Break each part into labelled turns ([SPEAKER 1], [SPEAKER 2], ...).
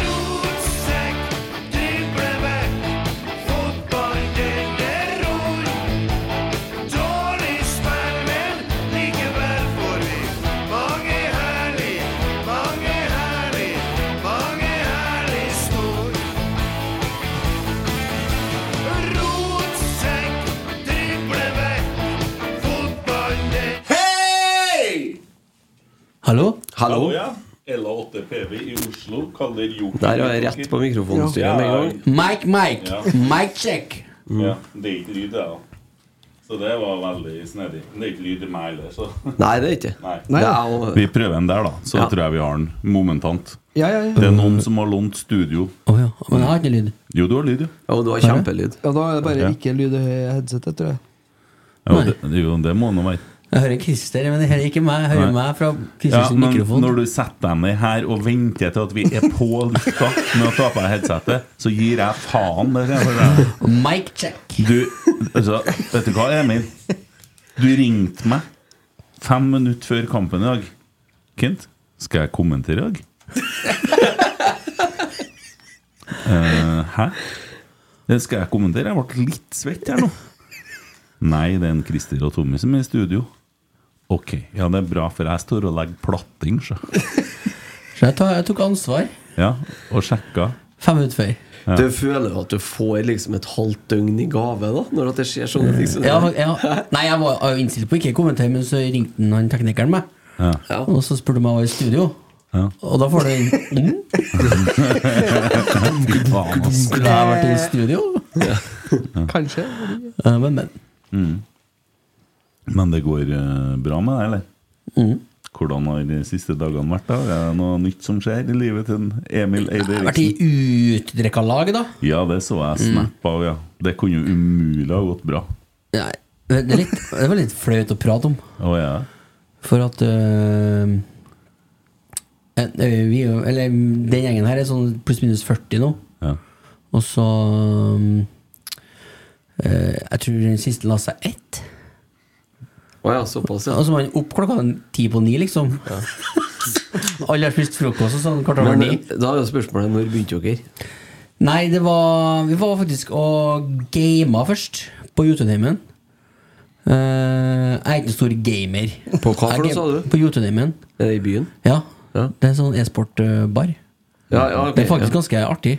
[SPEAKER 1] Rotsekk, driblevekk, fotball deler ror. Dårlig spill, men likevel får vi mange herlig, mange herlig, mange herlig snor. Rotsekk, driblevekk, fotball deler
[SPEAKER 2] Hei!
[SPEAKER 3] Hallo?
[SPEAKER 2] Hallo?
[SPEAKER 4] Hallo, ja. LA8PV i Oslo kaller Joker
[SPEAKER 3] Der var jeg rett på mikrofonstyret med en gang. Mm.
[SPEAKER 2] Mike, Mike.
[SPEAKER 4] Ja.
[SPEAKER 2] Mike check.
[SPEAKER 4] Ja, det er ikke lyd, det, da. Så det var veldig snedig. Men Det er ikke lyd i meg heller, så
[SPEAKER 3] Nei, det er ikke
[SPEAKER 4] Nei.
[SPEAKER 3] det. Er jo,
[SPEAKER 4] Vi prøver en der, da. Så
[SPEAKER 3] Ja.
[SPEAKER 4] tror jeg vi har den momentant.
[SPEAKER 5] Ja, ja, ja.
[SPEAKER 4] Det er noen som har lånt studio.
[SPEAKER 3] Å ja.
[SPEAKER 5] Men jeg har ikke lyd.
[SPEAKER 4] Jo, du har lyd, jo.
[SPEAKER 3] Å, du har kjempelyd.
[SPEAKER 5] Ja, Da er det bare
[SPEAKER 4] Ok.
[SPEAKER 5] ikke lyd i headsetet, tror jeg.
[SPEAKER 4] Ja, det, jo, det må nå være.
[SPEAKER 3] Jeg hører Christer, men jeg hører ikke meg. Jeg
[SPEAKER 4] Nei.
[SPEAKER 3] hører meg fra
[SPEAKER 4] Ja,
[SPEAKER 3] Christers
[SPEAKER 4] men
[SPEAKER 3] mikrofon.
[SPEAKER 4] når du setter deg ned her og venter til at vi er på lufta med å ta på deg headsetet, så gir jeg faen. Det er for deg.
[SPEAKER 3] Mic check.
[SPEAKER 4] Du, altså, vet du hva, Emil? Du ringte meg fem minutter før kampen i dag. Kent, skal jeg kommentere i dag? Eh, hæ? Det skal jeg kommentere? Jeg ble litt svett her nå. Nei, det er en Christer og Tommy som er i studio. Ok, ja, det er bra, for jeg står og legger platting, så.
[SPEAKER 3] Så jeg, tar, jeg tok ansvar
[SPEAKER 4] Ja, og sjekka.
[SPEAKER 3] fem minutter før.
[SPEAKER 2] Du føler jo at du får liksom et halvt døgn i gave da når at det skjer sånne ting. som det.
[SPEAKER 3] Ja, ja. Nei, jeg var jeg var innstilt på ikke å kommentere, men så ringte han- han teknikeren meg.
[SPEAKER 2] Ja.
[SPEAKER 3] Og så spurte han om jeg var i studio.
[SPEAKER 4] Ja.
[SPEAKER 3] Og da får du en mm,
[SPEAKER 4] Fy faen, ass.
[SPEAKER 3] Skulle jeg vært i studio?
[SPEAKER 5] Kanskje.
[SPEAKER 3] Ja, Men, men.
[SPEAKER 4] Men det går eh, bra med deg, eller?
[SPEAKER 3] Mm.
[SPEAKER 4] Hvordan har de siste dagene vært? da? Er det noe nytt som skjer i livet til en Emil Eide
[SPEAKER 3] Jeg har vært i Mm.
[SPEAKER 4] Eriksen?
[SPEAKER 3] utdrikkalag, da.
[SPEAKER 4] Ja, det så jeg snap av, ja. Det kunne jo umulig ha gått bra.
[SPEAKER 3] Nei, det, er litt, det var litt flaut å prate om.
[SPEAKER 4] Å ja.
[SPEAKER 3] For at øh, eh, vi, er jo- Eller den gjengen her er sånn pluss-minus 40 nå.
[SPEAKER 4] ja.
[SPEAKER 3] Og så mm, eh, Jeg tror den siste la seg ett.
[SPEAKER 2] Å ja, såpass, ja.
[SPEAKER 3] Og så var han opp klokka ti på ni, liksom. Alle har spist frokost og sånn kvart over
[SPEAKER 2] Men eh,
[SPEAKER 3] ni.
[SPEAKER 2] da er jo spørsmålet når begynte dere?
[SPEAKER 3] Nei, det var Vi var faktisk og gama først, på Jotunheimen. Eh, jeg er ikke en stor gamer.
[SPEAKER 2] På hva for noe,
[SPEAKER 3] Jeg
[SPEAKER 2] sa du?
[SPEAKER 3] gam- På Jotunheimen.
[SPEAKER 2] Er det eh, i byen?
[SPEAKER 3] Ja.
[SPEAKER 2] Ja.
[SPEAKER 3] Det er en sånn e-sport-bar.
[SPEAKER 2] Ja, ja, ok,
[SPEAKER 3] Det er faktisk
[SPEAKER 2] ja.
[SPEAKER 3] ganske artig.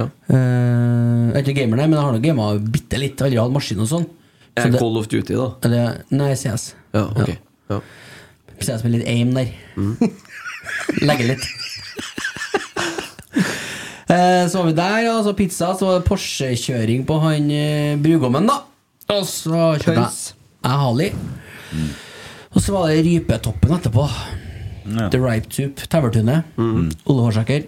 [SPEAKER 2] Ja.
[SPEAKER 3] Eh, jeg er ikke gamer, nei, men jeg har nå gama bitte litt. Aldri hatt maskin og sånn.
[SPEAKER 2] Er
[SPEAKER 3] Så
[SPEAKER 2] det
[SPEAKER 3] det-
[SPEAKER 2] Call of Duty, da?
[SPEAKER 3] Eller, nei, CS.
[SPEAKER 2] Ja, ok. Ja.
[SPEAKER 3] CS med litt aim der. Legge litt. Eh, Så var vi der, ja, så pizza, så var det Porsche-kjøring på han eh, brugommen, da. Og så kjørte
[SPEAKER 5] Pøls.
[SPEAKER 3] jeg, jeg Harley. Og så var det Rypetoppen etterpå.
[SPEAKER 4] Ja.
[SPEAKER 3] The Ripe Tube, Tauertunet, Ole Hårsaker.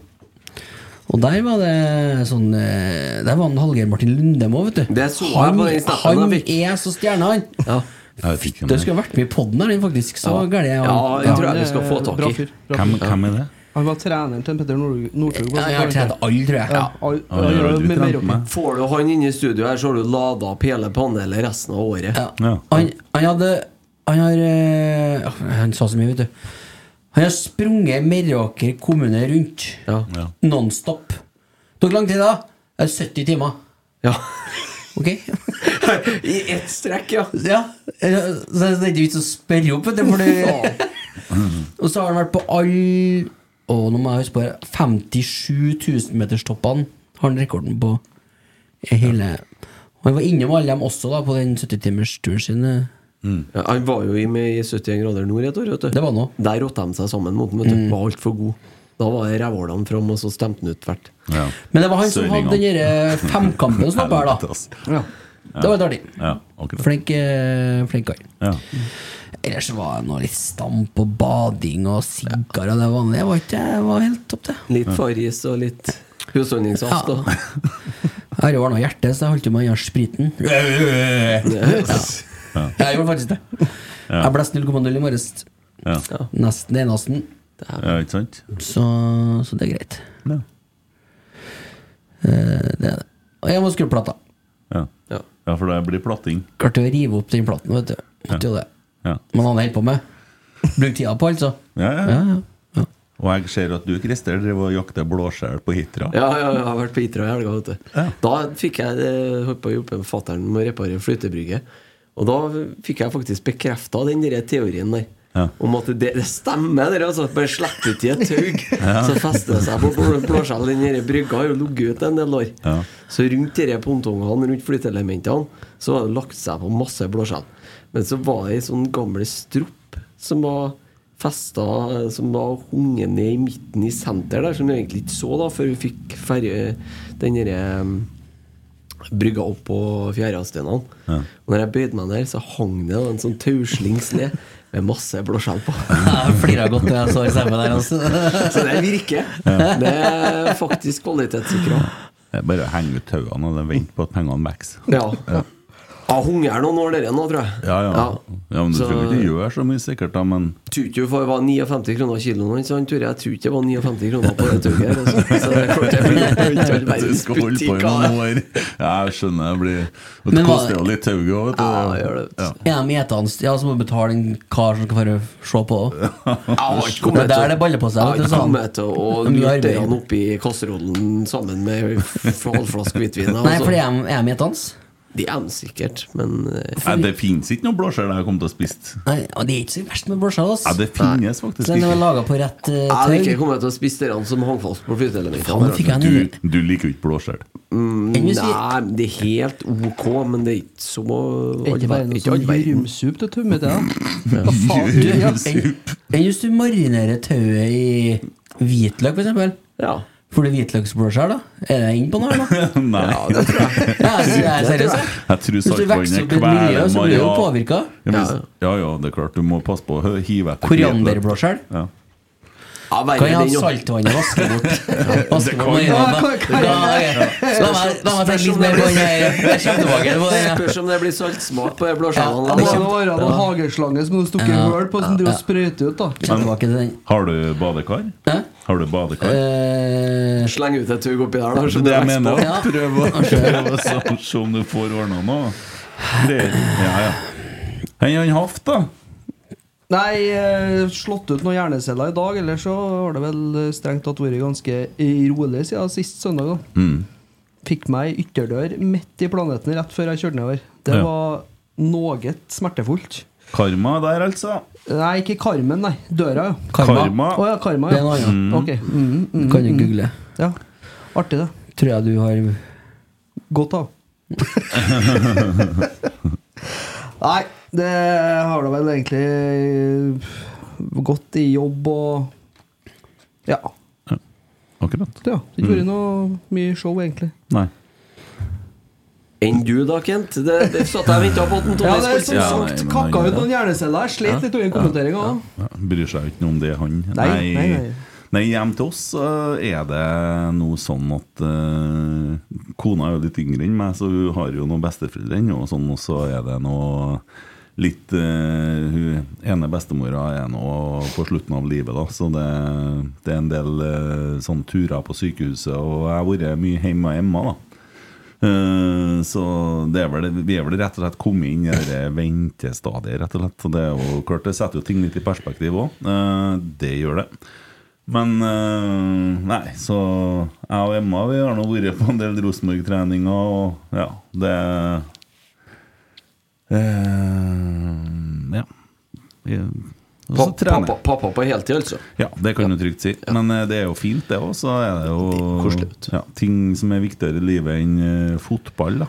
[SPEAKER 3] Og der var det sånn eh, Der var han Hallgeir Martin Lundemo, vet du.
[SPEAKER 2] Det så jeg
[SPEAKER 3] han
[SPEAKER 2] på den snappen
[SPEAKER 3] han
[SPEAKER 2] jeg fikk.
[SPEAKER 3] er så stjerne, han!
[SPEAKER 2] Ja.
[SPEAKER 4] Jeg vet ikke om
[SPEAKER 3] Det skulle vært med i poden her, den faktisk. Så
[SPEAKER 5] Ja.
[SPEAKER 3] gæren er
[SPEAKER 5] Ja, jeg tror jeg vi skal få tak i.
[SPEAKER 3] Bra fyr, bra fyr.
[SPEAKER 4] det?
[SPEAKER 5] Han var treneren til Petter Nord- Northug.
[SPEAKER 3] Ja, jeg har trent alle, tror jeg.
[SPEAKER 5] Ja, all-
[SPEAKER 3] Ja, jeg har
[SPEAKER 5] alle
[SPEAKER 3] aldri
[SPEAKER 5] med
[SPEAKER 3] trent
[SPEAKER 5] mer
[SPEAKER 3] meg.
[SPEAKER 5] opp.
[SPEAKER 2] Får du han inn i studio her, så har du lada opp hele panelet resten av året.
[SPEAKER 3] Han, han hadde Han har eh, åh, Han sa så mye, vet du. Han har sprunget Meråker kommune rundt nonstop. Tok lang tid, da? Det er 70 timer.
[SPEAKER 2] Ja.
[SPEAKER 3] Ok?
[SPEAKER 2] I ett strekk, ja.
[SPEAKER 3] ja. eh, Så det er ikke vits å spørre opp, vet du. For det, og så har han vært på alle Å, nå må jeg huske på det, 57 000-meterstoppene har han rekorden på. i Hele. Og han var innom alle dem også, da, på den 70-timersturen sin. eh.
[SPEAKER 2] Ja, Han var jo i med i 71 grader nord et år, vet du.
[SPEAKER 3] Det var nå.
[SPEAKER 2] Der rotta de seg sammen mot ham, vet du.
[SPEAKER 3] Mm.
[SPEAKER 2] Var altfor god. Da var rævhålene fram, og så stemte han ut hvert.
[SPEAKER 3] Men det var han som hadde den derre femkampen som var på her, da.
[SPEAKER 2] Ja.
[SPEAKER 3] Det var litt artig.
[SPEAKER 4] Altså. Ja, akkurat.
[SPEAKER 3] Flink, eh, flink kar.
[SPEAKER 4] Ja.
[SPEAKER 3] Ellers var det noe litt stamp og bading og siggar og det vanlige. Det var, ikke, det var helt topp, det.
[SPEAKER 2] Litt Farris og litt husholdningssaft. da.
[SPEAKER 3] Jeg har jo ordna hjertet, så jeg holdt jo med å gjøre spriten. Ja. Jeg gjorde faktisk det.
[SPEAKER 4] Ja.
[SPEAKER 3] Jeg ble 0,0 i morges.
[SPEAKER 4] Ja.
[SPEAKER 3] Nesten eneste.
[SPEAKER 4] Ja, ikke sant?
[SPEAKER 3] Så, så det er greit. Eh, det er det. Og jeg må skru opp plata.
[SPEAKER 4] Ja.
[SPEAKER 2] ja,
[SPEAKER 4] for det blir platting.
[SPEAKER 3] Klarte å rive opp den platen, vet du. Måtte jo det.
[SPEAKER 4] Ja.
[SPEAKER 3] Men han holdt på med. Bruk tida på, altså.
[SPEAKER 4] Ja, ja.
[SPEAKER 3] Ja, ja.
[SPEAKER 4] Og jeg ser at du, Christer, driver og jakter blåskjell på Hitra.
[SPEAKER 2] Ja, ja, jeg har vært på Hitra i helga. vet du. Da fikk jeg eh, holdt på å hjelpe fatter'n med å reparere flytebrygge. Og da fikk jeg faktisk bekrefta den der teorien der. Om at det, det stemmer, det der, altså. Bare slipp ut i et taug,
[SPEAKER 4] Ja.
[SPEAKER 2] så fester det seg på blå- blåskjell. Den der brygga har jo ligget ute en del år.
[SPEAKER 4] Ja.
[SPEAKER 2] Så rundt de der pongtongene, rundt flyteelementene, så var det lagt seg på masse blåskjell. Men så var det ei sånn gammel strop som var festa eh, Som var hunget ned i midten i senter der, som vi egentlig ikke så da før vi fikk ferje, den derre um, brygga opp på Fjærastenene. Og når jeg bøyde meg ned, så hang det en sånn tauslings ned med masse blåskjell på.
[SPEAKER 3] Jeg flira godt da jeg så det samme der, altså.
[SPEAKER 2] Så det virker.
[SPEAKER 4] Ja.
[SPEAKER 2] Det er faktisk kvalitetssikra.
[SPEAKER 4] Det er bare å henge ut tauene og vente på at pengene vokser.
[SPEAKER 2] Ja.
[SPEAKER 4] Ja.
[SPEAKER 2] Jeg hungrer noen år dere nå, tror jeg.
[SPEAKER 4] Ja, ja. ja, men du
[SPEAKER 2] Så-
[SPEAKER 4] skal jo ikke gjøre så mye sikkert, da, men
[SPEAKER 2] Tror ikke det var 59 kroner kiloen hans, han tror jeg tror ikke det var 59 kroner på det toget. her, altså. Så det klarte jeg vel ikke all
[SPEAKER 4] Du
[SPEAKER 2] verdens
[SPEAKER 4] skal holde på i noen
[SPEAKER 2] butikk, da.
[SPEAKER 4] år. Ja, jeg skjønner. Det, blir, og det
[SPEAKER 3] Men hva-
[SPEAKER 4] koster jo litt tauet òg, vet du. Ja.
[SPEAKER 3] En av gjetene Ja, så må du betale en kar som skal få se på.
[SPEAKER 2] Kom
[SPEAKER 3] Det er
[SPEAKER 2] med til-
[SPEAKER 3] der det baller på seg.
[SPEAKER 2] Ja,
[SPEAKER 3] vet du,
[SPEAKER 2] kom
[SPEAKER 3] sånn.
[SPEAKER 2] med til å
[SPEAKER 3] Mye
[SPEAKER 2] lurte
[SPEAKER 3] arbeid.
[SPEAKER 2] han oppi kasserollen sammen med f- halvflaske hvitvin. altså.
[SPEAKER 3] Nei,
[SPEAKER 4] altså.
[SPEAKER 3] for det er er med hans.
[SPEAKER 2] De er de sikkert, men eh,
[SPEAKER 4] Nei, det finnes ikke noe blåskjell jeg kommer til å spise.
[SPEAKER 3] Nei, og Det er ikke så verst med blåskjell. ass.
[SPEAKER 4] Ja, det finnes faktisk
[SPEAKER 3] Så den var
[SPEAKER 4] ikke.
[SPEAKER 3] laga på rett eh,
[SPEAKER 2] Jeg hadde ikke
[SPEAKER 3] tau.
[SPEAKER 2] kommet til å spise dere som hang fast på
[SPEAKER 3] Faen, fikk jeg
[SPEAKER 2] flyteelementene.
[SPEAKER 3] en idé.
[SPEAKER 4] Du liker jo ikke blåskjell.
[SPEAKER 2] Mm,
[SPEAKER 3] Enn hvis vi-
[SPEAKER 2] Nei, det er helt ok, men det er ikke så
[SPEAKER 5] Er ikke bare noe
[SPEAKER 2] Ikke all
[SPEAKER 5] sånn
[SPEAKER 2] verden.
[SPEAKER 5] jurumsup til tømme til da? Hva faen?
[SPEAKER 3] Du, ja,
[SPEAKER 5] Ja.
[SPEAKER 3] enn- enn hvis du marinerer tauet i hvitløk, for eksempel.
[SPEAKER 2] Ja.
[SPEAKER 3] Får du hvitløksblåskjell, da? Er jeg inne på noe, eller?
[SPEAKER 4] Nei.
[SPEAKER 3] Ja, altså, jeg er seriøs. jeg.
[SPEAKER 4] Jeg tror
[SPEAKER 3] Hvis du vokser
[SPEAKER 4] saltvannet
[SPEAKER 3] opp i et miljø, så blir du jo
[SPEAKER 4] Maria.
[SPEAKER 3] påvirka.
[SPEAKER 4] Ja, men- ja, ja, det er klart. Du må passe på å hive etter
[SPEAKER 3] Korianderblåskjell.
[SPEAKER 4] Ja.
[SPEAKER 2] Ja, verre
[SPEAKER 3] Kan jeg ha
[SPEAKER 2] den, jo.
[SPEAKER 3] saltvannet vaske bort? Vaske bort
[SPEAKER 4] kan-
[SPEAKER 3] marinaen,
[SPEAKER 5] Ja, kan-
[SPEAKER 3] da. Da- ok. La meg la meg tenke litt mer på den her. Jeg kommer tilbake på den. her.
[SPEAKER 2] Spørs om det blir saltsmak på de blåskjellene.
[SPEAKER 5] Det må da være noen
[SPEAKER 2] Ja.
[SPEAKER 5] hageslange som hun stukket
[SPEAKER 3] Ja,
[SPEAKER 5] hull på, som driver og sprøyter ut, da.
[SPEAKER 3] Jeg kommer tilbake til den.
[SPEAKER 4] Har du badekar?
[SPEAKER 3] Hæ?
[SPEAKER 4] Har du badekar?
[SPEAKER 3] Eh,
[SPEAKER 2] Sleng ut et tug oppi der, da.
[SPEAKER 4] Så
[SPEAKER 2] så
[SPEAKER 4] det jeg
[SPEAKER 2] du
[SPEAKER 4] mener
[SPEAKER 2] eksport.
[SPEAKER 3] Ja.
[SPEAKER 4] å Prøv å prøv å se- se om du får ordna noe. Det- Ja, ja. Hei, han Haft, da?
[SPEAKER 5] Nei, eh, slått ut noen hjerneceller i dag, eller så har det vel eh, strengt tatt vært ganske rolig siden sist søndag. da.
[SPEAKER 4] Mm.
[SPEAKER 5] Fikk meg ei ytterdør midt i planeten rett før jeg kjørte nedover. Det
[SPEAKER 4] Ja.
[SPEAKER 5] var noe smertefullt.
[SPEAKER 4] Karma der, altså.
[SPEAKER 5] Nei, ikke karmen, nei. Døra, jo.
[SPEAKER 3] Karma.
[SPEAKER 5] Å
[SPEAKER 4] Karma.
[SPEAKER 5] ja, karma.
[SPEAKER 3] Det
[SPEAKER 5] Ja.
[SPEAKER 3] er noe annet.
[SPEAKER 5] Ok. Mm, mm,
[SPEAKER 3] Kan du
[SPEAKER 5] mm.
[SPEAKER 3] google?
[SPEAKER 5] Ja. Artig, det.
[SPEAKER 3] Tror jeg du har
[SPEAKER 5] Godt av. Nei, det har da vel egentlig gått i jobb og Ja.
[SPEAKER 4] Akkurat.
[SPEAKER 5] ja det
[SPEAKER 4] Mm.
[SPEAKER 5] ikke vært noe mye show, egentlig.
[SPEAKER 4] Nei.
[SPEAKER 2] Enn du da, Kent? Det, det satt jeg og venta på at den
[SPEAKER 5] Ja,
[SPEAKER 2] Tommy
[SPEAKER 5] det er sånn
[SPEAKER 2] skulle
[SPEAKER 5] som
[SPEAKER 4] Ja,
[SPEAKER 2] si.
[SPEAKER 4] nei,
[SPEAKER 5] sagt
[SPEAKER 4] men
[SPEAKER 5] kakka
[SPEAKER 4] han-
[SPEAKER 5] ut noen hjerneceller. Jeg slet litt under kommenteringa òg.
[SPEAKER 4] Ja, Bryr seg jo ikke noe om det, han.
[SPEAKER 5] Nei, nei, nei.
[SPEAKER 4] Nei, hjem til oss eh, er det noe sånn at eh, Kona er jo litt yngre enn meg, så hun har jo noen besteforeldre ennå, og sånn, og så er det noe litt eh, Hun ene bestemora er nå på slutten av livet, da, så det, det er en del eh, sånn turer på sykehuset, og jeg har vært mye hjemme og hjemme, da. Eh, så det er vel, vi er vel rett og slett kommet inn i det ventestadiet, rett og slett. Så det er jo klart, det setter jo ting litt i perspektiv òg. det gjør det. Men eh, nei, så jeg og Emma vi har nå vært på en del Rosenborg-treninger, og ja, det eh, Ja. Vi- og så
[SPEAKER 2] Pa-
[SPEAKER 4] trener
[SPEAKER 2] Pappa, pappa på heltid, altså.
[SPEAKER 4] ja, det kan du trygt si. Men eh, det er jo fint, det òg. Så er det jo ja, ting som er viktigere i livet enn eh, fotball, da.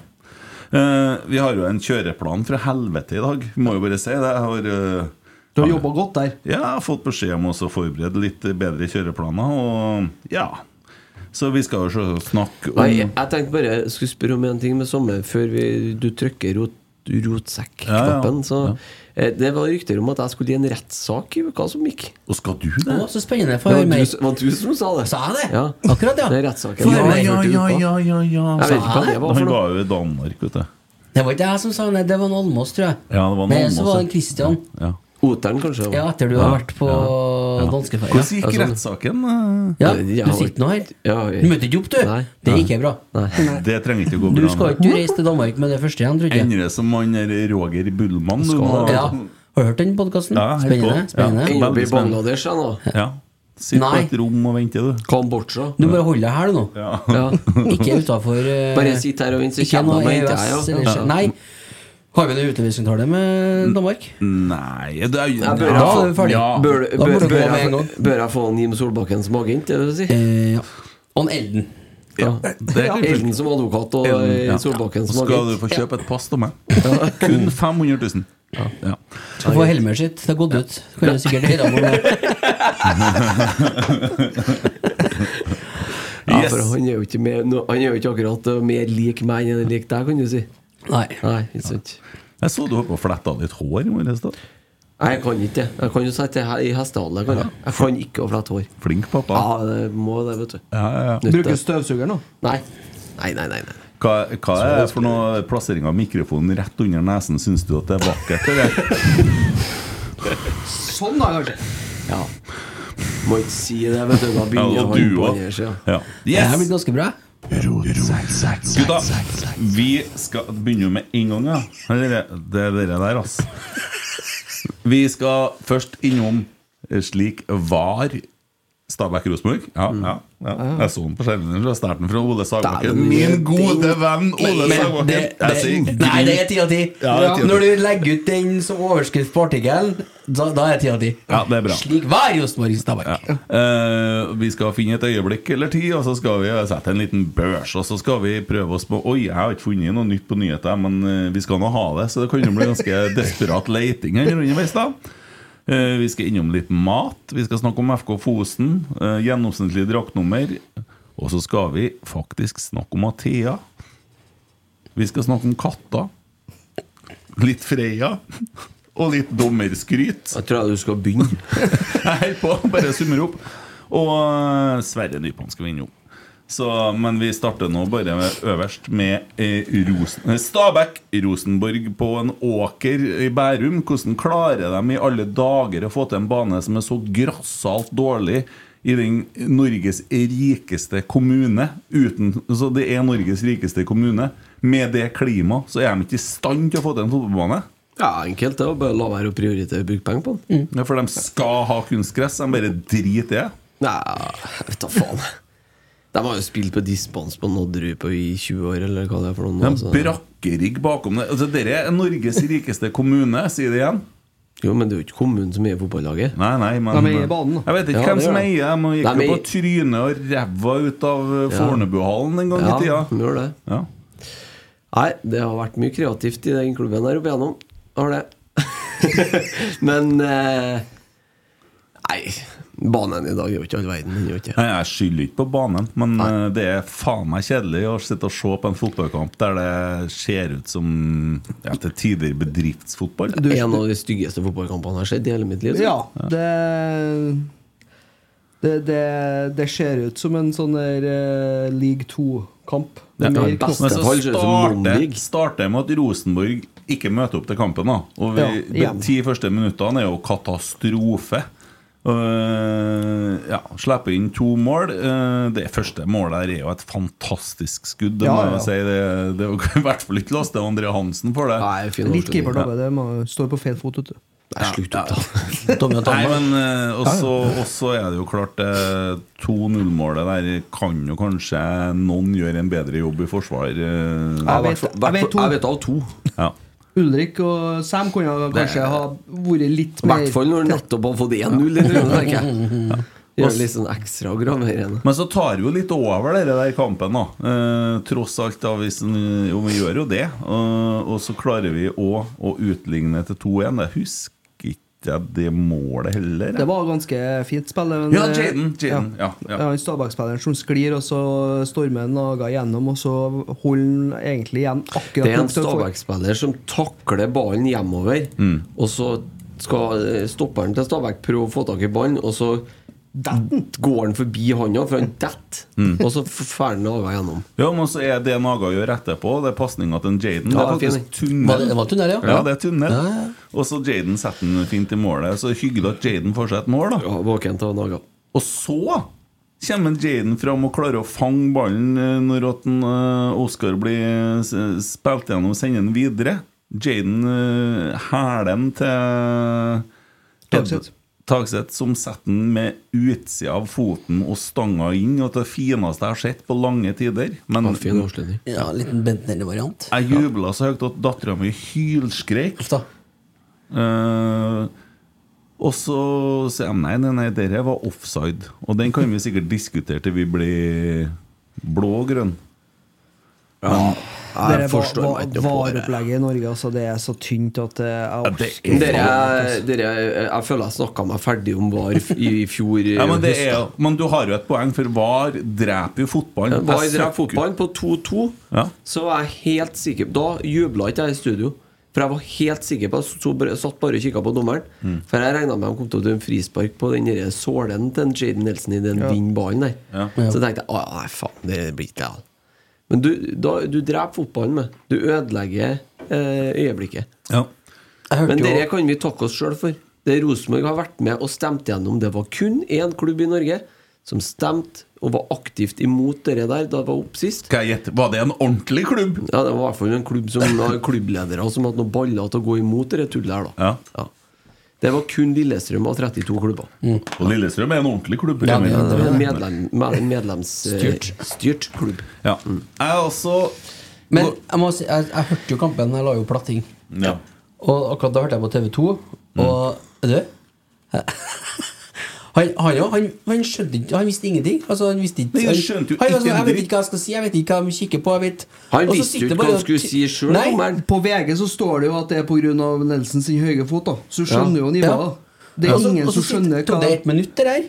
[SPEAKER 4] Eh, vi har jo en kjøreplan fra helvete i dag, må jo bare si det. Jeg har eh,
[SPEAKER 5] Du har jobba godt der.
[SPEAKER 4] ja, jeg har fått beskjed om også å forberede litt bedre kjøreplaner, og ja. Så vi skal jo selvsagt snakke om
[SPEAKER 2] Nei, jeg tenkte bare jeg skulle spørre om en ting med sommer før vi, du trykker rot, rotsekk-knappen.
[SPEAKER 4] Ja, ja, ja.
[SPEAKER 2] Så eh, Det var rykter om at jeg skulle i en rettssak i uka som gikk.
[SPEAKER 4] Og skal du
[SPEAKER 3] Å,
[SPEAKER 4] det?
[SPEAKER 3] så spennende. Få
[SPEAKER 2] Det var
[SPEAKER 3] høre
[SPEAKER 2] du,
[SPEAKER 3] mer.
[SPEAKER 2] som- var du som sa det.
[SPEAKER 3] Sa jeg det?
[SPEAKER 2] Ja.
[SPEAKER 3] Akkurat, ja.
[SPEAKER 2] Det er rettssaken.
[SPEAKER 3] Få høre mer.
[SPEAKER 4] ja, ja, ja, ja, ja.
[SPEAKER 2] Jeg vet ikke hva det var
[SPEAKER 4] Han
[SPEAKER 2] for noe.
[SPEAKER 4] var jo i Danmark, vet du.
[SPEAKER 3] Det var ikke jeg som sa det, det var en Almås, tror jeg.
[SPEAKER 4] Ja, det var
[SPEAKER 3] Men
[SPEAKER 4] Almås,
[SPEAKER 3] så var
[SPEAKER 4] ja.
[SPEAKER 3] det en Christian.
[SPEAKER 4] Ja.
[SPEAKER 2] Oteren, kanskje. det var.
[SPEAKER 3] Ja, etter du har vært på
[SPEAKER 4] ja.
[SPEAKER 3] danskeferie.
[SPEAKER 4] Hvordan gikk
[SPEAKER 2] altså-
[SPEAKER 4] rettssaken? eh?
[SPEAKER 3] Ja,
[SPEAKER 2] Ja,
[SPEAKER 3] du sitter nå her.
[SPEAKER 2] Ja, jeg-
[SPEAKER 3] Du møtte ikke opp, du.
[SPEAKER 2] Nei.
[SPEAKER 3] Det gikk ikke bra.
[SPEAKER 2] Nei.
[SPEAKER 4] Det trenger ikke å gå
[SPEAKER 3] Du
[SPEAKER 4] bra.
[SPEAKER 3] skal ikke reise til Danmark med det første igjen, tror jeg.
[SPEAKER 4] Endre som han der Roger Bullmann. Du
[SPEAKER 2] Skal
[SPEAKER 4] må,
[SPEAKER 2] det?
[SPEAKER 3] Ja. Har du hørt den podkasten?
[SPEAKER 4] Ja, helt
[SPEAKER 3] Spennende.
[SPEAKER 4] på.
[SPEAKER 3] spennende.
[SPEAKER 4] Ja.
[SPEAKER 2] Ender opp i
[SPEAKER 4] Veldig spennende.
[SPEAKER 2] Bangladesh, jeg nå.
[SPEAKER 4] ja. Sitt på
[SPEAKER 3] Nei.
[SPEAKER 4] et rom og vente, du.
[SPEAKER 2] Kambodsja.
[SPEAKER 3] Du bare holder deg her, du nå.
[SPEAKER 2] Ja.
[SPEAKER 3] Ikke eh, utafor
[SPEAKER 2] Bare sitt her og vent, så kommer de og
[SPEAKER 3] E
[SPEAKER 2] henter deg. ja.
[SPEAKER 3] Nei. Har vi det utleveringsavtale med Danmark?
[SPEAKER 4] Nei det er,
[SPEAKER 2] Jeg bør,
[SPEAKER 3] Ja,
[SPEAKER 2] jeg få,
[SPEAKER 3] da er vi ferdig.
[SPEAKER 4] Ja.
[SPEAKER 2] bør,
[SPEAKER 3] Da må
[SPEAKER 2] bør,
[SPEAKER 3] du gå
[SPEAKER 2] bør,
[SPEAKER 3] med en
[SPEAKER 2] jeg,
[SPEAKER 3] gang.
[SPEAKER 2] bør jeg få en Jim Solbakken som agent? Er det det du sier?
[SPEAKER 3] Eh, ja. Og en Elden.
[SPEAKER 2] Ja.
[SPEAKER 4] det kan funke.
[SPEAKER 2] Elden som advokat og
[SPEAKER 4] Elden, ja.
[SPEAKER 2] eh, Solbakken som
[SPEAKER 4] Skal du
[SPEAKER 2] agent.
[SPEAKER 4] få kjøpe et pass til meg? Kun 500 000. Ja.
[SPEAKER 3] Skal få Helmer sitt. Det har gått ut. Kan du sikkert høre om det.
[SPEAKER 2] Ja,
[SPEAKER 4] Yes.
[SPEAKER 2] for han er jo ikke, mer- nå- han er jo ikke akkurat eh, mer lik meg enn lik deg, kan du si.
[SPEAKER 3] Nei.
[SPEAKER 2] Nei, ikke sant.
[SPEAKER 4] Jeg så du holdt på å flette av litt hår i morges. da.
[SPEAKER 2] Nei, jeg kan ikke det. Jeg kan jo sette det her i hestehale. kan Jeg Jeg kan ikke å flette hår.
[SPEAKER 4] Flink
[SPEAKER 2] Ja,
[SPEAKER 4] pappa.
[SPEAKER 2] det må det, vet du.
[SPEAKER 4] Ja, ja, ja.
[SPEAKER 2] Nytte.
[SPEAKER 5] Bruker støvsuger nå.
[SPEAKER 2] Nei. Nei, nei, nei. nei.
[SPEAKER 4] Hva, hva er det for noe plassering av mikrofonen rett under nesen? Syns du at det er vakkert? Eller?
[SPEAKER 5] Sånn, da, kanskje.
[SPEAKER 2] Ja. Må ikke si det, vet du. Da
[SPEAKER 4] Ja,
[SPEAKER 2] begynner
[SPEAKER 4] og
[SPEAKER 2] han
[SPEAKER 4] du
[SPEAKER 2] på
[SPEAKER 4] òg.
[SPEAKER 2] andre sida.
[SPEAKER 4] Ja.
[SPEAKER 3] Det her
[SPEAKER 4] Yes!
[SPEAKER 3] blir ganske bra.
[SPEAKER 4] Gutta, vi skal begynne med en gang, ja. Eller, Det er dere der, altså. Vi skal først innom eh, slik var Stabæk Rosenborg. Ja,
[SPEAKER 3] Mm.
[SPEAKER 4] ja, ja. Jeg så den på skjermen fra starten fra Ole Sagbakken.
[SPEAKER 2] Dæven,
[SPEAKER 4] Min
[SPEAKER 2] det-
[SPEAKER 4] gode venn
[SPEAKER 3] Men
[SPEAKER 4] Ole
[SPEAKER 3] det,
[SPEAKER 4] Sagbakken. Jeg
[SPEAKER 3] det,
[SPEAKER 4] sier
[SPEAKER 3] nei, det er
[SPEAKER 4] grin.
[SPEAKER 3] ti av ti.
[SPEAKER 4] Ja, det er ti av ti.
[SPEAKER 3] Når du legger ut den som overskrift på artikkelen, da, da er det ti av ti.
[SPEAKER 4] Ja, det er bra.
[SPEAKER 3] Slik var Rosenborg i Stabæk.
[SPEAKER 4] Eh, vi skal finne et øyeblikk eller ti, og så skal vi eh, sette en liten børs. Og så skal vi prøve oss på Oi, jeg har ikke funnet noe nytt på nyheter, men eh, vi skal nå ha det. Så det kan jo bli ganske desperat leiting her underveis, da. Eh, vi skal innom litt mat. Vi skal snakke om FK Fosen. eh, gjennomsnittlig draktnummer. Og så skal vi faktisk snakke om Athea. Vi skal snakke om katter. Litt Freia. Og litt dommerskryt.
[SPEAKER 2] Jeg tror jeg du skal begynne.
[SPEAKER 4] Jeg holder på, bare summer opp. Og eh, Sverre Nypan skal vi innom. Så, men vi starter nå bare med- øverst med eh, Rosen, eh, Stabæk. Rosenborg på en åker i Bærum. Hvordan klarer de i alle dager å få til en bane som er så grassat dårlig i den Norges rikeste kommune? Uten, så det er Norges rikeste kommune. Med det klimaet så er de ikke i stand til å få til en fotballbane.
[SPEAKER 2] Ja, enkelt. Det er å bare la være å prioritere å bruke penger på den.
[SPEAKER 4] Ja, For de skal ha kunstgress. De bare driter i det.
[SPEAKER 2] Nei, jeg vet da faen. De har jo spilt på dispens på Nodderud på i 20 år, eller hva det er for noen.
[SPEAKER 4] Det er
[SPEAKER 2] altså.
[SPEAKER 4] en brakkerigg bakom det. Altså, dere er Norges rikeste kommune, sier det igjen.
[SPEAKER 2] Jo, men det er jo ikke kommunen som eier fotballaget.
[SPEAKER 4] Nei, nei, men
[SPEAKER 5] De eier banen, da.
[SPEAKER 4] Jeg vet ikke
[SPEAKER 2] Ja,
[SPEAKER 4] hvem
[SPEAKER 2] det
[SPEAKER 4] som
[SPEAKER 2] gjør de.
[SPEAKER 4] eier dem. og
[SPEAKER 2] Nei,
[SPEAKER 4] gikk
[SPEAKER 2] men-
[SPEAKER 4] jo på trynet og ræva ut av eh, Fornebuhallen en gang i
[SPEAKER 2] Ja, de
[SPEAKER 4] tida.
[SPEAKER 2] gjør det.
[SPEAKER 4] Ja.
[SPEAKER 2] Nei, det har vært mye kreativt i den klubben der opp igjennom. Har det. men eh, Nei, banen i dag er jo ikke all verden. Den er jo ikke
[SPEAKER 4] Nei, jeg skylder ikke på banen, men eh, det er faen meg kjedelig å sitte og se på en fotballkamp der det ser ut som ja, til tider bedriftsfotball.
[SPEAKER 2] Det er en av de styggeste fotballkampene jeg har sett i hele mitt liv. så.
[SPEAKER 5] Ja, det det, det, det ser ut som en sånn der eh, League 2-kamp.
[SPEAKER 4] Ja,
[SPEAKER 5] Med mer
[SPEAKER 2] best.
[SPEAKER 5] knopp.
[SPEAKER 4] Men så
[SPEAKER 2] fall ser det ut som
[SPEAKER 4] starter
[SPEAKER 2] Mombig.
[SPEAKER 4] starter med at Rosenborg ikke møter opp til kampen, da. Og vi,
[SPEAKER 5] Ja,
[SPEAKER 4] de
[SPEAKER 5] igjen.
[SPEAKER 4] ti første minuttene er jo katastrofe. Uh, ja, Slipper inn to mål. Eh, det første målet her er jo et fantastisk skudd. Det,
[SPEAKER 5] Ja,
[SPEAKER 4] må
[SPEAKER 5] ja.
[SPEAKER 4] jeg si. det, det er jo i hvert fall ikke laste André Hansen for det.
[SPEAKER 5] Litt keepertabbe. det må- Står på feil fot, vet du.
[SPEAKER 4] Nei, slutt opp,
[SPEAKER 3] da. Tommy og
[SPEAKER 4] Nei,
[SPEAKER 3] Tommy.
[SPEAKER 4] men eh, også, også er det jo klart eh, 2-0-målet der kan jo kanskje noen gjøre en bedre jobb i forsvar. eh.
[SPEAKER 5] Jeg vet, jeg vet
[SPEAKER 2] Jeg
[SPEAKER 5] to.
[SPEAKER 2] vet av to.
[SPEAKER 4] Ja.
[SPEAKER 5] Ulrik og Sam kunne ha- kanskje ha vært litt
[SPEAKER 2] I
[SPEAKER 5] mer
[SPEAKER 2] hvert fall når han nettopp har fått 1-0. eller noe, tenker jeg. Gjør det litt sånn ekstra graverende.
[SPEAKER 4] Men så tar vi jo litt over dere der kampen, da. Eh, tross alt, da, hvis en, jo, vi gjør jo det. Eh, Og- og så klarer vi òg å utligne til 2-1. Jeg husker ikke det målet heller. jeg.
[SPEAKER 5] Det var ganske fint spill. men- eh,
[SPEAKER 4] Ja, Jaden, Jaden, ja, ja.
[SPEAKER 5] Ja, han Stabæk-spilleren som sklir, og så stormer han naga gjennom, og så holder han egentlig igjen akkurat
[SPEAKER 2] Det er en
[SPEAKER 5] nok til å få-
[SPEAKER 2] Stabæk-spiller som takler ballen hjemover,
[SPEAKER 4] Mm.
[SPEAKER 2] og så skal eh, stopperen til Stabæk prøve å få tak i ballen, og så går han forbi handa, for han detter,
[SPEAKER 4] Mm.
[SPEAKER 2] og så fer han naga gjennom.
[SPEAKER 4] Ja, men så er det Naga gjør etterpå, det er pasninga til en Jaden.
[SPEAKER 2] Ja,
[SPEAKER 4] det er
[SPEAKER 2] fin.
[SPEAKER 4] faktisk tunnel.
[SPEAKER 3] Var det- det var tunnel, ja?
[SPEAKER 4] Ja, det er tunnel.
[SPEAKER 3] Ja, ja.
[SPEAKER 4] Og så Jaden setter den fint i målet. Så hyggelig at Jaden får seg et mål, da.
[SPEAKER 2] Ja, våkent av naga.
[SPEAKER 4] Og så kommer Jaden fram og klarer å fange ballen eh, når at en, eh, Oscar blir eh, s- spilt gjennom og sender den videre. Jaden eh, hæler den til
[SPEAKER 5] Tagseth.
[SPEAKER 4] Tagseth, som setter den med utsida av foten og stanga inn. Og det fineste jeg har sett på lange tider. Men
[SPEAKER 2] Ja, fin avslutning.
[SPEAKER 3] Ja, en liten Bent Nelly-variant.
[SPEAKER 4] jeg jubla så høyt at dattera mi hylskreik.
[SPEAKER 3] Uff da.
[SPEAKER 4] Eh, og så sier jeg nei, nei, nei, dette var offside. Og den kan vi sikkert diskutere til vi blir blå og grønn.
[SPEAKER 5] Dere
[SPEAKER 2] Jeg forstår
[SPEAKER 5] var-
[SPEAKER 2] meg ikke noe på det.
[SPEAKER 5] Vareopplegget i Norge, altså, det er så tynt at eh, jeg orker
[SPEAKER 4] det er-
[SPEAKER 2] Dere,
[SPEAKER 5] faen ikke, altså.
[SPEAKER 2] dere, jeg føler jeg snakka meg ferdig om VAR f- i fjor.
[SPEAKER 4] Ja, men, det
[SPEAKER 2] høst,
[SPEAKER 4] er,
[SPEAKER 2] da.
[SPEAKER 4] jo- men du har jo et poeng, for VAR dreper jo fotballen.
[SPEAKER 2] Var
[SPEAKER 4] Jeg
[SPEAKER 2] i drept
[SPEAKER 4] søker-
[SPEAKER 2] fotballen på 2-2,
[SPEAKER 4] Ja.
[SPEAKER 2] så var jeg helt sikker Da jubla ikke jeg i studio. For jeg var helt sikker på Jeg så bare- satt bare og kikka på dommeren.
[SPEAKER 4] Mm.
[SPEAKER 2] For jeg regna med de kom til å dømme frispark på den der sålen til en Jaden Nelson i den vindballen der. Så tenkte jeg «Å, nei, faen, det blir ikke det. all». Men du, da, du dreper fotballen med. Du ødelegger eh, øyeblikket.
[SPEAKER 4] Ja.
[SPEAKER 3] Jeg hørte
[SPEAKER 2] Men
[SPEAKER 3] jo
[SPEAKER 2] dere kan vi takke oss sjøl for. Det Rosenborg har vært med og stemt gjennom. Det var kun én klubb i Norge som stemte og var aktivt imot det der da det var opp sist.
[SPEAKER 4] Skal jeg gjette? Var det en ordentlig klubb?
[SPEAKER 2] Ja, Det var i hvert fall en klubb som har klubbledere som hadde noen baller til å gå imot det tullet her, da.
[SPEAKER 4] Ja.
[SPEAKER 2] Ja. Det var kun Lillestrøm av 32 klubber.
[SPEAKER 4] Og Lillestrøm er en ordentlig klubb.
[SPEAKER 3] Mm. Ja, det er
[SPEAKER 2] Det
[SPEAKER 4] Emil.
[SPEAKER 2] var en medlem, med- en medlemsstyrt
[SPEAKER 3] Styrt.
[SPEAKER 2] eh, styrt klubb.
[SPEAKER 4] Ja. Jeg er også
[SPEAKER 3] Men jeg, må si, jeg, jeg hørte jo kampen, jeg la jo platting.
[SPEAKER 4] ja.
[SPEAKER 3] Og akkurat da hørte jeg på TV 2, og Er du? Han, han, jo, han, han skjønte ikke Han visste ingenting. Altså, han visste ikke
[SPEAKER 4] Nei, han
[SPEAKER 3] han,
[SPEAKER 4] skjønte jo
[SPEAKER 3] han var
[SPEAKER 4] ikke
[SPEAKER 3] sånn,
[SPEAKER 4] en
[SPEAKER 3] Jeg vet ikke
[SPEAKER 4] dritt."
[SPEAKER 3] hva jeg skal si, jeg vet ikke hva de kikker på. Jeg vet.
[SPEAKER 2] Han
[SPEAKER 3] Og så
[SPEAKER 2] visste jo
[SPEAKER 3] sitter
[SPEAKER 2] ikke
[SPEAKER 3] bare
[SPEAKER 2] hva han
[SPEAKER 3] og-
[SPEAKER 2] skulle si sjøl,
[SPEAKER 3] Nei,
[SPEAKER 2] dommeren.
[SPEAKER 5] På VG så står det jo at det er pga. Nelson sin høye fot, da. Så du skjønner jo nivået. da.
[SPEAKER 3] Ja.
[SPEAKER 5] Det er
[SPEAKER 3] Og så-
[SPEAKER 5] ingen
[SPEAKER 3] og
[SPEAKER 5] som
[SPEAKER 3] så
[SPEAKER 5] skjønner
[SPEAKER 3] sitter- Tok det
[SPEAKER 5] hva
[SPEAKER 3] ett minutt, det der?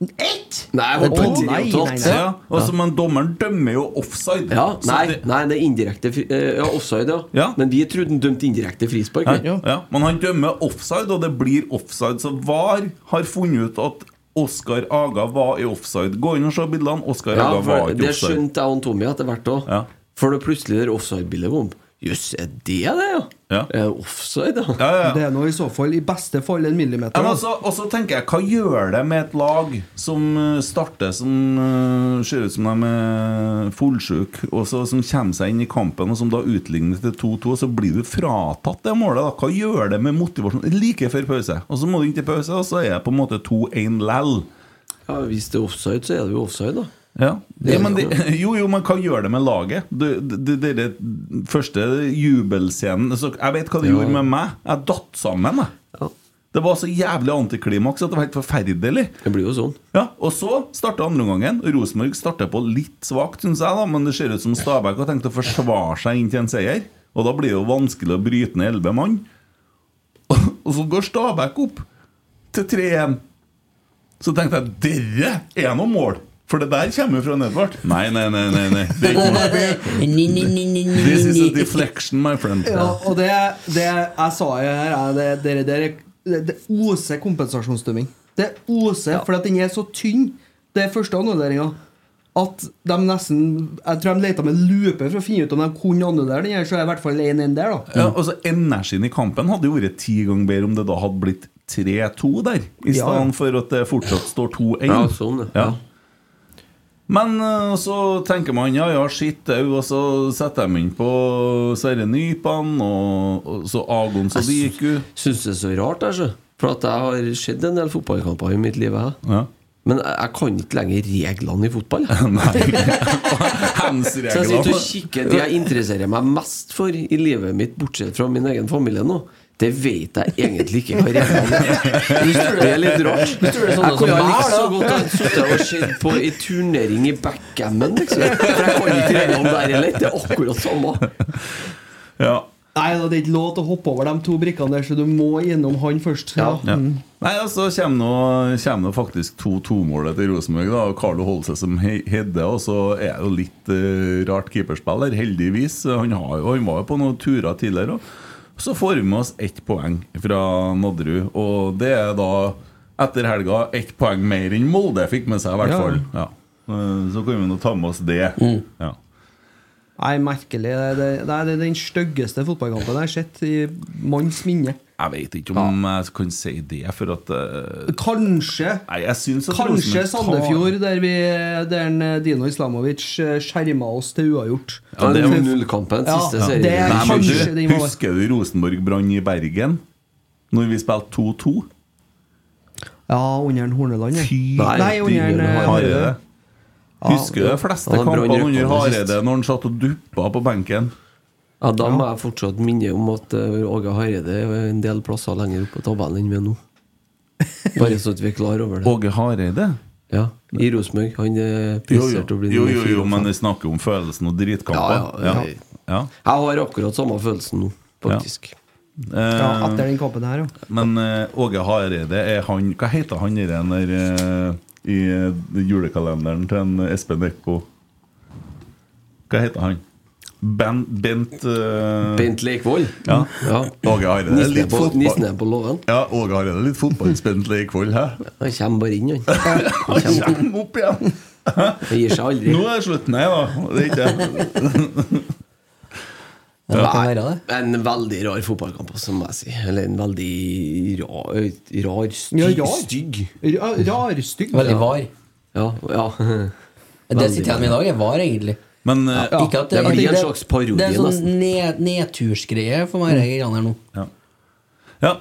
[SPEAKER 2] Nei, jeg håper
[SPEAKER 5] Å,
[SPEAKER 2] tre
[SPEAKER 5] nei,
[SPEAKER 2] og
[SPEAKER 5] nei,
[SPEAKER 2] et halvt.
[SPEAKER 5] nei.
[SPEAKER 4] ja. Altså, men dommeren dømmer jo offside.
[SPEAKER 2] Ja,
[SPEAKER 4] Så
[SPEAKER 2] nei,
[SPEAKER 4] det-
[SPEAKER 2] nei, det er indirekte fri- eh, ja, offside, ja.
[SPEAKER 4] Ja.
[SPEAKER 2] Men vi trodde han dømte indirekte frispark. vi.
[SPEAKER 4] Ja. Ja. Men han dømmer offside, og det blir offside. Så VAR har funnet ut at Oskar Aga var i offside. Gå inn og se bildene. Oskar
[SPEAKER 2] Ja,
[SPEAKER 4] Aga var
[SPEAKER 2] for
[SPEAKER 4] ikke
[SPEAKER 2] det
[SPEAKER 4] offside.
[SPEAKER 2] skjønte jeg og Tommy etter hvert òg.
[SPEAKER 4] Ja.
[SPEAKER 2] For det plutselig der offside-bildet kom. Jøss, er det det, ja?
[SPEAKER 4] Ja.
[SPEAKER 2] Er det offside, ja?
[SPEAKER 4] Ja, ja, ja.
[SPEAKER 5] Det er nå i så fall i beste fall en millimeter.
[SPEAKER 4] Ja,
[SPEAKER 5] da.
[SPEAKER 4] men også, og så tenker jeg, hva gjør det med et lag som eh, starter som eh, ser ut som de er fullsjuke, og så, som kommer seg inn i kampen, og som da utligner til 2-2, så blir du fratatt det målet? da Hva gjør det med motivasjonen like før pause? Og så må du inn til pause, og så er det på en måte 2-1 lell.
[SPEAKER 2] ja hvis det er offside, så er det jo offside, da.
[SPEAKER 4] Ja.
[SPEAKER 2] Det
[SPEAKER 4] Ja, men
[SPEAKER 2] er det
[SPEAKER 4] det, jo, jo, men hva gjør det med laget? Det, det, det, det første jubelscenen så Jeg vet hva det gjorde med meg. Jeg datt sammen. Jeg.
[SPEAKER 2] Ja.
[SPEAKER 4] Det var så jævlig antiklimaks at det var helt forferdelig.
[SPEAKER 2] Det blir jo sånn.
[SPEAKER 4] Ja, Og så starta andreomgangen. Rosenborg starter på litt svakt, syns jeg, da, men det ser ut som Stabæk har tenkt å forsvare seg inn til en seier. Og da blir det jo vanskelig å bryte ned elleve mann. Og så går Stabæk opp til 3-1. Så tenkte jeg dere er noe mål! For det der kommer jo fra Nedvart. Nei, nei, nei. nei, nei. Det er ikke mål. This is a deflection, my friend.
[SPEAKER 5] Ja, og det, det jeg sa jo her, er det, dere- dere- det, det oser kompensasjonsdømming. Det oser, fordi at den er så tynn. Det er første annulleringa. at de nesten Jeg tror de leta med lupe for å finne ut om de kunne annullere den, eller så er det i hvert fall 1-1 der, da.
[SPEAKER 4] Ja, altså Energien i kampen hadde jo vært ti ganger bedre om det da hadde blitt 3-2 der, i stedet
[SPEAKER 5] Ja, ja.
[SPEAKER 4] for at det fortsatt står 2-1.
[SPEAKER 2] Ja, sånn, ja.
[SPEAKER 4] Ja. Men eh, så tenker man ja, ja, shit, au, og så setter de inn på Sverre Nypan, og, og så Agon Sadiku.
[SPEAKER 2] Syns det er så rart, jeg, sjø. For at jeg har sett en del fotballkamper i mitt liv. Jeg.
[SPEAKER 4] Ja.
[SPEAKER 2] Men jeg, jeg kan ikke lenger reglene i fotball. jeg. Så jeg sitter og
[SPEAKER 4] Hands-reglene.
[SPEAKER 2] kikker Det jeg interesserer meg mest for i livet mitt, bortsett fra min egen familie nå, det vet jeg egentlig ikke hva reglene er. Det er litt rart.
[SPEAKER 3] Du tror det er sånne
[SPEAKER 2] Jeg
[SPEAKER 3] som
[SPEAKER 2] kunne ha
[SPEAKER 3] meg,
[SPEAKER 2] likt så
[SPEAKER 3] da.
[SPEAKER 2] godt ha sittet og sett på i turnering i backgammon, liksom. For jeg kan ikke reglene der heller. Det er akkurat samme.
[SPEAKER 4] Ja.
[SPEAKER 5] Nei, da, det er ikke lov til å hoppe over de to brikkene der, så du må gjennom han først.
[SPEAKER 2] Ja.
[SPEAKER 4] Ja. Nei, altså kommer nå, kommer nå faktisk 2-2-målet til Rosenborg. da, og Carlo holder seg som he- Hedde. Og så er det jo litt eh, rart keeperspill her, heldigvis. Han, har, jo- han var jo på noen turer tidligere òg. Så får vi med oss ett poeng fra Nadderud. Og det er da, etter helga, ett poeng mer enn Molde fikk med seg, i hvert
[SPEAKER 5] Ja. Mm.
[SPEAKER 4] fall. Ja. Eh, Så kan vi nå ta med oss det. Ja.
[SPEAKER 5] Nei, merkelig. Det, det, nei, det er den styggeste fotballkampen jeg har sett i manns minne.
[SPEAKER 4] Jeg vet ikke om jeg kan si det, for at eh,
[SPEAKER 5] Kanskje
[SPEAKER 4] Nei, jeg syns at
[SPEAKER 5] Kanskje
[SPEAKER 4] Rosenborg tar-
[SPEAKER 5] Sandefjord, der, vi, der en eh, Dino Islamovic eh, skjerma oss til uavgjort.
[SPEAKER 4] Ja, det er jo-
[SPEAKER 2] 0-kampen, siste
[SPEAKER 5] Ja,
[SPEAKER 2] serien.
[SPEAKER 5] det er
[SPEAKER 4] Altså, Nei, men
[SPEAKER 5] kanskje
[SPEAKER 4] du,
[SPEAKER 5] den var-
[SPEAKER 4] Husker du Rosenborg-brann i Bergen? Når vi spilte 2-2?
[SPEAKER 5] Ja, under en Horneland. ja.
[SPEAKER 4] Nei,
[SPEAKER 5] Nei, under en, eh,
[SPEAKER 4] Hareide. Husker du de
[SPEAKER 2] Ja,
[SPEAKER 4] fleste
[SPEAKER 2] den brann
[SPEAKER 4] kampene
[SPEAKER 2] røkene
[SPEAKER 4] under
[SPEAKER 2] sist.
[SPEAKER 4] Hareide når han satt og duppa på benken?
[SPEAKER 2] Ja, Da må jeg fortsatt minne om at eh, Åge Hareide er en del plasser lenger opp på tabellen enn vi er nå. Bare så at vi er klar over det.
[SPEAKER 4] Åge Hareide?
[SPEAKER 2] Ja, I Rosenborg. Han er
[SPEAKER 4] Jo jo.
[SPEAKER 2] prestert å bli
[SPEAKER 4] jo,
[SPEAKER 2] nummer
[SPEAKER 4] jo,
[SPEAKER 2] fire altså.
[SPEAKER 4] jo,
[SPEAKER 2] og
[SPEAKER 4] men
[SPEAKER 2] fem.
[SPEAKER 4] vi snakker om følelsen og dritkamper.
[SPEAKER 2] Ja, ja, ja.
[SPEAKER 4] Ja.
[SPEAKER 2] Jeg har akkurat samme følelsen nå, faktisk.
[SPEAKER 4] Eh,
[SPEAKER 5] Ja, etter den kampen her, ja.
[SPEAKER 4] men eh, Åge Hareide er han Hva heter han i den der eh, I eh, julekalenderen til en Espen Eckbo? Hva heter han? Ben, Bent eh,
[SPEAKER 2] Bent Leikvoll.
[SPEAKER 4] Ja.
[SPEAKER 2] Ja.
[SPEAKER 4] Åge Hareide er
[SPEAKER 2] Nissen er
[SPEAKER 4] litt
[SPEAKER 2] på,
[SPEAKER 4] fotball-
[SPEAKER 2] nissen er på låven.
[SPEAKER 4] Ja, Åge Hareide er litt fotballspentlig i kveld, hæ?
[SPEAKER 2] Han kommer bare inn, han.
[SPEAKER 4] Han kommer opp igjen!
[SPEAKER 2] Han gir seg aldri.
[SPEAKER 4] Nå er det slutt. Nei da, det er ikke det.
[SPEAKER 3] Det kan være det.
[SPEAKER 2] En veldig rar fotballkamp, også, må jeg si. Eller en veldig rar, rar stygg.
[SPEAKER 5] Ja, rar.
[SPEAKER 2] stygg.
[SPEAKER 5] Ra- Rarstygg.
[SPEAKER 3] Veldig var.
[SPEAKER 2] Ja, ja.
[SPEAKER 3] Det sitter igjen med i dag, er var, egentlig.
[SPEAKER 4] Men eh,
[SPEAKER 5] Ja.
[SPEAKER 3] Ikke at
[SPEAKER 2] det blir en
[SPEAKER 3] det-
[SPEAKER 2] slags parodi,
[SPEAKER 3] Det er en sånn
[SPEAKER 2] nesten.
[SPEAKER 3] ned, nedtursgreie for meg, de greiene her nå.
[SPEAKER 4] ja. ja.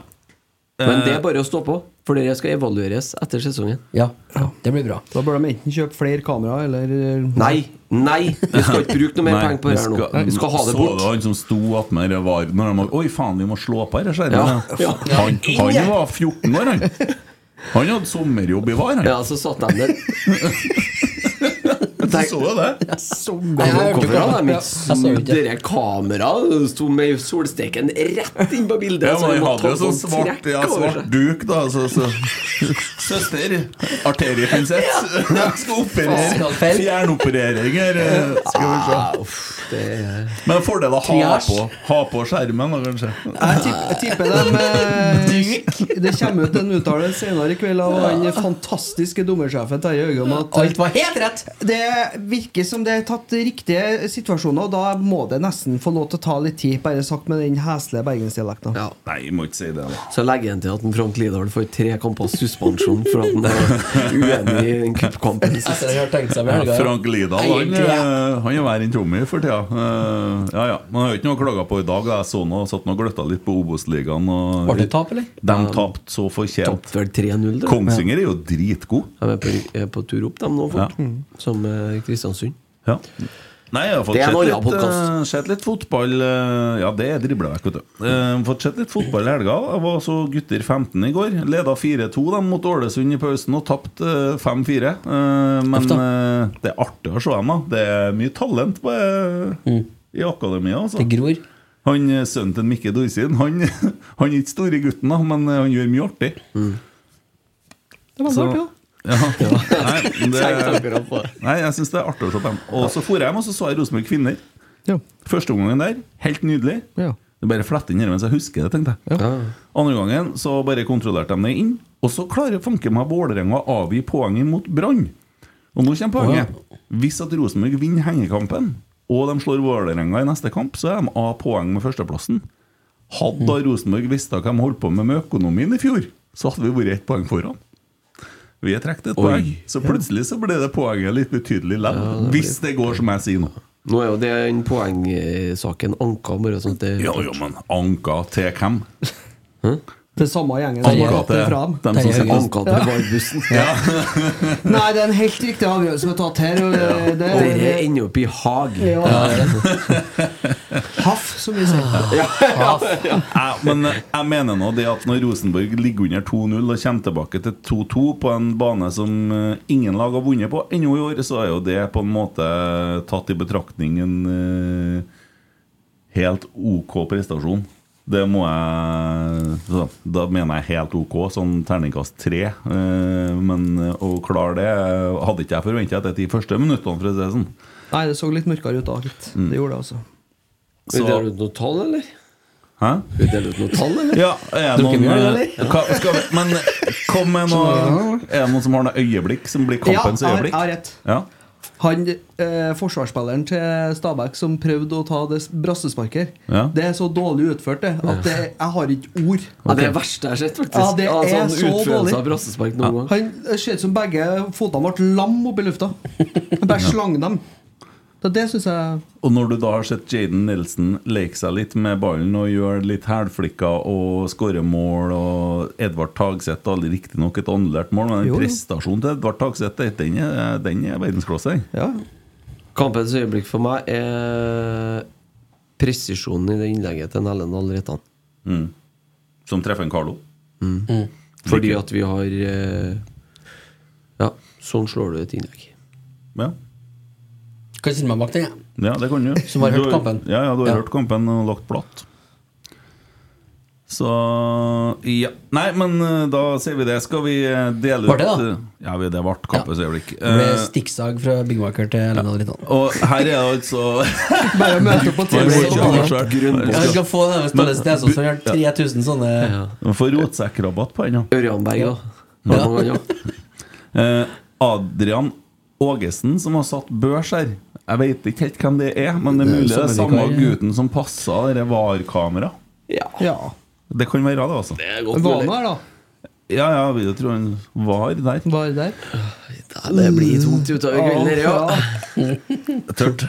[SPEAKER 2] Men det er bare å stå på, for dere skal evalueres etter sesongen.
[SPEAKER 3] Ja, det blir bra.
[SPEAKER 5] Da bør de enten kjøpe flere kameraer, eller eh,
[SPEAKER 2] Nei! Nei! Vi skal ikke bruke noe mer penger på det her nå. Vi skal ha det
[SPEAKER 4] Så
[SPEAKER 2] bort.
[SPEAKER 4] du han som sto attmed det var når de var, Oi, faen, vi må slå på her, skjer det.
[SPEAKER 2] Ja. Ja.
[SPEAKER 4] Han, han var 14 år, han. Han hadde sommerjobb i VAR, han.
[SPEAKER 2] Ja, så satt de der.
[SPEAKER 4] Du så jo det?
[SPEAKER 3] Nei, jeg hørte
[SPEAKER 2] Hvorfor
[SPEAKER 3] ikke.
[SPEAKER 2] hadde de
[SPEAKER 3] Ja,
[SPEAKER 2] ikke
[SPEAKER 3] jeg så
[SPEAKER 2] snudd
[SPEAKER 3] ikke.
[SPEAKER 2] dere kameraet? Sto med solsteken rett inn på bildet.
[SPEAKER 4] Ja,
[SPEAKER 2] så
[SPEAKER 4] men
[SPEAKER 2] vi
[SPEAKER 4] han
[SPEAKER 2] måtte
[SPEAKER 4] hadde jo
[SPEAKER 2] ta
[SPEAKER 4] sånn
[SPEAKER 2] sånn
[SPEAKER 4] svart,
[SPEAKER 2] trekk
[SPEAKER 4] ja,
[SPEAKER 2] over
[SPEAKER 4] svart
[SPEAKER 2] seg.
[SPEAKER 4] duk, da. Så, så. Søster, arteriepinsett. Jeg skal operere.
[SPEAKER 3] Skalpell.
[SPEAKER 4] Fjernoperering her. eh, Skal vi se.
[SPEAKER 2] Ja, uff, det er-
[SPEAKER 4] Men fordel å ha
[SPEAKER 3] Triage.
[SPEAKER 4] på, ha på skjermen, da, kanskje.
[SPEAKER 5] Jeg tipp- jeg tipper dem eh, Det kommer ut en uttalelse senere i kveld av han fantastiske dommersjefen Terje Hauge om at
[SPEAKER 3] Alt var helt rett!
[SPEAKER 5] Det virker som det er tatt riktige situasjoner, og da må det nesten få lov til å ta litt tid, bare sagt med den heslige bergensdialekten.
[SPEAKER 2] Ja.
[SPEAKER 4] Nei, jeg må ikke si det. da
[SPEAKER 2] Så legger han til at en Frank Lidahl får tre kamper suspensjon for at han er uenig i den cupkampen sist.
[SPEAKER 3] Etter at jeg har tenkt seg om i helga, ja.
[SPEAKER 4] Frank Lidahl han,
[SPEAKER 3] Egentlig, ja.
[SPEAKER 4] eh, han er verre enn Tommy for tida. Eh, Ja, ja. Men jeg har jo ikke noe å klage på i dag. da. Jeg så nå, satt nå og gløtta litt på Obos-ligaen. og-
[SPEAKER 3] Var det tap, eller?
[SPEAKER 4] De tapte så fortjent.
[SPEAKER 2] Tapt vel 3-0, da.
[SPEAKER 4] Kongsvinger er jo dritgod.
[SPEAKER 2] De er på, er på tur opp, de nå, fort.
[SPEAKER 4] Ja.
[SPEAKER 2] Som eh, Kristiansund.
[SPEAKER 4] Ja. Nei, jeg har fått
[SPEAKER 2] Det er en
[SPEAKER 4] sett
[SPEAKER 2] annen
[SPEAKER 4] litt,
[SPEAKER 2] podcast.
[SPEAKER 4] eh, sett litt fotball eh, Ja, det er dribla vekk, vet du. Eh, fått sett litt fotball i helga. Jeg var så gutter 15 i går. Leda 4-2 de mot Ålesund i pausen og tapte eh, 5-4. Eh, men
[SPEAKER 3] Tøft, da.
[SPEAKER 4] eh, det er artig å se dem, da. Det er mye talent på, eh, i akademia. Altså.
[SPEAKER 3] Mm. Det gror.
[SPEAKER 4] Han eh, Sønnen til Mikke Dorsin Han, han er ikke store gutten, da, men eh, han gjør mye artig.
[SPEAKER 5] Det var
[SPEAKER 4] Så-
[SPEAKER 5] artig, da.
[SPEAKER 4] Ja. Nei,
[SPEAKER 2] Tenkte
[SPEAKER 4] det,
[SPEAKER 2] akkurat på det.
[SPEAKER 4] nei, jeg syns det er artig å se på dem. Og så for jeg hjem og så så jeg Rosenborg Kvinner.
[SPEAKER 5] Ja.
[SPEAKER 4] Første omgangen der, helt nydelig.
[SPEAKER 5] Ja.
[SPEAKER 4] Det bare fletter inn her mens jeg husker det, tenkte jeg. Andre gangen så bare kontrollerte de det inn, og så klarer fanken meg Vålerenga å avgi poeng imot Brann. Og nå kommer poenget. Hvis at Rosenborg vinner hengekampen, og de slår Vålerenga i neste kamp, så er de A poeng med førsteplassen. Hadde da Rosenborg visst hva de holdt på med med økonomien i fjor, så hadde vi vært ett poeng foran. Vi har trukket et
[SPEAKER 2] Oi.
[SPEAKER 4] poeng, så plutselig så ble det poenget litt betydelig lett. hvis det går som jeg sier nå.
[SPEAKER 2] Nå er jo den poengsaken anka, bare sånn at det
[SPEAKER 4] Ja, ja, men anka til hvem?
[SPEAKER 5] Til samme gjengen som har
[SPEAKER 4] Anka
[SPEAKER 5] gått
[SPEAKER 4] til
[SPEAKER 5] fram.
[SPEAKER 4] dem som sitter
[SPEAKER 2] Anka til varbussen.
[SPEAKER 5] Nei, det er en helt riktig avgjørelse som er tatt her. Og eh, det,
[SPEAKER 2] Dere
[SPEAKER 5] det,
[SPEAKER 2] ender opp i hag.
[SPEAKER 5] ja. Haff, som vi sier.
[SPEAKER 4] Ja, men jeg mener nå det at når Rosenborg ligger under 2-0 og kommer tilbake til 2-2 på en bane som eh, ingen lag har vunnet på ennå i år, så er jo det på en måte tatt i betraktning en eh, helt OK prestasjon. Det må jeg så, Da mener jeg helt OK, sånn terningkast tre. Eh, Men eh, å klare det hadde ikke jeg forventa etter de første minuttene, for å si det sånn.
[SPEAKER 5] Nei, det så litt mørkere ut da, gitt. Det gjorde det, altså.
[SPEAKER 2] Vil
[SPEAKER 4] Mm. Så-
[SPEAKER 2] dere ha ut noe tall, eller?
[SPEAKER 4] Hæ?
[SPEAKER 2] Vil dere ha ut noe tall, eller?
[SPEAKER 4] Ja, er det
[SPEAKER 2] Drukken
[SPEAKER 4] noen
[SPEAKER 2] øl,
[SPEAKER 4] eh,
[SPEAKER 2] eller?
[SPEAKER 4] hva, skal vi, Men eh, kom med noe Er det noen som har noe øyeblikk som blir
[SPEAKER 5] Ja,
[SPEAKER 4] kampens
[SPEAKER 5] jeg har- jeg
[SPEAKER 4] øyeblikk?
[SPEAKER 5] har rett.
[SPEAKER 4] Ja.
[SPEAKER 5] Han, eh, Forsvarsspilleren til Stabæk som prøvde å ta det brassesparket,
[SPEAKER 4] Ja.
[SPEAKER 5] det er så dårlig utført det, at det, jeg har ikke ord.
[SPEAKER 2] Ja, det er det verste jeg har sett, faktisk.
[SPEAKER 5] Ja, det
[SPEAKER 2] Altså,
[SPEAKER 5] er
[SPEAKER 2] en
[SPEAKER 5] så
[SPEAKER 2] utførelse
[SPEAKER 5] dårlig.
[SPEAKER 2] av brassespark noen gang.
[SPEAKER 5] Han det ser ut som begge fotene ble lam opp i lufta. Han bare slang dem. Det, det syns jeg
[SPEAKER 4] Og når du da har sett Jaden Nelson leke seg litt med ballen og gjøre litt hælflikker og skåre mål og Edvard Tagseth da, Riktignok et annullert mål, men
[SPEAKER 5] Jo, jo.
[SPEAKER 4] en prestasjon til Edvard Tagseth, den er, den er verdensklasse. den.
[SPEAKER 5] Ja.
[SPEAKER 2] Kampens øyeblikk for meg er presisjonen i det innlegget til Ellen Dahl Reitan.
[SPEAKER 4] Som treffer en Carlo.
[SPEAKER 2] Fordi at vi har eh, Ja, sånn slår du et innlegg.
[SPEAKER 4] Ja.
[SPEAKER 3] Kan jeg stille meg bak den? jeg?
[SPEAKER 4] Ja, det kan du.
[SPEAKER 3] Som har hørt
[SPEAKER 4] Du
[SPEAKER 3] kampen.
[SPEAKER 4] Ja, ja, du har
[SPEAKER 3] Ja.
[SPEAKER 4] hørt kampen og lagt platt. Så ja. Nei, men eh, da sier vi det. Skal vi eh, dele ut
[SPEAKER 3] Var det da?
[SPEAKER 4] eh, Ja, vi- det ble kampens øyeblikk.
[SPEAKER 3] Det ble
[SPEAKER 4] Eh,
[SPEAKER 3] stikksag fra Byggmaker til Elena Drittan.
[SPEAKER 4] og her er det altså
[SPEAKER 5] Bare møte opp på
[SPEAKER 4] Bare
[SPEAKER 5] TV.
[SPEAKER 4] ikke ha selv.
[SPEAKER 3] Jeg skal få det hvis det er sånn som gjør 3000 sånne
[SPEAKER 4] Man får rotsekkrabatt på den. da.
[SPEAKER 2] Ørjan Berg, da. Ja. mange ganger.
[SPEAKER 4] Eh, Adrian Ågesen, som har satt børs her. Jeg vet ikke helt hvem det er, men det er
[SPEAKER 3] Det er
[SPEAKER 4] mulig det er
[SPEAKER 3] samme
[SPEAKER 4] samme
[SPEAKER 3] vikar, ja.
[SPEAKER 4] gutten som passa det VAR-kameraet.
[SPEAKER 2] Ja.
[SPEAKER 5] Ja.
[SPEAKER 4] Det kan være det, altså.
[SPEAKER 2] Det er godt
[SPEAKER 5] Var
[SPEAKER 2] mulig.
[SPEAKER 5] han der, da?
[SPEAKER 4] Ja, ja, vi tror han var der.
[SPEAKER 5] Var det der?
[SPEAKER 2] Ja, Det blir tungt utover kvelden, dere, ja.
[SPEAKER 4] Tørt.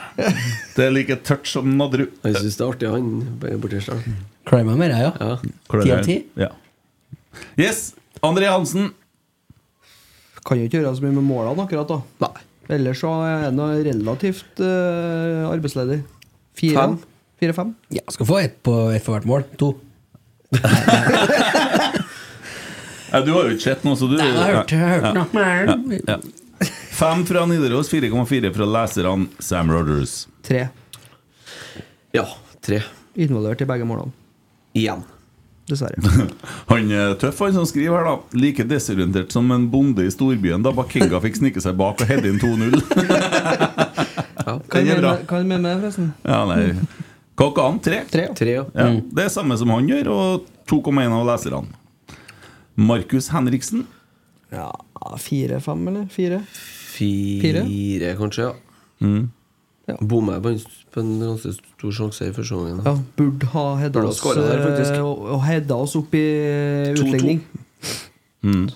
[SPEAKER 4] Det er like tørt som Nadru.
[SPEAKER 2] Han syns det er artig, han bare borti seg.
[SPEAKER 3] Crime mer, jeg, ja. Ti av ti?
[SPEAKER 4] Ja. Yes! André Hansen.
[SPEAKER 5] Kan jo ikke gjøre så mye med målene akkurat, da.
[SPEAKER 2] Nei.
[SPEAKER 5] Ellers så er han nå relativt eh, arbeidsledig. Fire?
[SPEAKER 2] Fem.
[SPEAKER 5] Fire-fem?
[SPEAKER 3] Ja, skal få ett på- ett for hvert mål. To.
[SPEAKER 4] Nei, du har jo ikke sett noe, så du
[SPEAKER 3] Nei, jeg har hørt, jeg har hørt noe.
[SPEAKER 4] Ja. Fem fra Nidaros, 4,4 fra leserne. Sam Rogers.
[SPEAKER 5] Tre.
[SPEAKER 2] Ja, tre.
[SPEAKER 5] Involvert i begge målene.
[SPEAKER 2] Igjen.
[SPEAKER 5] Dessverre.
[SPEAKER 4] Han er tøff, han som skriver her, da. Like desorientert som en bonde i storbyen da Bakenga fikk snike seg bak og heade inn 2-0.
[SPEAKER 5] Hva
[SPEAKER 4] Den er
[SPEAKER 5] mener
[SPEAKER 4] bra.
[SPEAKER 5] hva mener med det, forresten?
[SPEAKER 4] Ja, nei. Kaka han, tre.
[SPEAKER 5] Tre?
[SPEAKER 2] Tre, ja.
[SPEAKER 4] Ja,
[SPEAKER 3] Mm.
[SPEAKER 4] det er samme som han gjør, og 2,1 av leserne. Markus Henriksen.
[SPEAKER 5] Ja, Fire-fem, eller? Fire?
[SPEAKER 2] Fire, kanskje, ja.
[SPEAKER 5] Ja.
[SPEAKER 2] Bomma jeg på en, på en ganske stor sjanse i første gangen.
[SPEAKER 5] Ja, burde ha hedda
[SPEAKER 2] Burde ha
[SPEAKER 5] oss,
[SPEAKER 2] skåret der, faktisk.
[SPEAKER 5] eh, og, og hedda oss opp i utligning.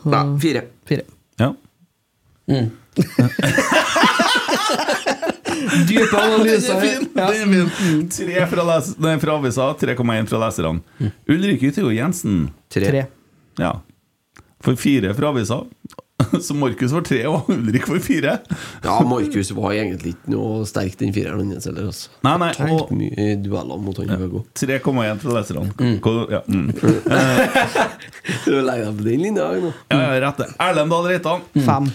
[SPEAKER 2] Nei, fire.
[SPEAKER 5] Fire.
[SPEAKER 4] Ja.
[SPEAKER 5] Dype analyser. Ja. Mm.
[SPEAKER 4] Det er min. Tre fra, les nei, fra avisa, 3,1 fra leserne.
[SPEAKER 5] Mm.
[SPEAKER 4] Ulrikke Yttergård Jensen.
[SPEAKER 2] Tre.
[SPEAKER 5] Tre.
[SPEAKER 4] Ja. For fire fra avisa. Så Markus var tre, og Ulrik var fire.
[SPEAKER 2] Ja, Markus var egentlig ikke noe sterk den fireren hans heller. Altså.
[SPEAKER 4] Nei, nei, og
[SPEAKER 2] Tapt mye i dueller mot han Høgo.
[SPEAKER 4] 3,1 fra leserne. Hva- Ja, mm.
[SPEAKER 2] Du legger deg på den linja jeg, nå.
[SPEAKER 4] ja, ja, rett det. Erlend Dahl Reitan.
[SPEAKER 5] Fem.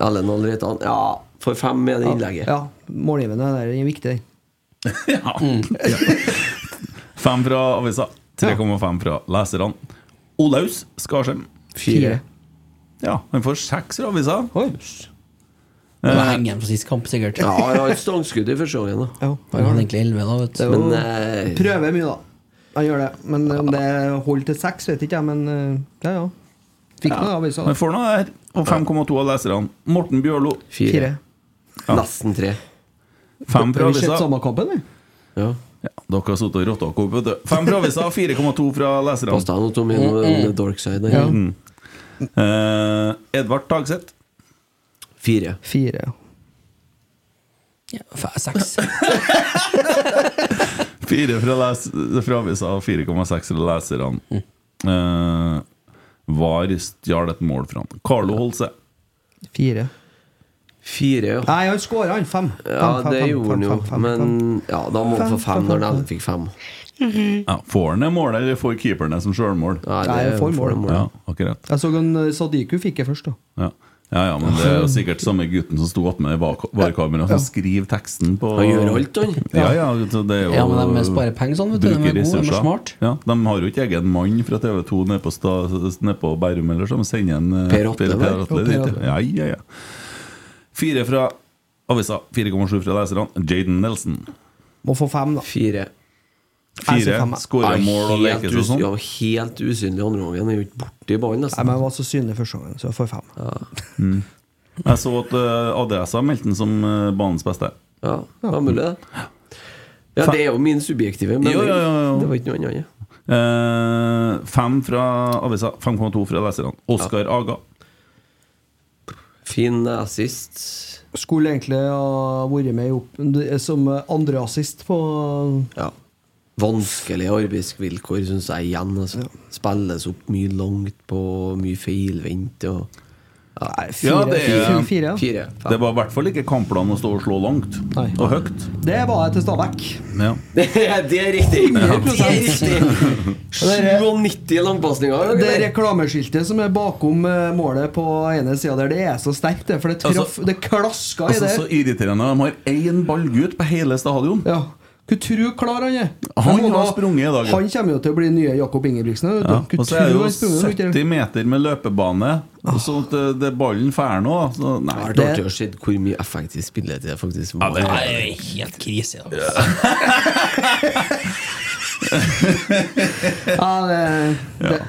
[SPEAKER 2] Ellen Alreitan. Ja, for fem med det innlegget.
[SPEAKER 5] Ja, Målgivende der er viktig, den.
[SPEAKER 4] Ja.
[SPEAKER 5] Mm.
[SPEAKER 4] Ja. Fem fra avisa, 3,5 fra leserne. Olaus Skarsheim.
[SPEAKER 5] Fire.
[SPEAKER 4] Ja, han får seks fra avisa.
[SPEAKER 5] Oi.
[SPEAKER 3] Det var hengeren fra sist kamp, sikkert.
[SPEAKER 2] Ja,
[SPEAKER 3] Han
[SPEAKER 2] jeg har et stangskudd i første gangen, da.
[SPEAKER 5] Ja, jeg har
[SPEAKER 3] hadde
[SPEAKER 5] den.
[SPEAKER 3] egentlig 11 da, vet
[SPEAKER 5] Det er
[SPEAKER 3] du.
[SPEAKER 5] jo-
[SPEAKER 2] Mhm. Men eh,
[SPEAKER 5] Prøver mye, da. Han gjør det. Men om det holder til seks, vet ikke jeg, men eh, ja ja. Fikk noe i avisa, da.
[SPEAKER 4] Men får noe der. Og 5,2 av leserne. Morten Bjørlo.
[SPEAKER 5] Fire.
[SPEAKER 4] Ja.
[SPEAKER 2] Nesten tre.
[SPEAKER 4] Fem fra
[SPEAKER 5] Har vi sett sånn
[SPEAKER 4] avisa.
[SPEAKER 5] samme kampen, vi?
[SPEAKER 2] Ja.
[SPEAKER 4] Ja, dere har sittet og rotta dere opp, vet du. Fem fra avisa, 4,2 fra
[SPEAKER 2] Pass
[SPEAKER 4] leserne.
[SPEAKER 2] deg nå, Tommy. Nå er det dark side. her.
[SPEAKER 5] Mm, Ja.
[SPEAKER 4] Eh, Edvard Tagseth.
[SPEAKER 2] Fire.
[SPEAKER 5] Fire.
[SPEAKER 3] Ja, f- Seks.
[SPEAKER 4] Fire fra, les fra avisa og 4,6 fra leserne. Eh, var stjal et mål fra han. Carlo Holse.
[SPEAKER 5] Fire.
[SPEAKER 2] Fire, ja.
[SPEAKER 5] Nei, han skåra, han. Fem. Fem,
[SPEAKER 2] Ja,
[SPEAKER 5] fem,
[SPEAKER 2] det
[SPEAKER 5] fem,
[SPEAKER 2] gjorde
[SPEAKER 5] fem,
[SPEAKER 2] han jo.
[SPEAKER 5] fem, fem,
[SPEAKER 2] Men
[SPEAKER 5] fem.
[SPEAKER 2] ja, da må han
[SPEAKER 5] Fem,
[SPEAKER 2] få
[SPEAKER 5] fem,
[SPEAKER 2] fem når
[SPEAKER 5] fem,
[SPEAKER 2] han
[SPEAKER 5] fem.
[SPEAKER 2] fikk fem.
[SPEAKER 4] Ja, får han det målet, eller får keeperen det som sjølmål?
[SPEAKER 2] Nei,
[SPEAKER 5] Nei,
[SPEAKER 2] det
[SPEAKER 5] for
[SPEAKER 2] får
[SPEAKER 5] mål.
[SPEAKER 2] han mål.
[SPEAKER 4] Ja, akkurat.
[SPEAKER 5] Jeg så han eh, Sadiku fikk jeg først, da.
[SPEAKER 4] Ja. Ja, ja, men det er jo sikkert samme gutten som sto attmed varekameraet, som skriver teksten på
[SPEAKER 2] Han gjør alt, han.
[SPEAKER 4] Ja, ja, så det er jo
[SPEAKER 3] Ja, men de sparer penger sånn, vet du. De er
[SPEAKER 4] bruker
[SPEAKER 3] gode, de er
[SPEAKER 4] ressurser.
[SPEAKER 3] smart.
[SPEAKER 4] Ja, de har jo ikke egen mann fra TV2 nede på, sta, nede på Bærum eller sånn. Sender en eh,
[SPEAKER 2] Per Atle, vel?
[SPEAKER 4] Per Atle
[SPEAKER 2] Ja, Per
[SPEAKER 4] dit.
[SPEAKER 2] Atle.
[SPEAKER 4] Ja, ja, ja. Fire fra avisa, 4,7 fra leserne. Jaden Nelson.
[SPEAKER 5] Må få fem, da.
[SPEAKER 2] Fire.
[SPEAKER 5] Jeg sier
[SPEAKER 4] Fire.
[SPEAKER 5] fem, jeg.
[SPEAKER 4] Skårer mål og
[SPEAKER 2] helt,
[SPEAKER 4] leker seg og
[SPEAKER 2] us
[SPEAKER 4] sånn.
[SPEAKER 2] ja, helt usynlig andre gangen. Han Er jo ikke borti ballen,
[SPEAKER 5] Nei, men
[SPEAKER 2] nesten.
[SPEAKER 5] jeg var så synlig første gangen, så jeg får fem.
[SPEAKER 4] Jeg så at eh, Adressa meldte den som eh, banens beste.
[SPEAKER 2] Ja, det var mulig, det. Ja, det er jo min subjektive mening.
[SPEAKER 4] Jo, jo, jo, jo.
[SPEAKER 2] Det var ikke noe annet.
[SPEAKER 4] Eh, fem fra avisa, 5,2 fra leserne. Oskar Aga.
[SPEAKER 2] Fin assist.
[SPEAKER 5] Skulle egentlig ha vært med i opp, som andreassist på
[SPEAKER 2] Ja. Vanskelige arbeidsvilkår, syns jeg igjen. Altså. Spilles opp mye langt på, mye feilvendt og
[SPEAKER 5] Nei, fire.
[SPEAKER 4] Ja, det er-
[SPEAKER 5] fire, fire, ja.
[SPEAKER 2] Fire.
[SPEAKER 4] Det
[SPEAKER 2] Fem.
[SPEAKER 4] var i hvert fall ikke kampplanen å stå og slå langt
[SPEAKER 5] Nei.
[SPEAKER 4] og høyt.
[SPEAKER 5] det var jeg til Stabæk.
[SPEAKER 4] Ja.
[SPEAKER 2] Det er det er riktig! Det er riktig. 97 langpasninger.
[SPEAKER 5] Det
[SPEAKER 2] eller?
[SPEAKER 5] reklameskiltet som er bakom eh, målet på ene sida der, det er så sterkt, det. For det traff
[SPEAKER 4] Altså-
[SPEAKER 5] Det klaska
[SPEAKER 4] Altså,
[SPEAKER 5] i
[SPEAKER 4] så
[SPEAKER 5] det.
[SPEAKER 4] irriterende. De har én ballgutt på hele stadion.
[SPEAKER 5] Ja. Hva tror du klar han er?
[SPEAKER 4] Han
[SPEAKER 5] må
[SPEAKER 4] har
[SPEAKER 5] da-
[SPEAKER 4] sprunget i dag, ja.
[SPEAKER 5] Han kommer jo til å bli nye Jakob Ingebrigtsen. vet du.
[SPEAKER 4] Ja.
[SPEAKER 5] Hva
[SPEAKER 4] Og så
[SPEAKER 5] tror
[SPEAKER 4] er det
[SPEAKER 5] du
[SPEAKER 4] jo
[SPEAKER 5] han sprunget, tror du ikke?
[SPEAKER 4] 70 meter med løpebane, og så at det, det ballen fær nå. da. Så,
[SPEAKER 2] Det
[SPEAKER 4] nei.
[SPEAKER 2] har vært artig å se hvor mye effektiv spilletid det faktisk var.
[SPEAKER 4] det
[SPEAKER 3] Nei, det er helt krise. da.
[SPEAKER 5] Ja, det, det,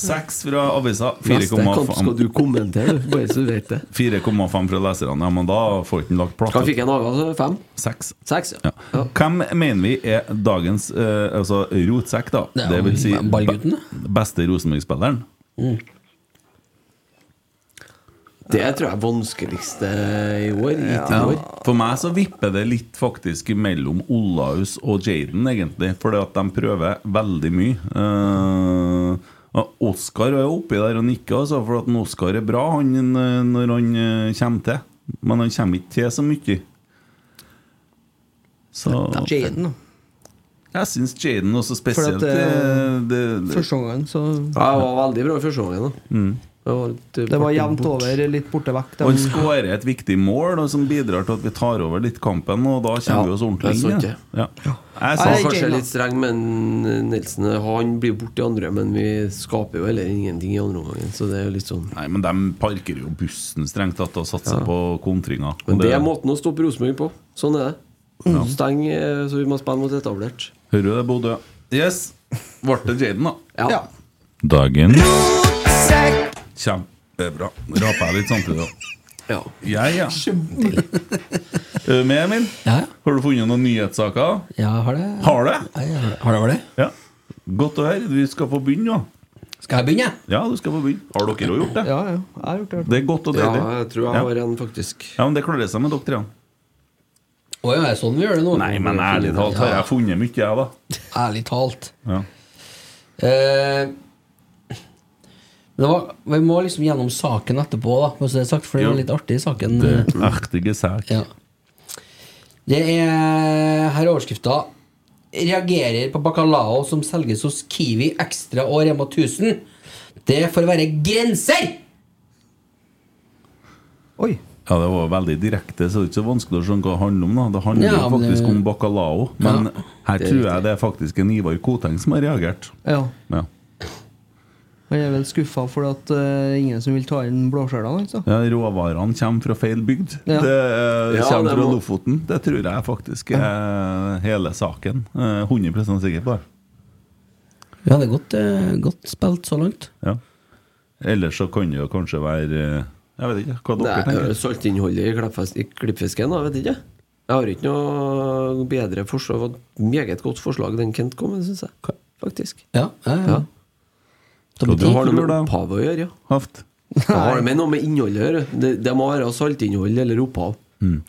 [SPEAKER 4] Seks fra avisa,
[SPEAKER 2] Neste kamp
[SPEAKER 4] 4,5
[SPEAKER 2] skal du kommentere, du, bare så du vet det.
[SPEAKER 4] 4,5 fra leserne. Ja, men da får ikke den lagt
[SPEAKER 2] Hva
[SPEAKER 4] plass.
[SPEAKER 2] fikk jeg en Aga? så Fem?
[SPEAKER 4] Seks.
[SPEAKER 2] Seks?
[SPEAKER 4] Ja.
[SPEAKER 2] Ja.
[SPEAKER 4] Hvem mener vi er dagens eh, altså rotsekk, da?
[SPEAKER 3] Det er
[SPEAKER 4] Det vil si
[SPEAKER 3] jo ballgutten,
[SPEAKER 4] be- beste Rosenborg-spilleren?
[SPEAKER 2] Det tror jeg er vanskeligste i år. Hittil i år.
[SPEAKER 4] For meg så vipper det litt faktisk mellom Olaus og Jaden, egentlig. Fordi at de prøver veldig mye. Eh, og Oskar er oppi der og nikker, altså, for at en Oskar er bra han, eh, når han eh, kommer til. Men han kommer ikke til så mye. Så
[SPEAKER 5] Jaden, da.
[SPEAKER 4] jeg syns Jaden også
[SPEAKER 5] For
[SPEAKER 4] spesielt
[SPEAKER 5] at, eh,
[SPEAKER 4] eh, det, det,
[SPEAKER 5] Første gangen, så
[SPEAKER 2] Ja, det var veldig bra i første gangen. da.
[SPEAKER 4] Mm.
[SPEAKER 2] Det var, litt, eh,
[SPEAKER 5] Det var
[SPEAKER 2] bort-
[SPEAKER 5] jevnt
[SPEAKER 2] bort.
[SPEAKER 5] over, litt borte vekk.
[SPEAKER 4] Og han
[SPEAKER 5] De,
[SPEAKER 4] skårer et viktig mål da, som bidrar til at vi tar over litt kampen, og da
[SPEAKER 2] Ja,
[SPEAKER 4] kommer vi oss ordentlig
[SPEAKER 2] det er
[SPEAKER 4] inn.
[SPEAKER 2] sant,
[SPEAKER 4] igjen. Ja. Jeg
[SPEAKER 2] Jeg
[SPEAKER 4] synes-
[SPEAKER 2] er kanskje
[SPEAKER 5] Jane, da.
[SPEAKER 2] litt streng, men Nilsen han blir borte i andre. Men vi skaper jo heller ingenting i andre omgang, så det er jo litt sånn
[SPEAKER 4] Nei, men de parker jo bussen strengt tatt og satser på kontringer. Og
[SPEAKER 2] Men det er måten å stoppe Rosenborg på. Sånn er det. Steng, eh, så vi må spille mot etablert.
[SPEAKER 4] Hører du det, Bodø? Yes. Ble det Jaden, da?
[SPEAKER 2] Ja.
[SPEAKER 5] ja.
[SPEAKER 4] Dagen Kjempebra. Raper jeg litt samtidig, da.
[SPEAKER 2] ja.
[SPEAKER 4] Ja, ja. Er du med, Emil?
[SPEAKER 3] Ja, ja.
[SPEAKER 4] Har du funnet noen nyhetssaker?
[SPEAKER 3] Ja, har det
[SPEAKER 4] Har du?
[SPEAKER 3] Nei, har det- har det vært det?
[SPEAKER 4] Ja. Godt å høre. Vi skal få begynne, da.
[SPEAKER 3] Skal jeg begynne?
[SPEAKER 4] Ja, du skal få begynne. Har dere òg gjort det?
[SPEAKER 5] ja, ja. Jeg har gjort det.
[SPEAKER 4] Det er godt og
[SPEAKER 2] ja,
[SPEAKER 4] deilig.
[SPEAKER 2] jeg tror jeg har en, faktisk.
[SPEAKER 4] Ja, men det klarer seg med dere, ja.
[SPEAKER 3] Å ja, er det sånn vi gjør det nå?
[SPEAKER 4] Nei, men ærlig talt har jeg funnet mye, jeg, da.
[SPEAKER 3] Ærlig talt.
[SPEAKER 4] Ja.
[SPEAKER 3] Eh, men det var, vi må liksom gjennom saken etterpå, da. bare så det er sagt, for det
[SPEAKER 4] Jo.
[SPEAKER 3] var litt artig, saken. eh,
[SPEAKER 4] Det er ektige sak.
[SPEAKER 3] Ja. Det er her er overskrifta. Reagerer på bacalao som selges hos Kiwi Extra og Rema 1000. Det får være grenser!
[SPEAKER 5] Oi.
[SPEAKER 4] Ja, det var veldig direkte, så det er ikke så vanskelig å skjønne hva det handler om. da Det handler
[SPEAKER 3] Ja,
[SPEAKER 4] jo
[SPEAKER 3] men
[SPEAKER 5] eh,
[SPEAKER 4] faktisk
[SPEAKER 3] det-
[SPEAKER 4] om bacalao, men
[SPEAKER 3] Ja,
[SPEAKER 4] her tror jeg det er faktisk en Ivar Koteng som har reagert.
[SPEAKER 5] Ja.
[SPEAKER 4] Ja,
[SPEAKER 5] Jeg er vel skuffa for at eh, ingen som vil ta inn altså. blåskjella hans. da.
[SPEAKER 4] ja Råvarene kommer fra feil bygd.
[SPEAKER 5] Ja.
[SPEAKER 4] Det eh,
[SPEAKER 2] Ja,
[SPEAKER 4] kommer
[SPEAKER 2] det
[SPEAKER 4] fra
[SPEAKER 2] må-
[SPEAKER 4] Lofoten. Det tror jeg faktisk er hele saken. Eh, 100 sikker på det.
[SPEAKER 3] Ja, det er godt, eh, godt spilt så langt.
[SPEAKER 4] Ja. Ellers så kan det jo kanskje være eh, Jeg vet ikke hva dere
[SPEAKER 2] Nei,
[SPEAKER 4] tenker.
[SPEAKER 2] Saltinnholdet i klippfis- i klippfisken, da, vet ikke. Jeg har ikke noe bedre forslag. Det var et meget godt forslag den Kent kom med, syns jeg. Faktisk.
[SPEAKER 3] Ja, ja, ja.
[SPEAKER 4] Hva du
[SPEAKER 2] har
[SPEAKER 4] har
[SPEAKER 2] det med
[SPEAKER 4] du da,
[SPEAKER 2] opphavet å gjøre, ja.
[SPEAKER 4] Haft?
[SPEAKER 2] Det har med noe med innholdet å gjøre. Det, det må være saltinnhold eller opphav.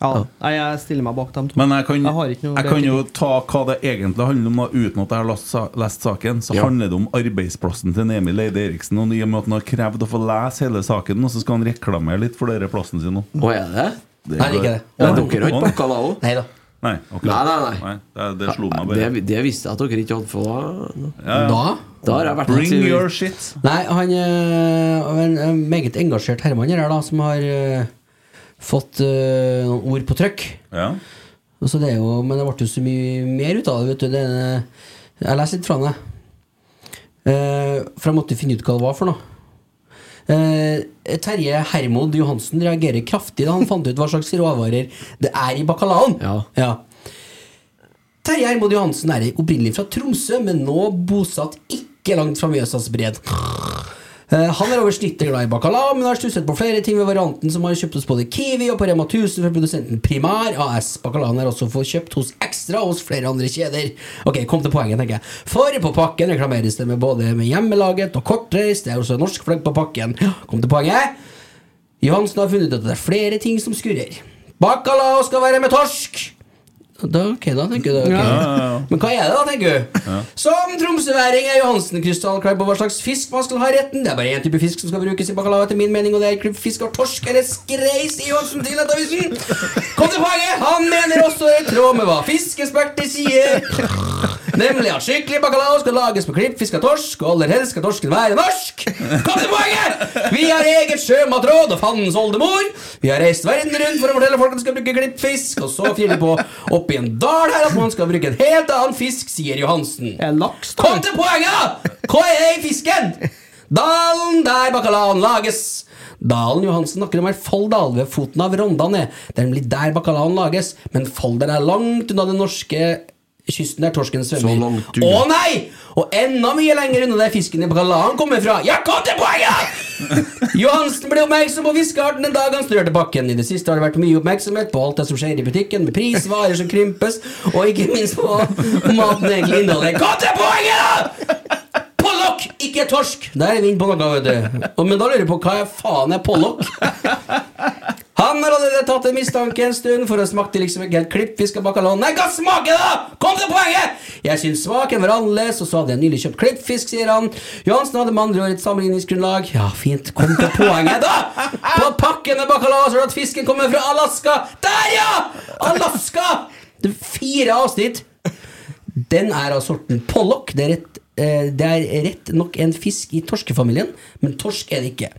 [SPEAKER 5] Ja, Nei, jeg stiller meg bak dem to.
[SPEAKER 4] Men jeg kan,
[SPEAKER 5] Jeg har
[SPEAKER 4] jeg
[SPEAKER 5] ikke noe bedre
[SPEAKER 4] kan jo ta hva det egentlig handler om, da, uten at jeg har lest, sa- lest saken. Så
[SPEAKER 2] Ja.
[SPEAKER 4] handler det om arbeidsplassen til Emil Eide Eriksen. Og i og med at han har krevd å få lese hele saken, og så skal han reklamere litt for denne plassen sin nå.
[SPEAKER 2] Å, er det?
[SPEAKER 3] Nei, det er ikke det.
[SPEAKER 2] Men dere har ikke pakka da òg?
[SPEAKER 3] Nei da.
[SPEAKER 4] Nei, akkurat.
[SPEAKER 2] Nei, nei, nei.
[SPEAKER 4] det, det slo meg
[SPEAKER 2] Det,
[SPEAKER 4] bare.
[SPEAKER 2] det visste jeg at dere ikke hadde fått.
[SPEAKER 4] Ja, ja.
[SPEAKER 3] Da?
[SPEAKER 2] Da har jeg vært
[SPEAKER 4] Bring your shit.
[SPEAKER 3] Nei, han eh, er en en meget engasjert herremann her, da, som har eh, fått eh, noen ord på trykk.
[SPEAKER 4] Ja.
[SPEAKER 3] Og så det er jo, men det ble jo så mye mer ut av det. vet du det, er- Jeg leser litt fra det. Eh, for jeg måtte finne ut hva det var for noe. Eh, Terje Hermod Johansen reagerer kraftig da han fant ut hva slags råvarer det er i bacalaoen.
[SPEAKER 2] Ja.
[SPEAKER 3] Terje Hermod Johansen er opprinnelig fra Tromsø, men nå bosatt ikke langt fra Mjøsas bred. Eh, Han er over snittet glad i bacalao, men har stusset på flere ting ved varianten som har kjøpt hos både Kiwi og på Rema 1000 fra produsenten Primær AS. Bacalaoen er også fått kjøpt hos Extra og hos flere andre kjeder. Ok, kom til poenget, tenker jeg. For på pakken reklameres det med både med hjemmelaget og kortreist. Det er også norsk flagg på pakken. Kom til poenget. Johansen har funnet ut at det er flere ting som skurrer. Bacalao skal være med torsk! Da, ok, da tenker du ok. Men hva er det, da, tenker du? Som tromsøværing er Johansen krystallklar på hva slags fisk man skal ha i retten. Det er bare én type fisk som skal brukes i bacalao, etter min mening, og det er klippfisk av torsk eller skrei, sier Johansen til Nettavisen. Kom til poenget! Han mener også det er i tråd med hva fiskeeksperter sier. Nemlig at skikkelig bacalao skal lages med klippfisk av torsk, og aller helst skal torsken være norsk. Kom til poenget! Vi har eget sjømatråd og fandens oldemor. Vi har reist verden rundt for å fortelle folk at de skal bruke klippfisk, og så fyller de på oppi en dal her at man skal bruke en helt annen fisk, sier Johansen.
[SPEAKER 5] Er det laks, da?
[SPEAKER 3] Kom til poenget! da! Hva er det i fisken? Dalen der bacalaoen lages. Dalen Johansen snakker om er Folldal ved foten av Rondane. Det er nemlig der bacalaoen lages, men Folldal er langt unna den norske kysten der torsken svømmer.
[SPEAKER 2] Så langt
[SPEAKER 3] Å
[SPEAKER 2] unna.
[SPEAKER 3] nei! Og enda mye lenger unna der fisken i bacalaoen kommer fra. Ja, kom til poenget! Johansen ble oppmerksom på fiskearten den dag han studerte pakken. I det siste har det vært mye oppmerksomhet på alt det som skjer i butikken, med pris, varer som krympes, og ikke minst på maten egentlig inneholder. Kom til poenget, da! Pollock, ikke torsk! Der er vi inne på noe, vet du. Og- Men da lurer jeg på hva faen er pollock? Han har allerede tatt en mistanke en stund, for det smakte liksom ikke helt klippfisk av bacalao. Nei, hva smaker det, da?! Kom til poenget! Jeg syns smaken var annerledes, og så hadde jeg nylig kjøpt klippfisk, sier han. Johansen hadde med andre ord et sammenligningsgrunnlag. Ja, fint. Kom til poenget, da! På pakken med bacalao står det at fisken kommer fra Alaska. Der, ja! Alaska! Det er fire avsnitt. Den er av sorten pollock. Det er rett eh, det er rett nok en fisk i torskefamilien, men torsk er det ikke.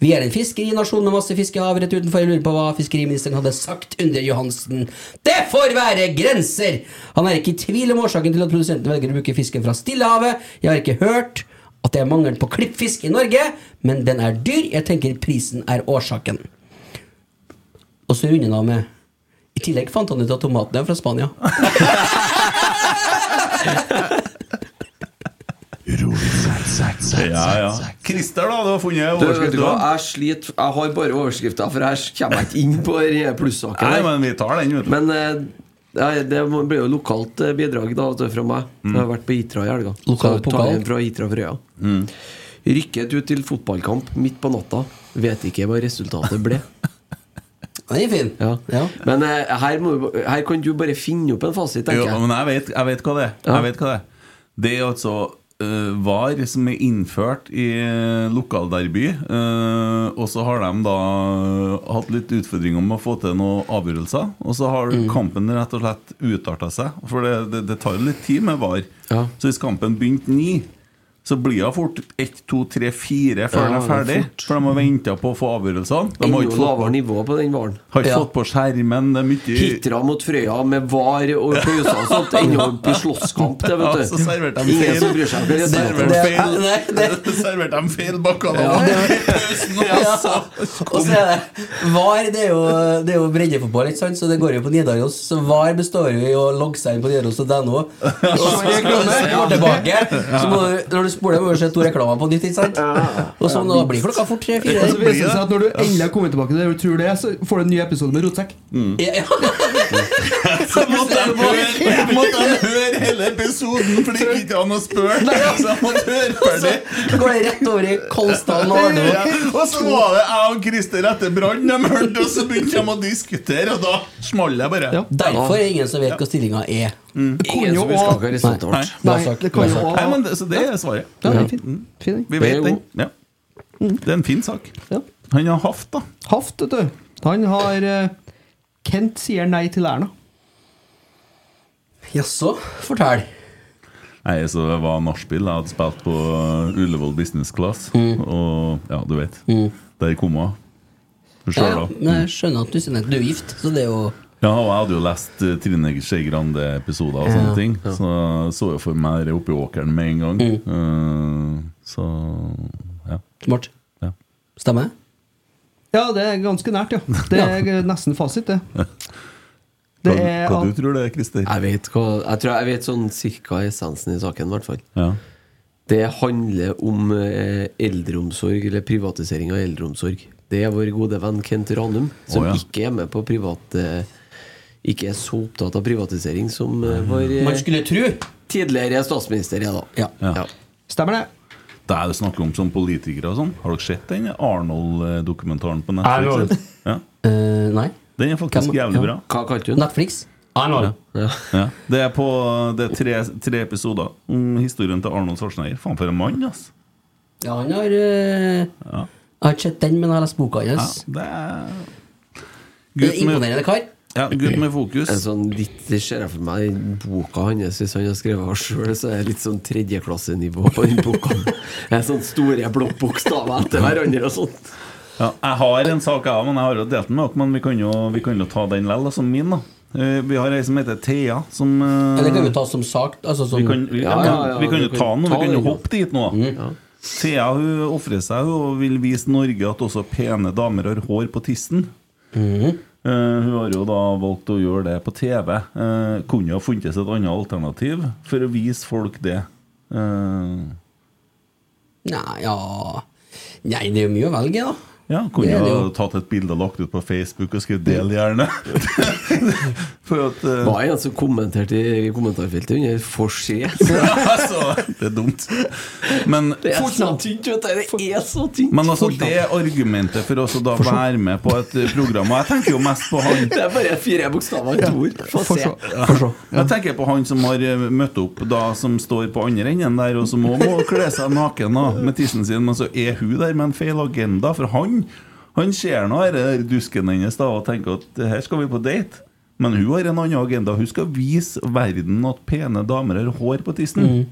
[SPEAKER 3] Vi er en fiskerinasjon med masse fisk i havet rett utenfor. Jeg lurer på hva fiskeriministeren hadde sagt under Johansen. Det får være grenser! Han er ikke i tvil om årsaken til at produsenten velger å bruke fisken fra Stillehavet. Jeg har ikke hørt at det er mangel på klippfisk i Norge, men den er dyr. Jeg tenker prisen er årsaken. Og så runder han av med I tillegg fant han ut at tomatene er fra Spania.
[SPEAKER 4] Ja, ja. Christer, da, du har funnet
[SPEAKER 2] Du, vet du hva,
[SPEAKER 4] overskriften?
[SPEAKER 2] jeg sliter Jeg har bare overskrifta, for jeg kommer ikke inn på den plussaken.
[SPEAKER 4] Nei,
[SPEAKER 2] der.
[SPEAKER 4] men vi tar den, vet du.
[SPEAKER 2] Men eh, nei, det må- blir jo lokalt eh, bidrag da, vet du, fra meg.
[SPEAKER 4] Mm.
[SPEAKER 2] Jeg har vært på Hitra i helga.
[SPEAKER 3] Lokal
[SPEAKER 2] Så jeg tar
[SPEAKER 3] pokal.
[SPEAKER 2] en fra Hitra Frøya.
[SPEAKER 4] Mm.
[SPEAKER 2] Rykket ut til fotballkamp midt på natta. Vet ikke hva resultatet ble.
[SPEAKER 3] Den er fin.
[SPEAKER 2] Ja.
[SPEAKER 3] Ja.
[SPEAKER 2] Men eh, her, må, her kan du bare finne opp en fasit,
[SPEAKER 4] Jo,
[SPEAKER 2] tenker jeg.
[SPEAKER 4] men jeg vet, jeg vet hva det er.
[SPEAKER 2] Ja.
[SPEAKER 4] Jeg vet hva det er. Det er altså eh, VAR som er innført i eh, lokalderby. eh, og så har de da eh, hatt litt utfordringer med å få til noen avgjørelser. Og så har
[SPEAKER 2] Mm.
[SPEAKER 4] kampen rett og slett utarta seg. For det, det, det tar jo litt tid med VAR.
[SPEAKER 2] Ja.
[SPEAKER 4] Så hvis kampen begynte ni, så blir det fort ett, to, tre, fire før
[SPEAKER 2] Ja,
[SPEAKER 4] den er
[SPEAKER 2] det
[SPEAKER 4] ferdig.
[SPEAKER 2] er fort.
[SPEAKER 4] For de har venta på å få avgjørelsene. De har
[SPEAKER 2] Enda
[SPEAKER 4] ikke
[SPEAKER 2] lavere
[SPEAKER 4] fått,
[SPEAKER 2] nivå på den varen.
[SPEAKER 4] har ikke
[SPEAKER 3] Ja.
[SPEAKER 4] fått på skjermen. Det er mye
[SPEAKER 2] Hitra mot Frøya med var og pauser og sånt. Enda på slåsskamp, det,
[SPEAKER 4] Ja,
[SPEAKER 2] vet
[SPEAKER 4] så
[SPEAKER 2] du.
[SPEAKER 4] serverte de
[SPEAKER 2] Ingen
[SPEAKER 4] feil.
[SPEAKER 2] som bryr seg om
[SPEAKER 4] Serverte
[SPEAKER 2] resultatet.
[SPEAKER 3] Det-
[SPEAKER 4] feil.
[SPEAKER 3] Nei, det-
[SPEAKER 4] Serverte de feil bacalao i pausen,
[SPEAKER 3] Ja.
[SPEAKER 4] og så
[SPEAKER 3] Og så er det VAR, det er jo, det er jo breddefotball, ikke sant? så det går jo på Nidaros. Så VAR består jo i å logge seg inn på nidaros.no. Og så skal du score tilbake. Så må du, når du spoler over og ser to reklamer på nytt, ikke sant? Og så nå blir klokka fort tre-fire.
[SPEAKER 5] Og så viser det seg at når du endelig har kommet tilbake til det du tror det er, så får du en ny episode med rotsekk.
[SPEAKER 3] Ja,
[SPEAKER 4] Så måtte jeg høre, måtte jeg høre hele episoden, for det gikk ikke an å spørre. Så jeg måtte høre ferdig.
[SPEAKER 3] ja. Går det rett over i Kolsdalen og Arne?
[SPEAKER 4] Ja, Og så var det jeg og Christer etter brann, de hørte, og så begynte de å diskutere, og da smalt jeg bare.
[SPEAKER 5] Ja.
[SPEAKER 3] Derfor er det ingen som vet hva stillinga er.
[SPEAKER 5] Kan jo
[SPEAKER 2] Vi skal
[SPEAKER 5] også-
[SPEAKER 2] ikke ha
[SPEAKER 4] Nei.
[SPEAKER 2] resultatet vårt.
[SPEAKER 5] Nei,
[SPEAKER 3] Bra sagt,
[SPEAKER 5] det kan
[SPEAKER 3] bra
[SPEAKER 5] jo
[SPEAKER 3] sagt.
[SPEAKER 4] Nei,
[SPEAKER 5] også-
[SPEAKER 4] men det, så det er svaret.
[SPEAKER 5] Ja, det er fin. fin den.
[SPEAKER 4] Vi
[SPEAKER 2] Mm. Det
[SPEAKER 4] vet
[SPEAKER 2] er
[SPEAKER 4] den.
[SPEAKER 2] jo-
[SPEAKER 4] Ja. Det er en fin sak.
[SPEAKER 5] Ja.
[SPEAKER 4] Han har haft, da.
[SPEAKER 5] Haft, vet du. Han har eh, Kent sier nei til Erna.
[SPEAKER 3] Jaså? Fortell.
[SPEAKER 4] Nei, så det var nachspiel. Jeg hadde spilt på Ullevål Business Class. Og ja, du vet. Der kom hun. Sjøl, da.
[SPEAKER 3] Men jeg skjønner at du sier nei. Du er gift, så det er jo
[SPEAKER 4] Ja, og jeg hadde jo lest eh, Trine Skei Grande-episoder og sånne
[SPEAKER 3] Ja. Mm.
[SPEAKER 4] ting. Så så jo for meg det oppe i åkeren med en gang. Eh, så ja.
[SPEAKER 3] smart.
[SPEAKER 4] ja.
[SPEAKER 3] Stemmer det?
[SPEAKER 5] Ja, det er ganske nært, ja. Det er eh, nesten fasit, det. Det
[SPEAKER 4] hva
[SPEAKER 5] er
[SPEAKER 4] hva du
[SPEAKER 5] at
[SPEAKER 4] tror det er, Christer?
[SPEAKER 2] Jeg vet, hva, jeg, tror jeg vet sånn cirka essensen i saken, i hvert fall.
[SPEAKER 4] Ja.
[SPEAKER 2] Det handler om eh, eldreomsorg, eller privatisering av eldreomsorg. Det er vår gode venn Kent Ranum, som
[SPEAKER 4] Å, ja.
[SPEAKER 2] ikke er med på privat eh, Ikke er så opptatt av privatisering som eh, vår
[SPEAKER 3] Man
[SPEAKER 2] eh,
[SPEAKER 3] skulle tru.
[SPEAKER 2] tidligere statsminister er, da.
[SPEAKER 3] Ja.
[SPEAKER 4] Ja.
[SPEAKER 5] Stemmer det?
[SPEAKER 4] Det er det snakker om som politikere og sånn. Har dere sett den Arnold-dokumentaren på
[SPEAKER 3] Arnold.
[SPEAKER 4] Netflix? Ja.
[SPEAKER 3] Eh, nei.
[SPEAKER 4] Den er faktisk
[SPEAKER 3] Hvem-
[SPEAKER 4] jævlig
[SPEAKER 3] ja.
[SPEAKER 4] bra.
[SPEAKER 2] Hva kalte hun?
[SPEAKER 3] Netflix.
[SPEAKER 4] Ja. Ja. Det er på det er tre, tre episoder om historien til Arnold Schwarzenegger. Faen, for en mann, ass!
[SPEAKER 3] Ja, han har eh,
[SPEAKER 4] Ja.
[SPEAKER 3] Jeg har ikke sett den, men jeg har lest boka
[SPEAKER 4] Ja,
[SPEAKER 3] hans.
[SPEAKER 4] det er
[SPEAKER 3] Det
[SPEAKER 4] Gutt
[SPEAKER 3] er
[SPEAKER 4] med,
[SPEAKER 3] Imponerende kar.
[SPEAKER 4] ja, gutt med fokus.
[SPEAKER 2] En sånn litt, det ser jeg for meg i boka hans, hvis han har skrevet den sjøl, så er det litt sånn tredjeklassenivå på den boka. Det er sånne store blokkbokstaver etter hverandre og sånt.
[SPEAKER 4] Ja, jeg har en sak, jeg òg, men jeg har jo delt den med dere. Men vi kan jo, vi kan jo ta den likevel, da, som min. da Eh, Vi har ei som heter Thea, som eh,
[SPEAKER 3] Eller kan vi ta som sak? Altså som
[SPEAKER 4] Vi kan, vi,
[SPEAKER 2] Ja, ja, ja,
[SPEAKER 4] vi kan
[SPEAKER 2] du
[SPEAKER 4] jo
[SPEAKER 2] kan
[SPEAKER 4] ta den, og
[SPEAKER 2] ta
[SPEAKER 4] vi kan jo
[SPEAKER 2] den, ja. Mm.
[SPEAKER 4] hoppe dit nå. da. Thea hun ofrer seg hun, og vil vise Norge at også pene damer har hår på tissen.
[SPEAKER 2] Mm.
[SPEAKER 4] Eh, hun har jo da valgt å gjøre det på TV. Eh, kunne ha funnes et annet alternativ for å vise folk det. Eh,
[SPEAKER 3] Nei, ja Nei, det er jo mye å velge, da.
[SPEAKER 4] ja, kunne
[SPEAKER 3] Det er det
[SPEAKER 4] ha
[SPEAKER 3] jo.
[SPEAKER 4] tatt et bilde og lagt ut på Facebook og skrevet 'del gjerne'. for at eh,
[SPEAKER 2] Hva er det som kommenterte i kommentarfeltet under 'for sent'?
[SPEAKER 4] altså, Det er dumt. Men
[SPEAKER 2] Det er så tynt, vet du. Det er så tynt.
[SPEAKER 4] Men altså, det er argumentet for oss å da være med på et eh, program, og jeg tenker jo mest på han
[SPEAKER 2] Det er bare fire bokstaver i et ord. Få
[SPEAKER 5] Få
[SPEAKER 2] se.
[SPEAKER 5] se. Få se.
[SPEAKER 4] Jeg tenker på han som har eh, møtt opp, da som står på andre enden der, og som også må kle seg naken da, med tissen sin, men så er hun der med en feil agenda, for han Han ser nå her, eh, dusken hennes da, og tenker at her skal vi på date. Men hun har en annen agenda. Hun skal vise verden at pene damer har hår på tissen.
[SPEAKER 5] Mm.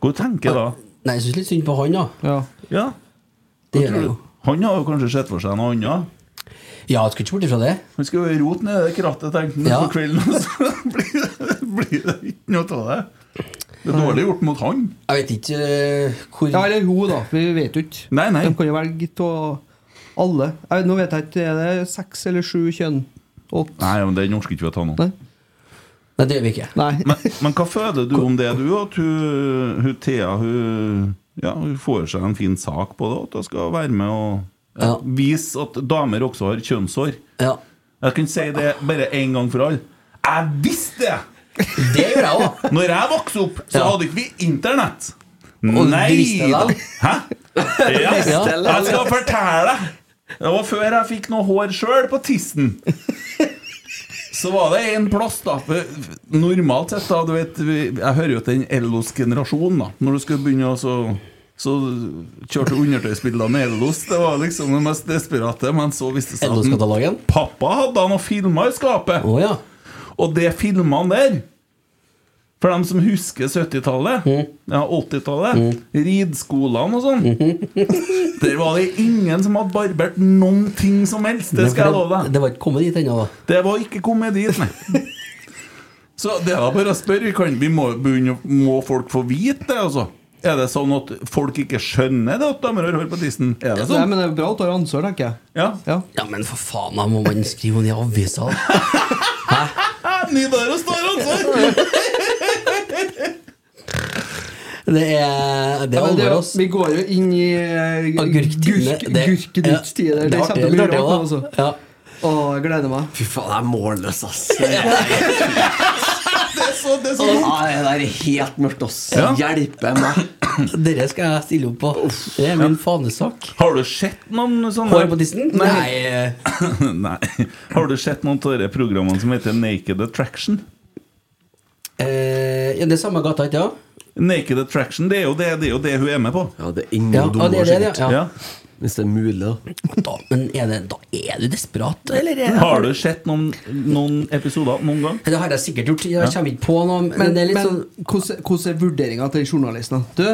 [SPEAKER 4] Hva tenker jeg da?
[SPEAKER 3] Nei, jeg syns litt synd på han, da.
[SPEAKER 5] Ja.
[SPEAKER 4] Ja,
[SPEAKER 3] Det gjør
[SPEAKER 4] hva
[SPEAKER 3] jeg
[SPEAKER 4] tror
[SPEAKER 3] jo.
[SPEAKER 4] du? Han har jo kanskje sett for seg noe annet.
[SPEAKER 3] Ja, jeg skal ikke bort ifra det.
[SPEAKER 4] Han skal jo rote nedi det krattet, tenkte han
[SPEAKER 3] Ja.
[SPEAKER 4] på kvelden. Og så blir det, blir det ikke noe av det. Det er dårlig gjort mot han.
[SPEAKER 3] Jeg vet ikke eh, hvor
[SPEAKER 5] ja, eller hun, da. Vi vet jo ikke.
[SPEAKER 4] Nei, nei.
[SPEAKER 5] De kan jo velge av alle. Jeg, vet- nå vet jeg ikke, er det seks eller sju kjønn? Åtte?
[SPEAKER 4] Nei, men den orker ikke vi å ta nå.
[SPEAKER 5] Nei.
[SPEAKER 3] Nei, det gjør vi ikke.
[SPEAKER 5] Nei.
[SPEAKER 4] Men, men hva føler du om det, du? At hun, hun Thea hun, ja, hun får seg en fin sak på det? At hun skal være med og ja,
[SPEAKER 3] Ja.
[SPEAKER 4] vise at damer også har kjønnshår?
[SPEAKER 3] Ja,
[SPEAKER 4] Jeg kan si det bare én gang for alle. Jeg visste det!
[SPEAKER 3] Det gjør jeg òg.
[SPEAKER 4] Når jeg vokste opp, så
[SPEAKER 3] Ja.
[SPEAKER 4] hadde ikke vi internett.
[SPEAKER 3] Og du
[SPEAKER 4] Nei
[SPEAKER 3] visste det
[SPEAKER 4] da!
[SPEAKER 3] vel?
[SPEAKER 4] Hæ? Ja,
[SPEAKER 3] visste det vel?
[SPEAKER 4] jeg skal fortelle deg. Det var før jeg fikk noe hår sjøl på tissen. Så var det en plass, da for Normalt sett, da, du vet vi- Jeg hører jo til den Ellos generasjonen, da. Når du skulle begynne å så så kjørte undertøysbilder med Ellos. Det var liksom det mest desperate. Men så viste det seg at
[SPEAKER 3] LO-skatalogen.
[SPEAKER 4] pappa hadde noen filmer i skapet.
[SPEAKER 3] Å ja.
[SPEAKER 4] Og det filmene der For dem som husker 70-tallet
[SPEAKER 3] Mm.
[SPEAKER 4] Ja, 80-tallet Ridskolene og sånn
[SPEAKER 3] Mm-hmm.
[SPEAKER 4] Der var det ingen som hadde barbert Noen ting som helst Det skal jeg love deg
[SPEAKER 3] Det var ikke kommet dit ennå, da.
[SPEAKER 4] Det var ikke kommet dit, nei Så det er bare å spørre vi kan, vi må, begynne, må folk få vite det, altså er det sånn at folk ikke skjønner det at damer har hår på tissen? Er
[SPEAKER 5] Nei,
[SPEAKER 4] det sånn?
[SPEAKER 5] men det er bra å ta ansvar, tenker jeg.
[SPEAKER 4] Ja.
[SPEAKER 5] Ja.
[SPEAKER 3] Ja, men for faen, da må man skrive om det i avisa.
[SPEAKER 4] Ah, Nidaros tar ansvar!
[SPEAKER 3] Det er, det er
[SPEAKER 5] Ja, men det er
[SPEAKER 3] alvor,
[SPEAKER 5] jo-
[SPEAKER 3] ass.
[SPEAKER 5] Vi går jo inn i eh,
[SPEAKER 3] Agurktine.
[SPEAKER 5] gurk-
[SPEAKER 3] Det-
[SPEAKER 5] gurkenytt-tider.
[SPEAKER 3] ja,
[SPEAKER 5] Det
[SPEAKER 3] det er
[SPEAKER 5] kommer til å
[SPEAKER 3] artig,
[SPEAKER 5] bli
[SPEAKER 3] det er
[SPEAKER 5] rart nå,
[SPEAKER 3] artig,
[SPEAKER 5] altså.
[SPEAKER 3] Ja.
[SPEAKER 5] Å, jeg gleder meg.
[SPEAKER 2] Fy faen, jeg er målløs, ass. Det er,
[SPEAKER 5] Så det er
[SPEAKER 2] Åh, det der er helt mørkt, ass.
[SPEAKER 4] Ja.
[SPEAKER 2] Hjelpe meg.
[SPEAKER 3] Dere skal jeg stille opp på. Det er min fanesak.
[SPEAKER 4] Har du sett noen sånne
[SPEAKER 3] Hår på tissen? Nei.
[SPEAKER 4] Nei. Har du sett noen av de programmene som heter Naked Attraction?
[SPEAKER 3] Eh, ja, det er samme gata, ikke sant?
[SPEAKER 4] Naked Attraction, det er jo det, det, er jo det hun er med på.
[SPEAKER 2] Ja, det er ingen
[SPEAKER 3] Ja, ja, det
[SPEAKER 2] dommer,
[SPEAKER 3] er det,
[SPEAKER 2] sikkert.
[SPEAKER 3] ja.
[SPEAKER 4] Ja.
[SPEAKER 2] Hvis det er mulig, da.
[SPEAKER 3] Da, men er det, da er du desperat, eller? er-
[SPEAKER 4] Har du sett noen, noen episoder noen gang?
[SPEAKER 3] Det har jeg sikkert gjort. Jeg kommer ikke på noe. Men,
[SPEAKER 5] Men,
[SPEAKER 3] det er litt
[SPEAKER 5] men
[SPEAKER 3] sånn
[SPEAKER 5] hvordan, hvordan er vurderinga til journalisten? Du,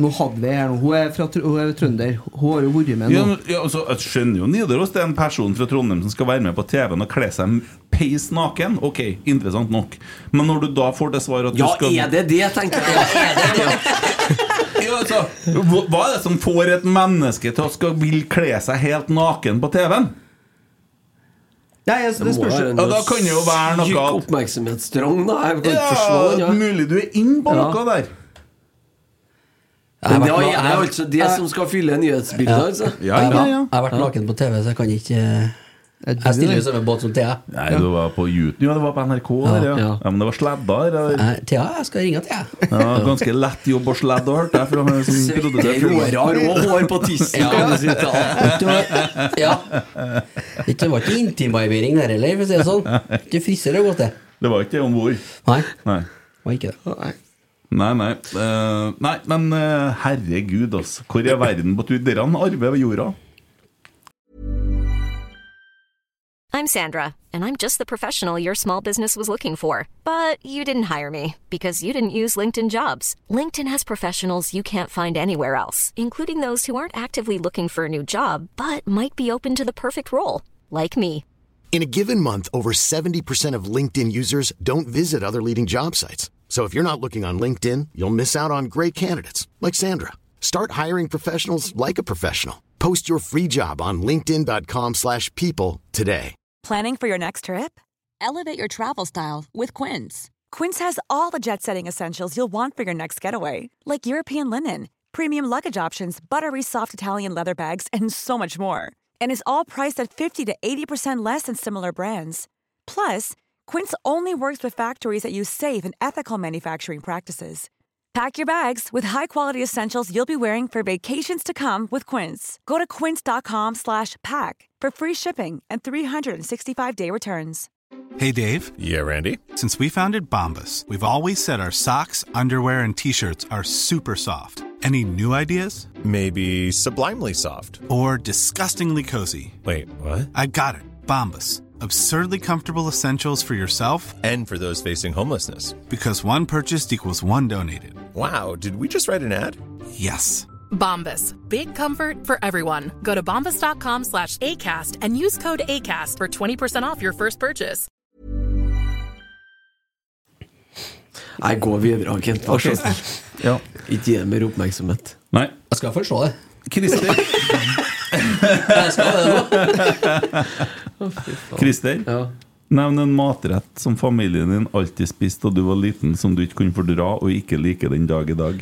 [SPEAKER 5] nå hadde vi her nå. Hun er, fra, Tr- hun er trønder. Hun har jo vært med
[SPEAKER 4] Ja,
[SPEAKER 5] nå.
[SPEAKER 4] men- ja, altså, jeg skjønner jo Nidaros, det er en person fra Trondheim som skal være med på TV-en og kle seg peis naken. Ok, interessant nok. Men når du da får det svaret at
[SPEAKER 2] Ja,
[SPEAKER 4] du skal
[SPEAKER 2] er det det, tenkte jeg. Er det det?
[SPEAKER 4] Ja, altså, hva hva er det som får et menneske til å skal vil kle seg helt naken på TV-en?
[SPEAKER 5] Nei, altså, det
[SPEAKER 2] må
[SPEAKER 5] spørs
[SPEAKER 2] være sånn
[SPEAKER 4] Ja, da kan det jo være noe
[SPEAKER 2] Syk
[SPEAKER 4] at-
[SPEAKER 2] oppmerksomhetsdrang, da. Jeg kan ikke
[SPEAKER 4] Ja,
[SPEAKER 2] forsvare den. Ja.
[SPEAKER 4] mulig du er inne på
[SPEAKER 5] Ja.
[SPEAKER 4] noe der.
[SPEAKER 3] Jeg har
[SPEAKER 2] Men det
[SPEAKER 3] vært
[SPEAKER 2] er
[SPEAKER 3] na- jeg-
[SPEAKER 2] altså det som skal fylle nyhetsbildet, altså.
[SPEAKER 4] Ja,
[SPEAKER 3] jeg,
[SPEAKER 4] ja,
[SPEAKER 3] har-
[SPEAKER 4] ja.
[SPEAKER 3] jeg har vært naken på TV, så jeg kan ikke
[SPEAKER 5] Er du
[SPEAKER 3] Jeg stiller jo
[SPEAKER 5] det?
[SPEAKER 3] i samme båt som Thea.
[SPEAKER 4] Nei, du var på YouTube. Ja, det var på NRK. der, ja.
[SPEAKER 2] ja.
[SPEAKER 4] ja. Men det var sladda. der, der.
[SPEAKER 3] Nei, Thea, jeg skal ringe Thea.
[SPEAKER 4] Ja, ganske lett jobb å sladde, hørte jeg. Fra han som produserte
[SPEAKER 2] Søtter
[SPEAKER 4] filmen.
[SPEAKER 2] rårar og hår på tissen.
[SPEAKER 3] Ja.
[SPEAKER 2] kan du si til alt.
[SPEAKER 3] ja. Det var ikke intimbarbering der heller, for å si det sånn. Du friser det godt, det.
[SPEAKER 4] Det var ikke det om bord.
[SPEAKER 3] Nei,
[SPEAKER 4] Nei.
[SPEAKER 3] det var ikke det.
[SPEAKER 4] Nei, nei. Eh, nei, men eh, herregud, altså. Hvor er verden på tur? Dere arver jorda.
[SPEAKER 6] I'm Sandra, and I'm just the professional your small business was looking for. But you didn't hire me because you didn't use LinkedIn jobs. LinkedIn has professionals you can't find anywhere else, including those who aren't actively looking for a new job but might be open to the perfect role, like me.
[SPEAKER 7] In a given month, over 70% of LinkedIn users don't visit other leading job sites. So if you're not looking on LinkedIn, you'll miss out on great candidates like Sandra. Start hiring professionals like a professional. Post your free job on linkedin.com/people slash people today.
[SPEAKER 8] Planning for your next trip?
[SPEAKER 9] Elevate your travel style with Quince.
[SPEAKER 8] Quince has all the jet setting essentials you'll want for your next getaway, like European linen, premium luggage options, buttery soft Italian leather bags, and so much more. And is all priced at 50 to 80% less than similar brands. Plus, Quince only works with factories that use safe and ethical manufacturing practices. Pack your bags with high-quality essentials you'll be wearing for vacations to come with Quince. Go to quince.com slash pack for free shipping and 365-day returns.
[SPEAKER 1] Hey Dave. Yeah, Randy. Since we founded Bombus, we've always said our socks, underwear, and t shirts are super soft. Any new ideas? Maybe sublimely soft. Or disgustingly cozy. Wait, what? I got it. Bombus. Absurdly comfortable essentials for yourself and for those facing homelessness. Because one purchased equals one donated. Wow, did we just write an ad? Yes.
[SPEAKER 10] Bombas. Big comfort for everyone. Go to bombas.com slash ACAST and use code ACAST for 20% off your first purchase.
[SPEAKER 2] Nei, gå videre, Kent. Vær så snill.
[SPEAKER 4] Ja.
[SPEAKER 2] Ikke gi det mer oppmerksomhet.
[SPEAKER 4] Nei.
[SPEAKER 3] Jeg skal forstå det.
[SPEAKER 4] Christer.
[SPEAKER 3] Jeg skal det nå.
[SPEAKER 4] Christer. Nevn en matrett som familien din alltid spiste da du var liten, som du ikke kunne fordra og ikke liker den dag i dag.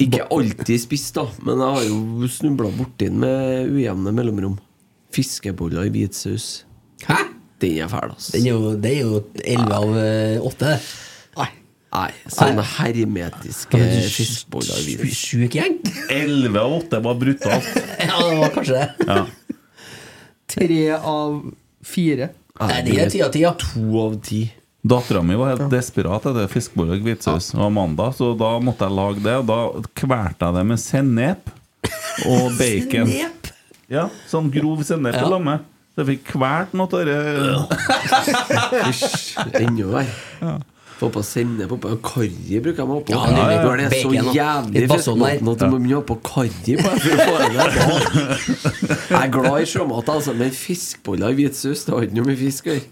[SPEAKER 2] Ikke alltid spist, da, men jeg har jo snubla borti den med ujevne mellomrom. Fiskeboller i hvitsaus.
[SPEAKER 3] Hæ?
[SPEAKER 2] Den er fæl, ass.
[SPEAKER 3] Den er jo, det er jo 11 av eh, 8. Nei.
[SPEAKER 2] Nei, Eh, sånne
[SPEAKER 3] Nei.
[SPEAKER 2] hermetiske fiskeboller i
[SPEAKER 3] Sju-
[SPEAKER 2] hvitsaus.
[SPEAKER 3] Sjuk gjeng?
[SPEAKER 4] 11 av 8 var brutalt.
[SPEAKER 3] Ja, det var kanskje det.
[SPEAKER 5] Tre av fire.
[SPEAKER 3] Nei, det er ti av ti, ja.
[SPEAKER 2] To av ti.
[SPEAKER 4] Dattera mi var helt desperat etter fiskeboller og hvitsaus og Amanda, så da måtte jeg lage det. Og da kvelte jeg det med sennep og bacon.
[SPEAKER 3] Knep.
[SPEAKER 4] Ja, Sånn grov sennep
[SPEAKER 3] Ja.
[SPEAKER 4] på lammet. Så jeg fikk kvalt noe av det.
[SPEAKER 2] Hysj. Enda verre. Få på sennep oppå. Karri bruker jeg meg oppå.
[SPEAKER 3] Ja, nydelig.
[SPEAKER 2] Når det er så
[SPEAKER 3] Bacon og
[SPEAKER 2] jævlig
[SPEAKER 3] litt basong der.
[SPEAKER 2] festmaten at du må begynne å ha på karri på det for å få det der. Jeg er glad i sjømat, altså, men fiskeboller i hvitsaus, det har ikke noe med fisk å gjøre.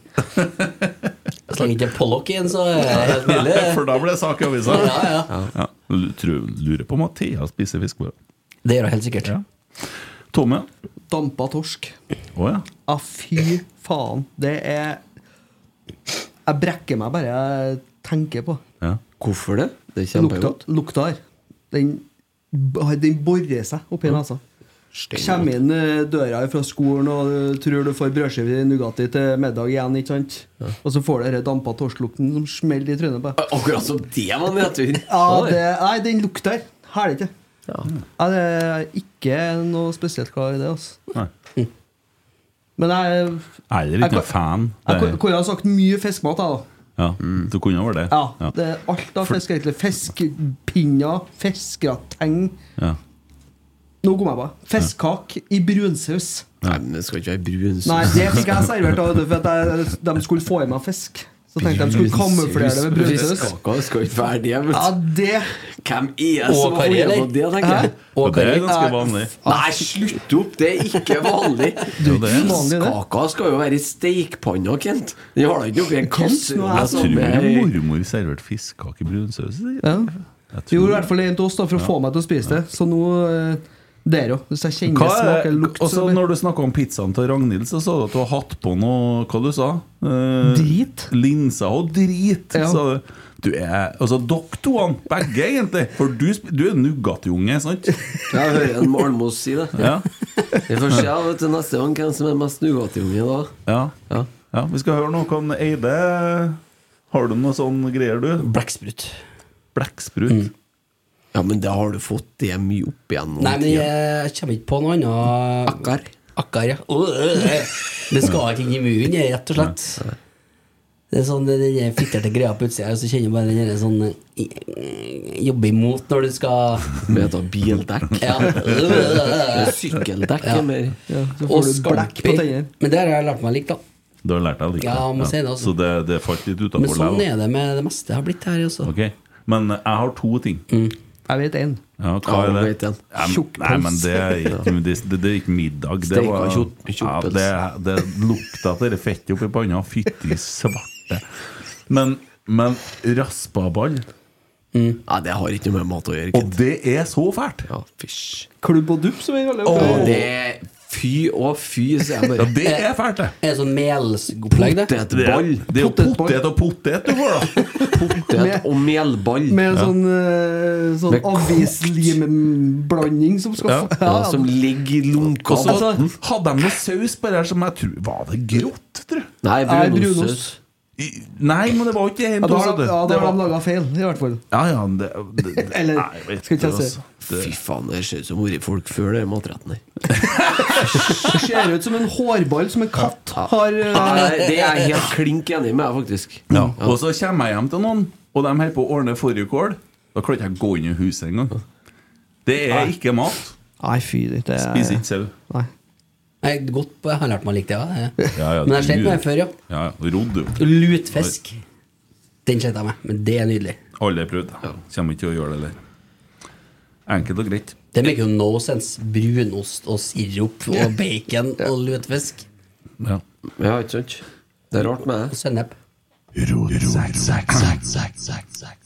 [SPEAKER 3] Så lenge ikke Pollock igjen, så er det helt mulig.
[SPEAKER 4] For da ble det sak i avisa.
[SPEAKER 3] Ja, ja.
[SPEAKER 4] Ja. Lu- tror- Lurer på om Mathea spiser fiskeboller.
[SPEAKER 3] Det gjør jeg helt sikkert.
[SPEAKER 4] Ja. Tomme?
[SPEAKER 5] Dampa torsk.
[SPEAKER 4] Å
[SPEAKER 5] Ja,
[SPEAKER 4] ja.
[SPEAKER 5] Ah, fy faen. Det er Jeg brekker meg bare jeg tenker på
[SPEAKER 4] ja.
[SPEAKER 2] Hvorfor det? Det er kjempegodt.
[SPEAKER 5] Lukta- Lukta her. Den, den altså. borer seg oppi
[SPEAKER 2] Ja.
[SPEAKER 5] nesa. Kommer inn eh, døra fra skolen og eh, tror du får brødskive i Nugatti til middag igjen. ikke sant? Og så får du den dampa torsklukten som smeller i trynet på deg.
[SPEAKER 2] Akkurat som det var nedtur.
[SPEAKER 5] Ja, det, nei, den lukta her. Her er det ikke. Nei, det er ikke noe spesielt glad i det. altså.
[SPEAKER 4] Nei.
[SPEAKER 5] Men jeg,
[SPEAKER 4] Er dere
[SPEAKER 5] Jeg
[SPEAKER 4] ikke
[SPEAKER 5] kan-
[SPEAKER 4] noen fan?
[SPEAKER 5] jeg
[SPEAKER 4] Det,
[SPEAKER 5] kunne- kunne ha sagt mye fiskemat, jeg, da.
[SPEAKER 4] ja, du kunne vært det.
[SPEAKER 5] Ja, det er alt av fisk, egentlig. Fiskepinner, fiskegrateng
[SPEAKER 4] Ja.
[SPEAKER 5] Nå kom jeg på. Fiskekake i brunsaus.
[SPEAKER 2] Nei, men det skal ikke være brun
[SPEAKER 5] Nei, det fikk jeg servert av for at jeg, de skulle få i meg fisk. Så tenkte jeg de skulle kamuflere det med brunsaus.
[SPEAKER 2] Fiskekaka skal ikke være det. vet du.
[SPEAKER 5] Ja, det
[SPEAKER 2] Hvem er som har funnet på det, tenker jeg?
[SPEAKER 4] Og det er ganske vanlig.
[SPEAKER 2] Nei, slutt opp! Det er ikke vanlig.
[SPEAKER 4] Jo, det er vanlig, det.
[SPEAKER 2] Fiskekaka skal jo være i stekepanna, Kent. Den har da ikke oppi en kasserolle.
[SPEAKER 4] Jeg
[SPEAKER 5] sånn.
[SPEAKER 2] som
[SPEAKER 4] tror
[SPEAKER 2] er-
[SPEAKER 4] mormor serverte fiskekake i brunsaus.
[SPEAKER 5] Ja.
[SPEAKER 4] Jeg tror-
[SPEAKER 5] Gjorde i hvert fall en til oss da, for å få meg til å spise det. Så nå eh, Der òg. Hvis jeg
[SPEAKER 4] Hva
[SPEAKER 5] kjenner smak
[SPEAKER 4] er,
[SPEAKER 5] eller lukt,
[SPEAKER 4] også
[SPEAKER 5] så blir-
[SPEAKER 4] når du snakka om pizzaen til Ragnhild, så sa du at du har hatt på noe Hva du sa
[SPEAKER 5] Drit.
[SPEAKER 4] Linser og drit,
[SPEAKER 5] Ja.
[SPEAKER 4] sa du. Du er, altså Dere to, han, begge, egentlig. For du, sp- du er Nugatti-unge, sant?
[SPEAKER 2] Jeg hører en Malmås si det.
[SPEAKER 4] Ja.
[SPEAKER 2] Vi får se vet du, neste gang hvem som er mest Nugatti-unge da.
[SPEAKER 4] Ja. ja. Vi skal høre noe om Eide. Har du noe sånn greier, du?
[SPEAKER 3] Blekksprut.
[SPEAKER 4] Blekksprut?
[SPEAKER 3] Mm.
[SPEAKER 2] Ja, men da har du fått det mye opp igjen.
[SPEAKER 3] Nei, men jeg, jeg kommer ikke på noe annet.
[SPEAKER 2] Akkar.
[SPEAKER 3] Akkar, ja. Åh, øh, øh. Det skal ikke inn i munnen, det, rett og slett. Det er sånn det- den der fitterte greia på utsida, og så kjenner jeg bare den der sånn eh, Jobbe imot når du skal
[SPEAKER 2] Med et bildekk.
[SPEAKER 3] Ja.
[SPEAKER 2] Eh, Sykkeldekk
[SPEAKER 3] Ja.
[SPEAKER 2] mer.
[SPEAKER 5] så får du blekk på tennene.
[SPEAKER 3] Men det har jeg lært meg litt, da.
[SPEAKER 4] Du har lært deg å like
[SPEAKER 3] Ja, jeg må si det, altså.
[SPEAKER 4] Så det, det falt litt utafor
[SPEAKER 3] Men sånn er det med det meste jeg har blitt her altså. også.
[SPEAKER 4] Men eh, jeg har to ting.
[SPEAKER 5] Jeg vet én.
[SPEAKER 4] Ja, hva
[SPEAKER 2] Ja,
[SPEAKER 4] er
[SPEAKER 2] vet
[SPEAKER 4] det?
[SPEAKER 2] jeg.
[SPEAKER 4] Ja, men-
[SPEAKER 5] Tjukkpølse.
[SPEAKER 4] Nei, men det er ikke, det, det, det er ikke middag. Det,
[SPEAKER 2] Steika
[SPEAKER 4] var,
[SPEAKER 2] tjukk-
[SPEAKER 4] ja,
[SPEAKER 2] tjukkpølse.
[SPEAKER 4] det, det lukta av det fettet oppi panna. Fytti svarte. Men, men raspaball
[SPEAKER 2] Nei, det har ikke noe med mat å gjøre.
[SPEAKER 4] Og det er så fælt!
[SPEAKER 2] Ja, fysj.
[SPEAKER 5] Klubb og dupp, som vi kaller
[SPEAKER 2] Å,
[SPEAKER 5] det.
[SPEAKER 2] det er Fy og fy, sier jeg
[SPEAKER 4] Ja,
[SPEAKER 2] bare.
[SPEAKER 4] det er fælt, det!
[SPEAKER 3] Er det sånn melsopplegg, det?
[SPEAKER 4] Det er,
[SPEAKER 2] Potetball.
[SPEAKER 4] det er jo potet og potet du får, da!
[SPEAKER 2] Potet og melball.
[SPEAKER 5] Med sånn, eh, sånn
[SPEAKER 2] Med kokt.
[SPEAKER 5] avislimblanding som skal
[SPEAKER 4] Ja.
[SPEAKER 5] få-
[SPEAKER 2] Ja, som ligger i lunka.
[SPEAKER 4] Og så
[SPEAKER 2] Altså,
[SPEAKER 4] hadde de noe saus på det her som jeg tror Var det grått, tror jeg?
[SPEAKER 2] Nei,
[SPEAKER 5] Nei,
[SPEAKER 2] brunost.
[SPEAKER 5] brunost.
[SPEAKER 4] I- Nei, men det var jo ikke
[SPEAKER 5] Ja,
[SPEAKER 4] helt
[SPEAKER 5] da har
[SPEAKER 4] sånn,
[SPEAKER 5] de,
[SPEAKER 4] det-
[SPEAKER 5] ja, da
[SPEAKER 4] det
[SPEAKER 5] har de
[SPEAKER 4] var-
[SPEAKER 5] laga feil, i hvert fall.
[SPEAKER 4] Ja, ja, det, det, det,
[SPEAKER 5] Eller,
[SPEAKER 4] nei, vet
[SPEAKER 5] skal ikke jeg
[SPEAKER 4] du,
[SPEAKER 5] si.
[SPEAKER 4] altså. Det-
[SPEAKER 2] Fy faen, det ser ut som ordefolk før det er matretten her.
[SPEAKER 5] Det ser ut som en hårball som en katt
[SPEAKER 2] Ja.
[SPEAKER 5] har eh,
[SPEAKER 2] Nei, Det er jeg helt klink enig med, faktisk.
[SPEAKER 4] Ja. Og så kommer jeg hjem til noen, og de holder på å ordne fårikål. Da kan ikke jeg gå inn i huset engang. Det er ikke mat.
[SPEAKER 5] Nei, fy, det er
[SPEAKER 4] Spiser ikke sau.
[SPEAKER 5] Nei.
[SPEAKER 3] Nei, godt, på- jeg har lært meg litt det, ja. det.
[SPEAKER 4] Ja, ja,
[SPEAKER 3] Men jeg slet
[SPEAKER 4] du-
[SPEAKER 3] med det før, ja.
[SPEAKER 4] Ja, ja. Rodd, jo.
[SPEAKER 3] Lutfisk. Den slet jeg med, men det er nydelig.
[SPEAKER 4] Alle har prøvd. Kommer ikke til å gjøre det der. Enkelt og greit.
[SPEAKER 3] Det make no sense. Brunost og sirup og bacon og lutfisk
[SPEAKER 4] Ja.
[SPEAKER 2] Ja, ikke sant? Det er rart med
[SPEAKER 3] og
[SPEAKER 2] det.
[SPEAKER 3] sennep.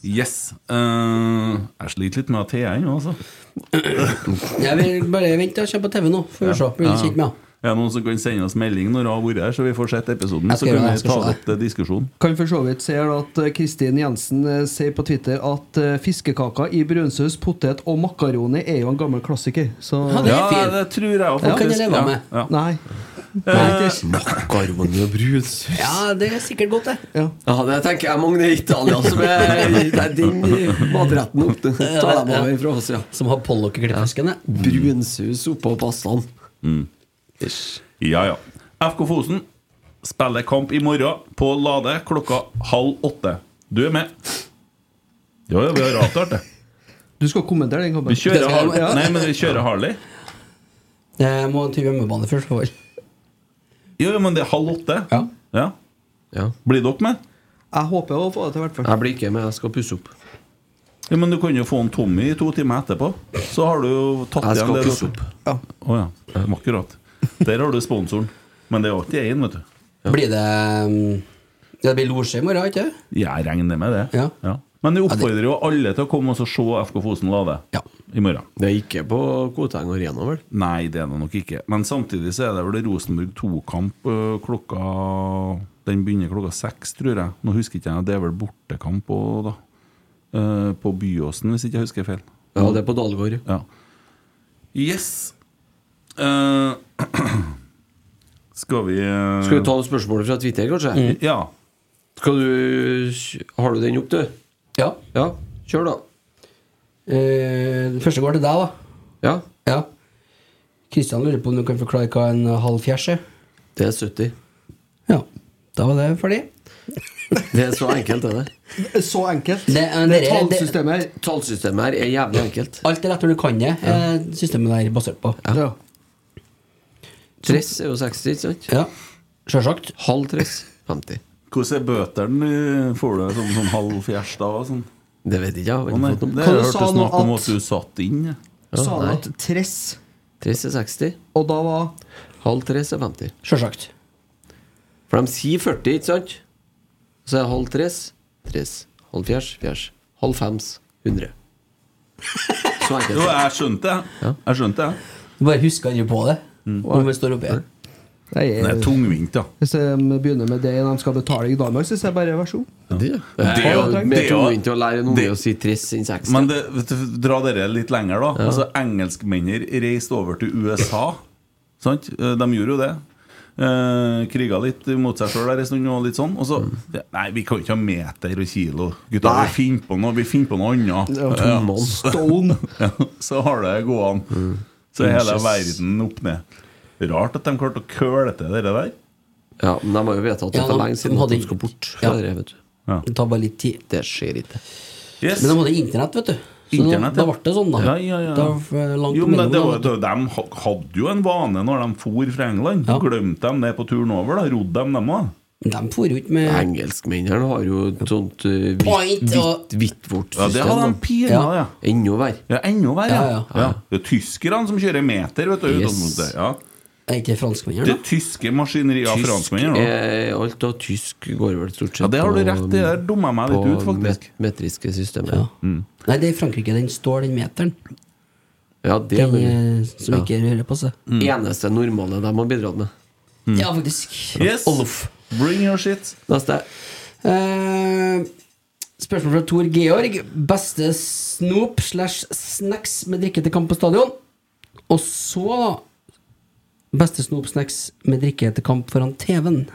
[SPEAKER 4] Yes. Eh, jeg sliter litt med at jeg er ennå, altså.
[SPEAKER 3] Jeg vil bare vente og se på TV nå, får vi se. Blir litt kjent med henne.
[SPEAKER 4] Er det noen som kan sende oss melding når hun har vært her, så vi får sett episoden?
[SPEAKER 3] Jeg
[SPEAKER 4] Så
[SPEAKER 3] skal
[SPEAKER 4] kan
[SPEAKER 3] gjøre det,
[SPEAKER 4] vi
[SPEAKER 3] jeg skal
[SPEAKER 4] ta
[SPEAKER 3] se
[SPEAKER 4] opp eh, diskusjonen.
[SPEAKER 5] Kan for så vidt se her at eh, Kristin Jensen eh, sier på Twitter at eh, fiskekaker i brunsaus, potet og makaroni er jo en gammel klassiker. Så
[SPEAKER 3] Ja, det er
[SPEAKER 4] Ja,
[SPEAKER 3] fint.
[SPEAKER 4] det tror jeg også,
[SPEAKER 3] Den kan jeg
[SPEAKER 4] faktisk.
[SPEAKER 3] leve
[SPEAKER 4] Ja,
[SPEAKER 3] med.
[SPEAKER 4] ja.
[SPEAKER 5] Nei.
[SPEAKER 4] Eh,
[SPEAKER 2] Makaroni og brus.
[SPEAKER 3] Ja, det er sikkert godt, det.
[SPEAKER 2] Ja, det tenker jeg mange i Italia som er Det er den matretten opp til. Ta dem over fra oss, ja.
[SPEAKER 3] Som har pollock i klippfisken, det.
[SPEAKER 2] Brunsaus oppå pastaen. Ish.
[SPEAKER 4] Ja, ja. FK Fosen spiller kamp i morgen på Lade klokka halv åtte. Du er med. Ja, ja, vi har avtalt det.
[SPEAKER 5] Du skal kommentere den
[SPEAKER 4] Vi
[SPEAKER 5] kampen.
[SPEAKER 4] kjører,
[SPEAKER 3] Det skal jeg
[SPEAKER 4] Har-
[SPEAKER 3] være med.
[SPEAKER 4] nei, men vi kjører Harley.
[SPEAKER 3] Jeg må til hjemmebane først. for vel.
[SPEAKER 4] Jo, jo, men det er halv åtte.
[SPEAKER 3] Ja.
[SPEAKER 4] Ja.
[SPEAKER 2] Ja.
[SPEAKER 4] Blir dere med?
[SPEAKER 5] Jeg håper å få det til, i hvert fall.
[SPEAKER 2] Jeg blir ikke med, jeg skal pusse opp.
[SPEAKER 4] Ja, men du kan jo få en Tommy i to timer etterpå. Så har du jo tatt
[SPEAKER 2] Jeg
[SPEAKER 4] igjen
[SPEAKER 2] skal
[SPEAKER 4] det
[SPEAKER 2] pusse
[SPEAKER 4] dere-
[SPEAKER 2] opp.
[SPEAKER 4] Å ja. Akkurat. Der har du sponsoren. Men det er alltid én, vet du.
[SPEAKER 3] Blir det um, ja, Det blir losje i morgen, ikke sant?
[SPEAKER 4] Jeg regner med det.
[SPEAKER 3] Ja.
[SPEAKER 4] Men vi oppfordrer jo alle til å komme og så se FK Fosen Lade
[SPEAKER 3] Ja.
[SPEAKER 4] i morgen.
[SPEAKER 2] Det er ikke på Koteng Arena, vel?
[SPEAKER 4] Nei, det er det nok ikke. Men samtidig så er det vel Rosenborg 2-kamp øh, klokka Den begynner klokka seks, tror jeg. Nå husker ikke jeg, det er vel bortekamp òg, da. eh, på Byåsen, hvis ikke jeg husker feil.
[SPEAKER 2] Ja, det er på Dalgård.
[SPEAKER 4] Ja. Yes! Eh, skal vi eh,
[SPEAKER 2] Skal vi ta noen spørsmål fra Twitter, kanskje?
[SPEAKER 4] Mm. Ja.
[SPEAKER 2] Skal du, har du den opp, du?
[SPEAKER 3] Ja.
[SPEAKER 2] ja. Kjør, da.
[SPEAKER 3] Eh, Den første går til deg, da.
[SPEAKER 2] Ja.
[SPEAKER 3] ja. Kristian lurer på om du kan forklare hva en halv fjers er.
[SPEAKER 2] Det er 70.
[SPEAKER 3] Ja. Da var det ferdig.
[SPEAKER 2] Det er så enkelt, er det.
[SPEAKER 5] Så enkelt.
[SPEAKER 3] Det, eh,
[SPEAKER 5] det
[SPEAKER 3] dere-
[SPEAKER 5] tallsystemet her.
[SPEAKER 2] Tallsystemet her er jævlig enkelt.
[SPEAKER 3] Alt er rett når du kan det, eh, systemet der er basert på.
[SPEAKER 2] Ja. Tress er jo 60, ikke sant?
[SPEAKER 3] Ja, Sjølsagt.
[SPEAKER 2] Halv tress 50.
[SPEAKER 4] Hvordan er bøtene? eh, Får du sånn, sånn halv fjers da? og Sånn?
[SPEAKER 2] Det vet jeg ikke.
[SPEAKER 4] Å, nei,
[SPEAKER 2] fått noe.
[SPEAKER 4] det
[SPEAKER 5] Hva du
[SPEAKER 4] hørtes
[SPEAKER 5] sa nå
[SPEAKER 4] snakk om
[SPEAKER 5] at-
[SPEAKER 4] at du satt inn. ja.
[SPEAKER 5] Sa han
[SPEAKER 2] nei.
[SPEAKER 5] at tress
[SPEAKER 2] Tress er 60.
[SPEAKER 5] Og da var
[SPEAKER 2] Halv tress er 50.
[SPEAKER 3] Sjølsagt.
[SPEAKER 2] For de sier 40, ikke sant? Så er halv tress tress. Halv fjers fjers. Halv fems 100. Så enkelt.
[SPEAKER 4] Jo, jeg skjønte det. Jeg skjønte det.
[SPEAKER 3] Du bare husker aldri på det når vi står oppe igjen.
[SPEAKER 5] Nei,
[SPEAKER 4] Det er tungvint, ja.
[SPEAKER 5] Hvis de begynner med det når de skal betale i Danmark, syns jeg bare vær så god.
[SPEAKER 2] Det,
[SPEAKER 4] Det er jo-
[SPEAKER 2] er jo
[SPEAKER 4] det
[SPEAKER 2] mer
[SPEAKER 4] er jo-
[SPEAKER 2] tungvint å lære en unge å si tress enn 60.
[SPEAKER 4] Men det, vet du, dra dere litt lenger, da. Altså, Engelskmennene reiste over til USA. Sant? Eh, De gjorde jo det. Eh, kriga litt mot seg sjøl der en stund. Og litt sånn Og så det- Nei, vi kan jo ikke ha meter og kilo. Gutta,
[SPEAKER 5] Nei.
[SPEAKER 4] vi finner på noe Vi finner på noe annet.
[SPEAKER 5] Ja,
[SPEAKER 4] Ja.
[SPEAKER 5] tonnen. Stone.
[SPEAKER 4] ja, så har det gående. Så er hele
[SPEAKER 2] Inches.
[SPEAKER 4] verden opp ned. Rart at de klarte å køle til det der.
[SPEAKER 2] Ja, men de har jo vedtatt det
[SPEAKER 3] Ja,
[SPEAKER 2] for
[SPEAKER 3] de-
[SPEAKER 2] lenge siden
[SPEAKER 3] de
[SPEAKER 2] at
[SPEAKER 3] hadde
[SPEAKER 2] de skal bort fra
[SPEAKER 3] ja.
[SPEAKER 2] det, vet du.
[SPEAKER 3] Det tar bare litt tid.
[SPEAKER 2] Det skjer ikke.
[SPEAKER 4] Yes.
[SPEAKER 3] Men de hadde internett, vet du. Så
[SPEAKER 4] Internett,
[SPEAKER 3] da, da
[SPEAKER 4] ja.
[SPEAKER 3] ble det sånn, da.
[SPEAKER 4] Ja, ja, ja.
[SPEAKER 3] Da var det langt
[SPEAKER 4] Jo, men det,
[SPEAKER 3] mellom
[SPEAKER 4] det
[SPEAKER 3] da,
[SPEAKER 4] var,
[SPEAKER 3] vet du.
[SPEAKER 4] det, de ha- hadde jo en vane når de for fra England. Glemte de det på turen over? da Rodde de dem òg?
[SPEAKER 3] De for jo ikke med
[SPEAKER 2] Engelskmennene har jo et sånt uh,
[SPEAKER 3] Point
[SPEAKER 2] hvitt
[SPEAKER 3] og-
[SPEAKER 2] hvitt-
[SPEAKER 4] Ja,
[SPEAKER 2] hvittvortsystem.
[SPEAKER 4] det hadde de pina, ja. ja.
[SPEAKER 2] Enda verre.
[SPEAKER 4] enda verre. Ja,
[SPEAKER 3] Ja, ja.
[SPEAKER 4] Det er tyskerne som kjører meter, vet du. ut
[SPEAKER 2] Yes.
[SPEAKER 4] mot det, ja.
[SPEAKER 3] Er ikke franskmennene,
[SPEAKER 4] Det
[SPEAKER 3] da?
[SPEAKER 4] tyske maskineriet av
[SPEAKER 2] Tysk
[SPEAKER 4] franskmennene. da.
[SPEAKER 2] er- Alt av tysk går vel stort sett mm,
[SPEAKER 4] Ja, det har du rett i. Der dummer jeg meg litt
[SPEAKER 2] på
[SPEAKER 4] ut, faktisk.
[SPEAKER 2] met- metriske systemet.
[SPEAKER 3] Ja.
[SPEAKER 4] Mm.
[SPEAKER 3] Nei, det er i Frankrike. Den står, den meteren.
[SPEAKER 2] Ja, det er
[SPEAKER 3] Den eh,
[SPEAKER 2] mulig.
[SPEAKER 3] som ikke hører på seg.
[SPEAKER 4] Mm.
[SPEAKER 2] Eneste normale de har bidratt med.
[SPEAKER 3] Ja, faktisk.
[SPEAKER 4] Yes.
[SPEAKER 3] Olof.
[SPEAKER 4] Bring your shit.
[SPEAKER 2] Neste.
[SPEAKER 3] Eh, spørsmål fra Tor Georg. Beste snop slash snacks med drikke til kamp på stadion? Og så, da Beste snop-snacks med drikke til kamp foran TV-en.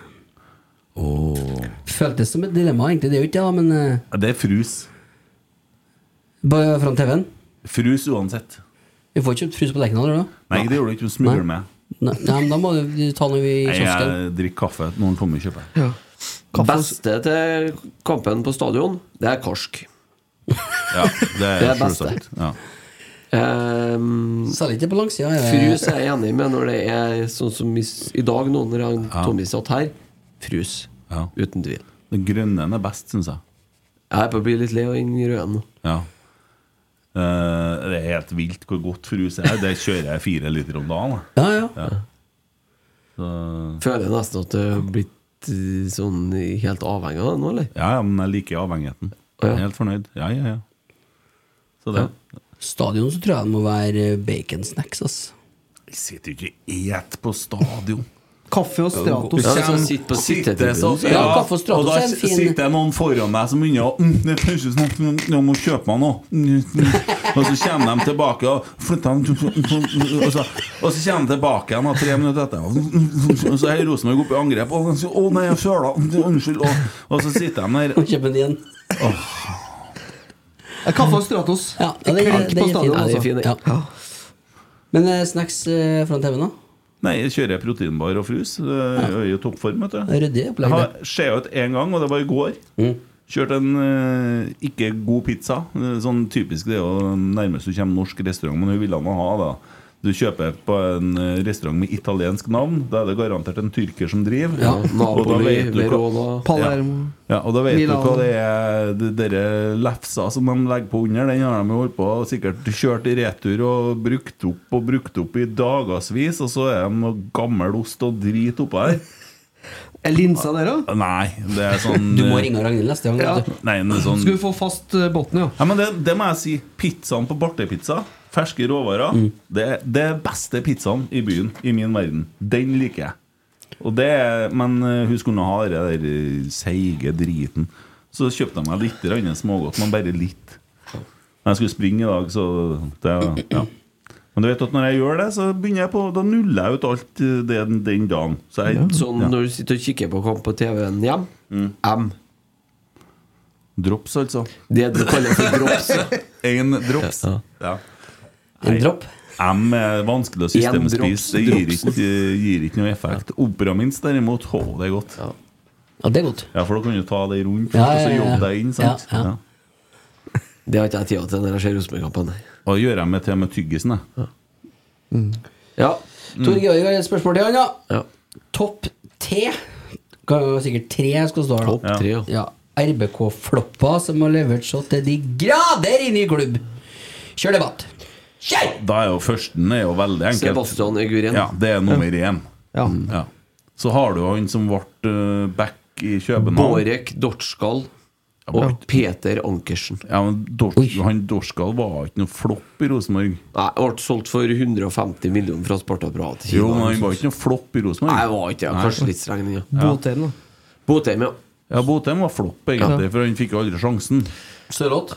[SPEAKER 3] Føltes som et dilemma, egentlig. Det er jo ikke det, da, men eh,
[SPEAKER 4] Ja, Det er frus.
[SPEAKER 3] bare foran TV-en.
[SPEAKER 4] Frus uansett.
[SPEAKER 3] Vi får ikke kjøpt frus på Lerkendal, gjør vi det?
[SPEAKER 4] Nei, det gjorde du ikke. Du smugler med.
[SPEAKER 3] Nei, nei, men da må du ta noe i
[SPEAKER 4] Nei,
[SPEAKER 3] kiosken.
[SPEAKER 4] jeg drikker kaffe. Noen kommer og kjøper.
[SPEAKER 2] Beste til kampen på stadion, det er korsk.
[SPEAKER 4] Ja, det
[SPEAKER 2] Det
[SPEAKER 4] er
[SPEAKER 2] er beste.
[SPEAKER 4] selvsagt. Ja.
[SPEAKER 2] Um,
[SPEAKER 3] Særlig ikke på langsida. er det-
[SPEAKER 2] frus er jeg enig med når det er sånn som i, s- i dag, nå når han Tommy satt her. Frus.
[SPEAKER 4] Ja.
[SPEAKER 2] Uten tvil.
[SPEAKER 4] Den grønne er best, syns jeg.
[SPEAKER 2] Jeg er på å bli litt lei av den røde nå.
[SPEAKER 4] Ja. Eh, det er helt vilt hvor godt frus er. Det kjører jeg fire liter om dagen. da.
[SPEAKER 3] Ja, ja.
[SPEAKER 4] Så,
[SPEAKER 2] Føler nesten at du har blitt eh, sånn helt avhengig av det nå, eller?
[SPEAKER 4] ja, ja, men jeg liker avhengigheten. Jeg er helt fornøyd. Ja, ja, ja. Så det
[SPEAKER 3] Stadion så tror jeg det må være baconsnacks, ass.
[SPEAKER 4] Jeg sitter ikke og et på stadion.
[SPEAKER 5] Kaffe og Stratos.
[SPEAKER 2] Ja,
[SPEAKER 4] Kjem-
[SPEAKER 2] så sitt på
[SPEAKER 4] sitter
[SPEAKER 2] sittetribunen,
[SPEAKER 4] så-
[SPEAKER 2] så-
[SPEAKER 3] Ja, kaffe og stratos
[SPEAKER 4] og da
[SPEAKER 3] er en fin-
[SPEAKER 4] sitter det noen foran deg som begynner å mm, det er kanskje snart, mm, Jeg må kjøpe meg noe. Mm, mm. Og så kommer de tilbake og flytter dem mm, Og så, og så kommer de tilbake igjen da, tre minutter etter. Og så- Og så er Rosenborg oppe i angrep. Og så, å nei, jeg søla. Unnskyld. Og, og så sitter de der.
[SPEAKER 3] Må kjøpe den igjen.
[SPEAKER 5] Eh, Kaffe og Stratos.
[SPEAKER 3] Ja, ja, det,
[SPEAKER 5] Klikk på
[SPEAKER 3] det, det er fin.
[SPEAKER 5] stadion,
[SPEAKER 3] Ja, det er
[SPEAKER 5] altså.
[SPEAKER 3] fin. Ja. Men eh, snacks eh, foran TV-en, da?
[SPEAKER 4] Nei, jeg kjører proteinbar og frus. Det er jo i toppform, vet du.
[SPEAKER 3] Det Mm. er ryddig opplegg,
[SPEAKER 4] Jeg har skjea ut én gang, og det var i går. Kjørt en eh, ikke god pizza. Eh, Sånn typisk det er jo nærmest du kommer norsk restaurant, men hun ville nå ha det. Du kjøper på en eh, restaurant med italiensk navn, da er det garantert en tyrker som driver.
[SPEAKER 3] Ja,
[SPEAKER 4] og da
[SPEAKER 2] Napoli,
[SPEAKER 4] vet du hva
[SPEAKER 2] Verona
[SPEAKER 5] Palermo.
[SPEAKER 4] ja, og da vet
[SPEAKER 5] Milano.
[SPEAKER 4] du hva det er de- Dere lefsa som de legger på under Den har de jo holdt på og sikkert kjørt i retur Og brukt opp og brukt opp i dagersvis Og så er de noe gammel ost og drit oppå her
[SPEAKER 5] Er linsa der òg?
[SPEAKER 4] Nei, det er sånn
[SPEAKER 3] Du må ringe Ragnhild neste gang.
[SPEAKER 5] Ja.
[SPEAKER 3] vet du.
[SPEAKER 4] Nei, det er sånn
[SPEAKER 5] Skulle få fast eh, botnen, ja.
[SPEAKER 4] ja, men det, det må jeg si Pizzaen på bartepizza Ferske råvarer Det er det er beste pizzaen i byen I min verden Den liker jeg Og det, er- Men eh, hun skulle nå ha det der eh, Seige driten Så kjøpte jeg meg litt grann smågodt, men bare litt. Når jeg skulle springe i dag, så det, ja. Men du vet at når jeg gjør det, så begynner jeg på Da nuller jeg ut alt eh, det den, den dagen. Så jeg,
[SPEAKER 2] Sånn
[SPEAKER 4] ja. Mm.
[SPEAKER 2] når du sitter og kikker på kamp på TV-en hjem M.
[SPEAKER 4] Drops, altså.
[SPEAKER 2] Det du kaller for drops.
[SPEAKER 4] En drops. Ja.
[SPEAKER 3] En dropp?
[SPEAKER 4] M er vanskelig å systemspise.
[SPEAKER 3] drops,
[SPEAKER 4] Det gir
[SPEAKER 3] drops.
[SPEAKER 4] ikke, gir ikke noe effekt. Opera minst, derimot, å, det er godt. Ja.
[SPEAKER 3] det er godt.
[SPEAKER 4] Ja, For da kan du ta det rundt
[SPEAKER 3] Ja,
[SPEAKER 4] først, og
[SPEAKER 3] ja,
[SPEAKER 4] så
[SPEAKER 3] ja.
[SPEAKER 4] jobbe deg inn. sant?
[SPEAKER 3] Ja, ja.
[SPEAKER 4] Det har ikke jeg tida til når jeg ser Rosenborg-kampen. Og det gjør jeg med til med tyggisen, jeg.
[SPEAKER 2] Ja.
[SPEAKER 3] Tor Georg har et spørsmål til han, Mm. ja.
[SPEAKER 2] Ja.
[SPEAKER 3] Topp T. Kan jo Sikkert tre skal stå her. da.
[SPEAKER 2] Topp tre, ja.
[SPEAKER 3] ja. RBK-floppa som har levert så til de grader inn i klubb. Kjør debatt.
[SPEAKER 4] Da er jo førsten er jo veldig enkelt.
[SPEAKER 2] Sebastian Eguren.
[SPEAKER 4] Ja, det er nummer én. Ja. Så har du han som ble eh, back i København.
[SPEAKER 2] Borek Dortskall og Peter Ankersen.
[SPEAKER 4] Ja, men Dors han Dorskal var ikke noe flopp i Rosenborg.
[SPEAKER 2] Nei, ble solgt for 150 millioner fra Sparta Praha til Kina.
[SPEAKER 4] Jo, men han var ikke noe flopp i Rosenborg.
[SPEAKER 2] Nei, han var ikke det.
[SPEAKER 4] Nei.
[SPEAKER 2] Kanskje litt streng, den, ja.
[SPEAKER 5] Botheim, da.
[SPEAKER 2] Botheim, ja.
[SPEAKER 4] Ja, Botheim var flopp, egentlig, for han fikk jo aldri sjansen.
[SPEAKER 3] Sørloth?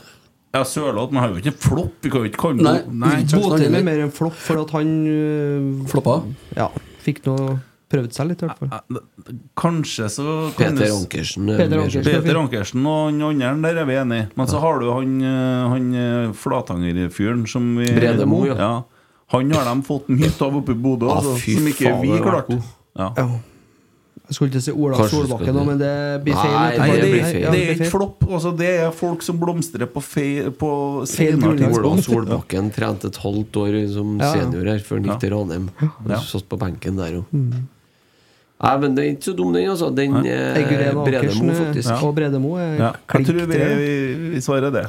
[SPEAKER 4] Ja, Sørloth, men han var jo ikke en flopp. Vi kan jo ikke kalle
[SPEAKER 5] Nei,
[SPEAKER 4] ham Nei,
[SPEAKER 5] Botheim er mer en flopp, for at han øh,
[SPEAKER 3] Floppa?
[SPEAKER 5] Ja, fikk nå prøvd seg litt, i hvert fall.
[SPEAKER 4] Kanskje så kan
[SPEAKER 5] Peter
[SPEAKER 4] du-
[SPEAKER 5] Ankersen
[SPEAKER 2] eh,
[SPEAKER 5] er Peter mer- Ankersen er
[SPEAKER 4] Peter
[SPEAKER 5] fin.
[SPEAKER 4] Ankersen og han andre der er vi enige. Men så har du han, eh, han eh, Flatanger-fyren som vi
[SPEAKER 2] Brede Mo, ja.
[SPEAKER 4] Han har de fått mye av oppe i Bodø,
[SPEAKER 5] Ja,
[SPEAKER 4] altså,
[SPEAKER 5] fy
[SPEAKER 4] som ikke
[SPEAKER 5] faen,
[SPEAKER 4] vi
[SPEAKER 5] det var
[SPEAKER 4] klarte. Ja.
[SPEAKER 5] Jeg skulle ikke si Ola
[SPEAKER 4] Kanskje du
[SPEAKER 5] Solbakken
[SPEAKER 4] skal-
[SPEAKER 5] nå, men det blir feil.
[SPEAKER 4] Nei,
[SPEAKER 5] etterpå.
[SPEAKER 4] det,
[SPEAKER 5] Nei,
[SPEAKER 4] det,
[SPEAKER 5] ja,
[SPEAKER 4] det er
[SPEAKER 5] blir
[SPEAKER 4] ikke
[SPEAKER 5] feil.
[SPEAKER 4] flopp. Altså, det er folk som blomstrer på, fe, på
[SPEAKER 5] Feil
[SPEAKER 4] senere
[SPEAKER 5] grunnlag.
[SPEAKER 2] Ola
[SPEAKER 4] tidspunkt.
[SPEAKER 2] Solbakken trente et halvt år som
[SPEAKER 4] Ja, ja.
[SPEAKER 2] senior her før han gikk til Ranheim.
[SPEAKER 4] Ja.
[SPEAKER 2] Han Satt på benken der òg.
[SPEAKER 5] Mm.
[SPEAKER 2] Nei, men det er ikke så dum, den, altså. Den eh,
[SPEAKER 5] Eggeren og Ankersen
[SPEAKER 2] Bredemo,
[SPEAKER 5] eh,
[SPEAKER 2] faktisk.
[SPEAKER 5] og Bredemo er
[SPEAKER 4] Ja. Jeg tror vi,
[SPEAKER 5] klinktre.
[SPEAKER 4] vi, vi svarer det.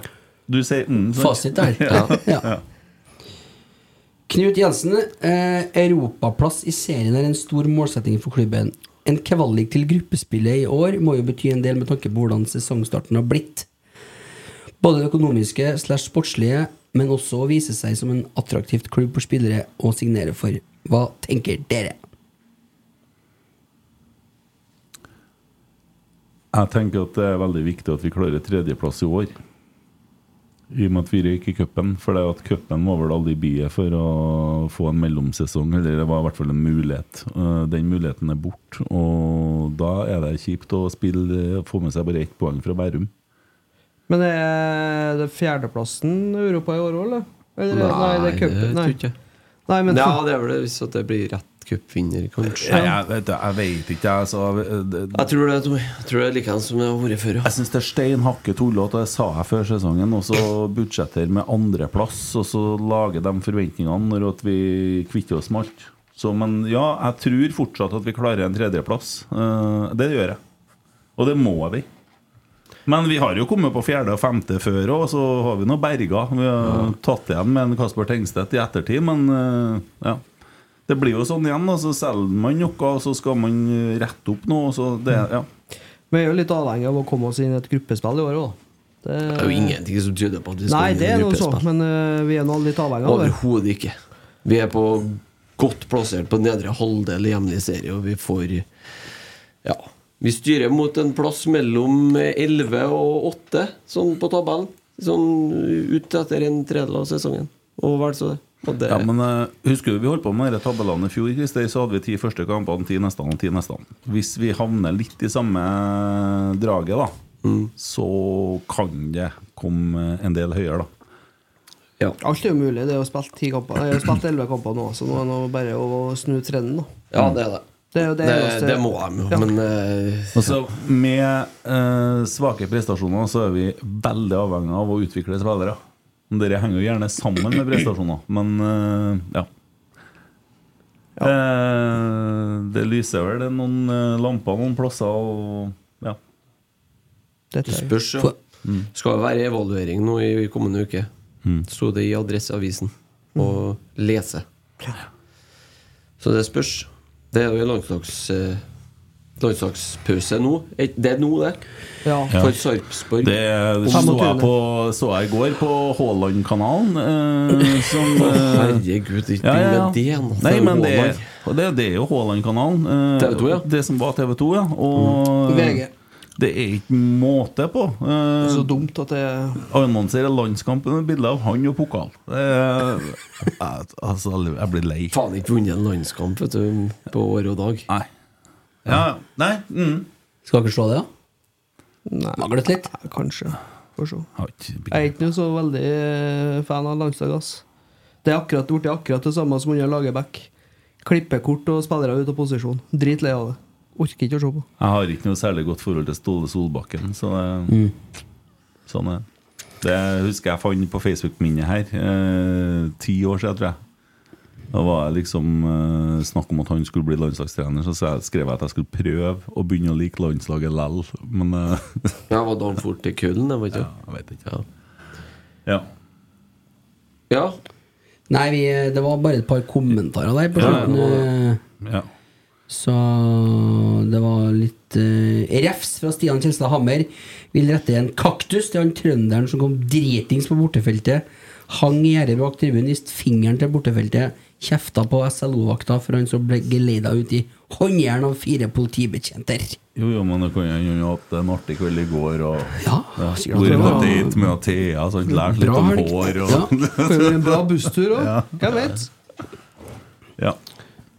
[SPEAKER 4] Du sier mm. sant?
[SPEAKER 3] Fasit der.
[SPEAKER 4] ja.
[SPEAKER 3] Ja. Knut Jensen, eh, europaplass i serien er en stor målsetting for klubben. En kvalik til gruppespillet i år må jo bety en del med tanke på hvordan sesongstarten har blitt. Både det økonomiske slash sportslige, men også å vise seg som en attraktivt klubb for spillere å signere for. Hva tenker dere?
[SPEAKER 4] Jeg tenker at det er veldig viktig at vi klarer tredjeplass i år. I og med at vi røyk i cupen. For det at cupen var vel alibiet for å få en mellomsesong. Eller det var i hvert fall en mulighet. Eh, Den muligheten er borte. Og da er det kjipt å spille, få med seg bare ett poeng fra Bærum.
[SPEAKER 5] Men er det fjerdeplassen Europa i år òg, eller? eller? eh, Nei, det er
[SPEAKER 2] tror
[SPEAKER 5] cupen. Nei.
[SPEAKER 2] jeg ikke.
[SPEAKER 5] Nei, men
[SPEAKER 2] ja, det er vel det, hvis at det blir rett cupvinner, kanskje.
[SPEAKER 4] Nei, jeg, vet, jeg vet ikke, jeg. Så, det,
[SPEAKER 2] Jeg tror det, Tommy. jeg tror det er likeens som det har vært før. Ja.
[SPEAKER 4] Jeg syns det er steinhakket tullete, og det sa jeg før sesongen. Og så budsjetter med andreplass, og så lager de forventningene når at vi kvitter oss med alt. Så, men ja, jeg tror fortsatt at vi klarer en tredjeplass. Eh, det gjør jeg. Og det må vi. Men vi har jo kommet på fjerde og femte før òg, så har vi nå berga. Vi har tatt igjen med en Kasper Tengstedt i ettertid, men eh, ja. Det blir jo sånn igjen, og så selger man noe, og så skal man eh, rette opp noe, og så det, ja.
[SPEAKER 5] Vi er jo litt avhengig av å komme oss inn i et gruppespill i år òg. Det,
[SPEAKER 2] Det er jo ingenting som tyder på at vi skal
[SPEAKER 5] Nei,
[SPEAKER 2] inn i
[SPEAKER 5] det er noe så,
[SPEAKER 2] gruppespill.
[SPEAKER 5] men øh, vi er nå litt avhengig av det.
[SPEAKER 2] Overhodet ikke. Vi er på godt plassert på nedre halvdel i hjemlig serie, og vi får Ja. Vi styrer mot en plass mellom 11 og 8, sånn på tabellen. Sånn ut etter en tredjedel av sesongen. Og vel så det. Og det
[SPEAKER 4] Ja, men eh, husker du vi holdt på med disse tabellene i fjor? Christer, så hadde vi ti første kampene, ti neste og ti neste. Hvis vi havner litt i samme eh, draget, da, så kan det komme eh, en del høyere, da.
[SPEAKER 5] Alt er jo mulig. Det er jo spilt ti kamper Jeg har spilt elleve kamper nå, så nå er det nå bare å snu trenden. da
[SPEAKER 2] Ja, det er det.
[SPEAKER 5] Det er jo det eneste-
[SPEAKER 2] det må de jo,
[SPEAKER 5] Ja.
[SPEAKER 2] men eh,
[SPEAKER 4] Altså, med eh, svake prestasjoner så er vi veldig avhengig av å utvikle spillere. Men Dere henger jo gjerne sammen med prestasjoner, men eh, ja. Eh, det lyser vel det er noen eh, lamper noen plasser, og ja.
[SPEAKER 5] Dette
[SPEAKER 2] Det spørs, Mm. ja.
[SPEAKER 4] For-
[SPEAKER 2] Skal jo være evaluering nå i kommende uke. Sto det i Adresseavisen å lese. Så det spørs. Det er jo landslags, eh, landslagspause nå. Er ikke- Det er nå, det.
[SPEAKER 5] Ja.
[SPEAKER 2] For Sarpsborg.
[SPEAKER 4] Det så jeg, på, så jeg i går på Haaland-kanalen. Eh, som,
[SPEAKER 2] Å,
[SPEAKER 4] eh,
[SPEAKER 2] herregud, ikke
[SPEAKER 4] ja, ja, ja.
[SPEAKER 2] med det nå.
[SPEAKER 4] Nei,
[SPEAKER 2] Det er
[SPEAKER 4] men det,
[SPEAKER 2] Haaland.
[SPEAKER 4] og det, det er jo Haaland-kanalen. Eh,
[SPEAKER 2] TV2, ja.
[SPEAKER 4] Det som var TV2, ja. Og,
[SPEAKER 5] VG.
[SPEAKER 4] Det er ikke måte på. Eh,
[SPEAKER 5] Så dumt at Mm. det
[SPEAKER 4] Annonserer landskampen med bilde av han og pokal. Det er- jeg, altså, jeg blir lei.
[SPEAKER 2] Faen, ikke vunnet en landskamp vet du, på år og dag.
[SPEAKER 4] Nei. Ja, nei mm.
[SPEAKER 3] Skal dere slå det, da?
[SPEAKER 5] Nei.
[SPEAKER 3] Manglet litt?
[SPEAKER 5] Kanskje. Får se.
[SPEAKER 4] Jeg
[SPEAKER 5] er ikke noe så veldig eh, fan av landslaget. ass. Det er akkurat, det er akkurat det samme som under Lagerbäck. Klippekort og spillere ut av posisjon. Dritlei av det. Orker ikke å se på.
[SPEAKER 4] Jeg har ikke noe særlig godt forhold til Ståle Solbakken, så det, sånn er det. Det husker jeg fant på Facebook-minnet her. Eh, ti år siden, tror jeg. Da var det liksom eh, snakk om at han skulle bli landslagstrener, så sa jeg- skrev jeg at jeg skulle prøve å begynne å like landslaget lell, men eh,
[SPEAKER 2] Jeg var da han fort til kullen, jeg vet ikke.
[SPEAKER 4] Ja, jeg vet ikke. Ja.
[SPEAKER 2] Ja.
[SPEAKER 3] Nei, vi, eh, det var bare et par kommentarer der på
[SPEAKER 4] Ja,
[SPEAKER 3] slutten.
[SPEAKER 4] det var
[SPEAKER 3] eh,
[SPEAKER 4] Ja.
[SPEAKER 3] Så det var litt eh, refs fra Stian Kjelstad Hammer. Vil rette en kaktus til han trønderen som kom dritings på bortefeltet. Hang i gjerdet bak tribunen, viste fingeren til bortefeltet. Kjefta på SLO-vakta for han som ble geleida ut i håndjern av fire politibetjenter.
[SPEAKER 4] Jo, jo, men da kan han jo ha hatt en artig kveld i går og
[SPEAKER 3] ja,
[SPEAKER 4] ja,
[SPEAKER 3] sikkert.
[SPEAKER 4] vært på
[SPEAKER 3] Bra.
[SPEAKER 4] date med Thea, så han lærte litt
[SPEAKER 3] Bra
[SPEAKER 4] om
[SPEAKER 3] helg.
[SPEAKER 4] hår og
[SPEAKER 3] Ja.
[SPEAKER 5] Får jo en bra busstur òg. Hvem vet?
[SPEAKER 4] Ja.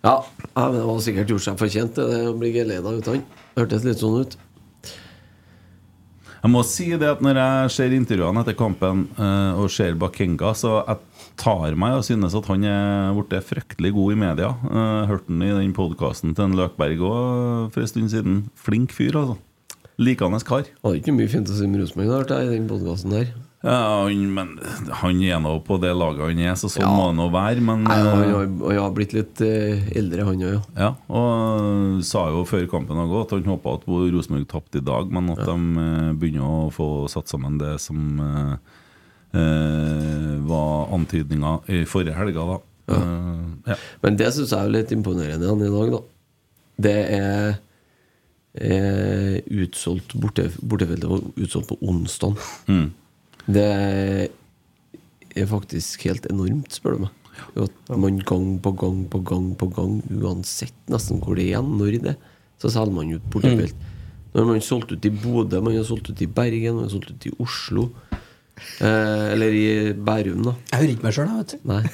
[SPEAKER 2] Ja, ja, men Det var sikkert gjort seg fortjent, det, det å bli geleda ut av han. Hørtes litt sånn ut.
[SPEAKER 4] Jeg må si det at når jeg ser intervjuene etter kampen eh, og ser Bakenga, så jeg tar meg og synes at han er blitt fryktelig god i media. Eh, hørte han i den podkasten til en Løkberg òg for en stund siden. Flink fyr, altså. Likende kar.
[SPEAKER 2] Hadde ikke mye fint å si om Rosenborg, da, hørte jeg, i den podkasten der.
[SPEAKER 4] Ja, han, men han er nå på det laget han er, så sånn
[SPEAKER 2] Ja.
[SPEAKER 4] må det nå være, men
[SPEAKER 2] Nei, han har,
[SPEAKER 4] eh,
[SPEAKER 2] han har blitt litt eh, eldre, han òg, ja.
[SPEAKER 4] ja, og sa jo før kampen hadde gått at han håpa at Rosenborg tapte i dag, men at de eh, begynner å få satt sammen det som eh, eh, var antydninga i forrige helga, da. Eh, ja.
[SPEAKER 2] Men det syns jeg er litt imponerende han i dag, da. Det er, er utsolgt borte, bortefeltet var utsolgt på onsdag.
[SPEAKER 4] Mm.
[SPEAKER 2] Det er faktisk helt enormt, spør du meg. At man gang på gang på gang på gang, uansett nesten hvor det er igjen, når det er, så selger man ut bortefelt. Når man solgte ut i Bodø, man har solgt ut i Bergen, man har solgt ut i Oslo. Eh, eller i Bærum, da.
[SPEAKER 3] Jeg hører ikke meg sjøl, vet du.
[SPEAKER 2] Nei.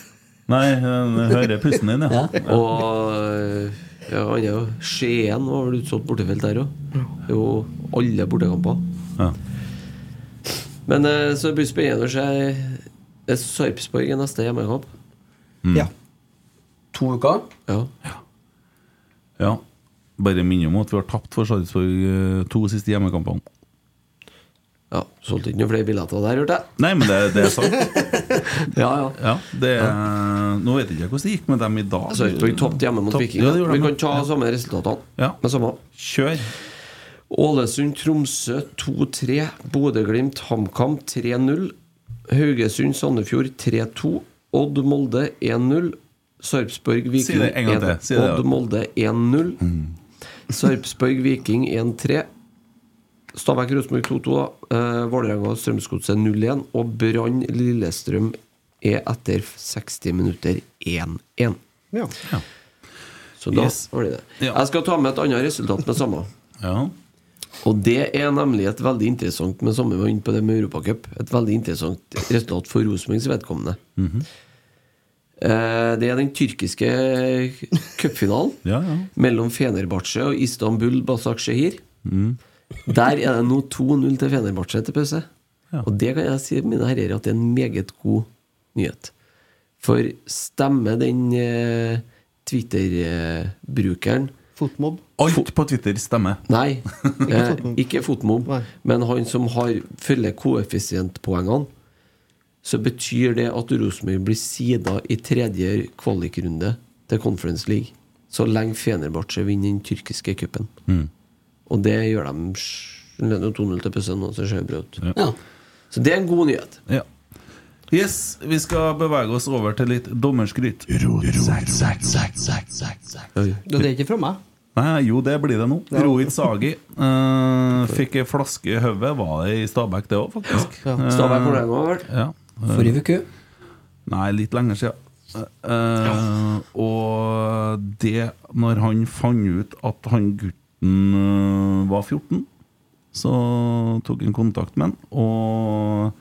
[SPEAKER 4] Nei, jeg hører pusten din, ja. Ja.
[SPEAKER 2] Og eh, ja, han er jo Skien var vel utsolgt bortefelt der òg. Det er jo alle bortekamper.
[SPEAKER 4] Ja.
[SPEAKER 2] Men eh, så det blir spennende å se Det er Sarpsborg er neste hjemmekamp.
[SPEAKER 4] Mm.
[SPEAKER 3] Ja. To uker?
[SPEAKER 2] Ja.
[SPEAKER 4] ja. Bare minne om at vi har tapt for Sarpsborg eh, to siste hjemmekampene.
[SPEAKER 2] Ja, Solgte ikke noen flere billetter der, hørte jeg.
[SPEAKER 4] Nei, men det, det er sant.
[SPEAKER 2] ja, ja.
[SPEAKER 4] det, er- Nå vet jeg ikke hvordan det gikk med dem i dag.
[SPEAKER 2] Sarpsborg tapte hjemme mot
[SPEAKER 4] Tapt-
[SPEAKER 2] Viking.
[SPEAKER 4] Ja, det gjorde
[SPEAKER 2] Vi
[SPEAKER 4] de.
[SPEAKER 2] kan ta samme resultatene.
[SPEAKER 4] Ja.
[SPEAKER 2] Men samme.
[SPEAKER 4] Kjør.
[SPEAKER 2] Ålesund-Tromsø 2-3. Bodø-Glimt HamKam 3-0. Haugesund-Sandefjord 3-2. Odd-Molde 1-0.
[SPEAKER 4] Si
[SPEAKER 2] Sarpsborg-Viking
[SPEAKER 4] det en gang til. Si det. Mm.
[SPEAKER 2] Odd-Molde 1-0. Sarpsborg-Viking 1-3. Stabæk-Rosenborg 2-2. da. Eh, Vålerenga og Strømsgodset 0-1. Og Brann-Lillestrøm er etter 60 minutter 1-1.
[SPEAKER 5] Ja.
[SPEAKER 2] Så da
[SPEAKER 4] Yes.
[SPEAKER 2] var det det. Jeg skal ta med et annet resultat med samme.
[SPEAKER 4] Ja.
[SPEAKER 2] Og det er nemlig et veldig interessant med samme var inne på det med Europacup. Et veldig interessant resultat for Rosenborgs vedkommende.
[SPEAKER 4] Mhm.
[SPEAKER 2] Eh, Det er den tyrkiske cupfinalen
[SPEAKER 4] Ja, ja.
[SPEAKER 2] mellom Fenerbahçe og Istanbul Basaksehir.
[SPEAKER 4] Mm.
[SPEAKER 2] Der er det nå 2-0 til Fenerbahçe til pause.
[SPEAKER 4] Ja.
[SPEAKER 2] Og det kan jeg si mine herrer at det er en meget god nyhet. For stemmer den eh, Twitter-brukeren
[SPEAKER 5] Fotmob?
[SPEAKER 4] Alt på Twitter stemmer.
[SPEAKER 2] Nei, eh,
[SPEAKER 4] fotmobb.
[SPEAKER 2] ikke fotmobb. Men han som har følger koeffisientpoengene, så betyr det at Rosenborg blir sida i tredje kvalikrunde til Conference League. Så lenge Fenerbahçe vinner den tyrkiske cupen.
[SPEAKER 4] Mm.
[SPEAKER 2] Og det gjør de sj- leder jo 2-0 til pausen, og så ser det bra ut.
[SPEAKER 4] Ja.
[SPEAKER 2] Så det er en god nyhet.
[SPEAKER 4] Ja. Yes, vi skal bevege oss over til litt dommerskryt. Oi.
[SPEAKER 5] Det er ikke fra meg.
[SPEAKER 4] Nei, jo, det blir det nå.
[SPEAKER 5] Ja.
[SPEAKER 4] Rohit Sagi eh, fikk ei flaske i hodet. Var det i Stabæk, det òg, faktisk?
[SPEAKER 5] Ja.
[SPEAKER 4] Eh,
[SPEAKER 5] Stabæk hvor det var, vel?
[SPEAKER 4] Ja. Eh,
[SPEAKER 5] Forrige uke?
[SPEAKER 4] Nei, litt lenger siden. Eh, eh, Og det, når han fant ut at han gutten eh, var 14 Så tok han kontakt med han, og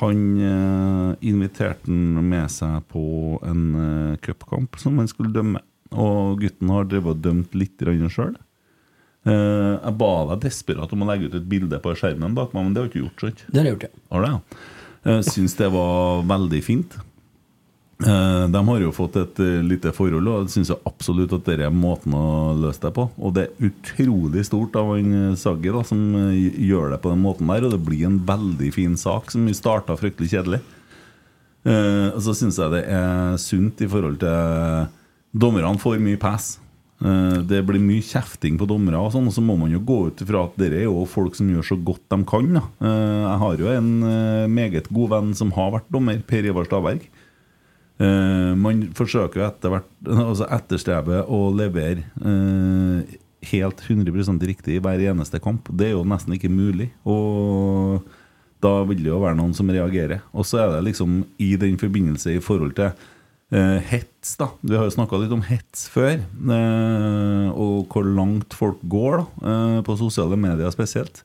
[SPEAKER 4] han eh, inviterte han med seg på en eh, cupkamp som han skulle dømme. Og gutten har drevet og dømt litt sjøl. Eh, jeg ba deg desperat om å legge ut et bilde på skjermen bak meg, men det har du ikke gjort. sant?
[SPEAKER 11] Det har jeg gjort, ja.
[SPEAKER 4] Har det, ja. Jeg syns det var veldig fint. Eh, De har jo fått et eh, lite forhold, og jeg syns absolutt at det er måten å løse det på. Og det er utrolig stort av han eh, Saggi da, som eh, gjør det på den måten der, og det blir en veldig fin sak som vi starta fryktelig kjedelig. Eh, Og så syns jeg det er sunt i forhold til eh, Dommerne får mye pass. Eh, Det blir mye kjefting på dommere, og sånn, og så må man jo gå ut ifra at dere er jo folk som gjør så godt de kan. Da. Eh, Jeg har jo en eh, meget god venn som har vært dommer, Per Ivar Stavberg. Eh, Man forsøker jo etter hvert altså etterstrebe å levere eh, helt 100 riktig i hver eneste kamp. Det er jo nesten ikke mulig. Og da vil det jo være noen som reagerer. Og så er det liksom i den forbindelse i forhold til eh, hets, da. Vi har jo snakka litt om hets før, eh, og hvor langt folk går, da, eh, på sosiale medier spesielt.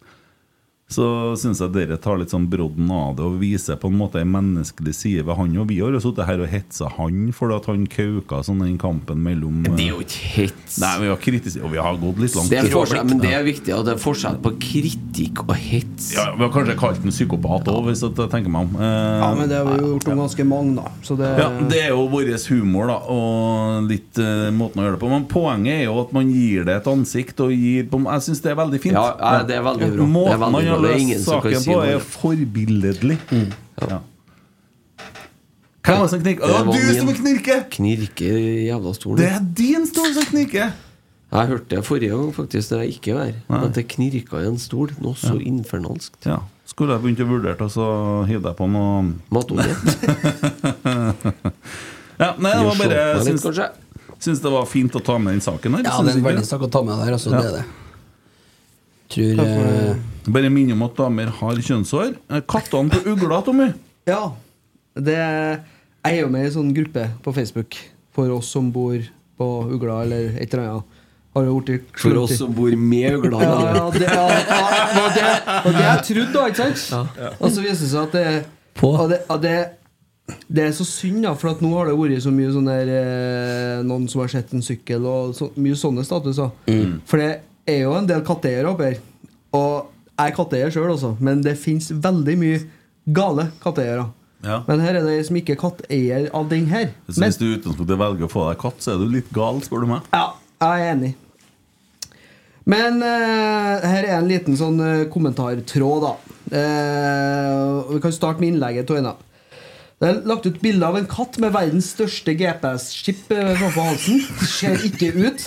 [SPEAKER 4] Så syns jeg dere tar litt sånn brodden av det og viser på en måte en menneskelig side ved han. Og vi har jo sittet her og hetsa han fordi at han kauka sånn den kampen mellom Det er jo ikke hets. Nei, vi har kritisert Og vi har gått litt langt.
[SPEAKER 2] Det er forskjell, men det er viktig at det er forskjell på kritikk og hets.
[SPEAKER 4] Ja, Vi har kanskje kalt den psykopat òg, hvis at jeg tenker meg om. Eh,
[SPEAKER 3] Ja, men det har vi jo gjort om ganske mange, da. Så det,
[SPEAKER 4] ja, det er jo vår humor da og litt eh, måten å gjøre det på. Men poenget er jo at man gir det et ansikt. Og gir, på- jeg syns det er veldig fint.
[SPEAKER 2] Ja, ja, det er veldig bra. Det er
[SPEAKER 4] Måten
[SPEAKER 2] veldig
[SPEAKER 4] man har
[SPEAKER 2] bra. Det er ingen
[SPEAKER 4] løst
[SPEAKER 2] som kan
[SPEAKER 4] saken
[SPEAKER 2] si
[SPEAKER 4] på,
[SPEAKER 2] noe
[SPEAKER 4] er
[SPEAKER 2] annet. Mm.
[SPEAKER 4] forbilledlig. Ja. Hvem var det som knirka? Det var du som knirker!
[SPEAKER 12] Knirker i jævla stolen.
[SPEAKER 4] Det er din stol som knirker!
[SPEAKER 12] Jeg hørte det forrige gang, faktisk, når jeg ikke var her.
[SPEAKER 4] Nei.
[SPEAKER 12] At det knirka i en stol. Noe så
[SPEAKER 4] Ja.
[SPEAKER 12] infernalskt.
[SPEAKER 4] Ja. Skulle jeg begynt å vurdere og så hive deg på noe
[SPEAKER 12] Matolje?
[SPEAKER 4] ja, nei, det
[SPEAKER 11] Jo,
[SPEAKER 4] var
[SPEAKER 11] slå
[SPEAKER 4] bare
[SPEAKER 11] meg
[SPEAKER 4] jeg
[SPEAKER 11] litt,
[SPEAKER 4] syns, syns det var fint å ta med den saken her.
[SPEAKER 11] Ja,
[SPEAKER 4] syns
[SPEAKER 11] det er en
[SPEAKER 4] ikke
[SPEAKER 11] veldig sak å ta med der, altså.
[SPEAKER 4] Ja.
[SPEAKER 11] Det er det. Tror
[SPEAKER 4] Takk for
[SPEAKER 11] eh,
[SPEAKER 4] det. Bare minne om at damer har kjønnshår. Eh, Kattene på ugla, Tommy.
[SPEAKER 3] ja. Det, jeg er jo med i en sånn gruppe på Facebook for oss som bor på Ugla eller et eller annet. Har jo blitt
[SPEAKER 2] For oss som bor med ugla.
[SPEAKER 3] ja, ja, det, ja, ja, det var det, var det jeg trodde, da, ikke sant?
[SPEAKER 2] Ja.
[SPEAKER 3] Og så viser det seg at det, at det, at det det er så synd, da, for at nå har det vært så mye sånn der eh, Noen som har sett en sykkel, og så, mye sånne statuser.
[SPEAKER 2] Mm.
[SPEAKER 3] For det er jo en del katteeiere oppe her. Og jeg er katteeier sjøl, altså, men det fins veldig mye gale katteeiere.
[SPEAKER 4] Ja.
[SPEAKER 3] Men her er det ei som ikke er katteeier av den her.
[SPEAKER 4] Så hvis du i utgangspunktet velger å få deg katt, så er du litt gal, spør du meg.
[SPEAKER 3] Ja, jeg er enig. Men eh, her er en liten sånn eh, kommentartråd, da. Eh, og vi kan starte med innlegget til henne. Det er lagt ut bilde av en katt med verdens største GPS-skip eh, framfor halsen. Ser ikke ut.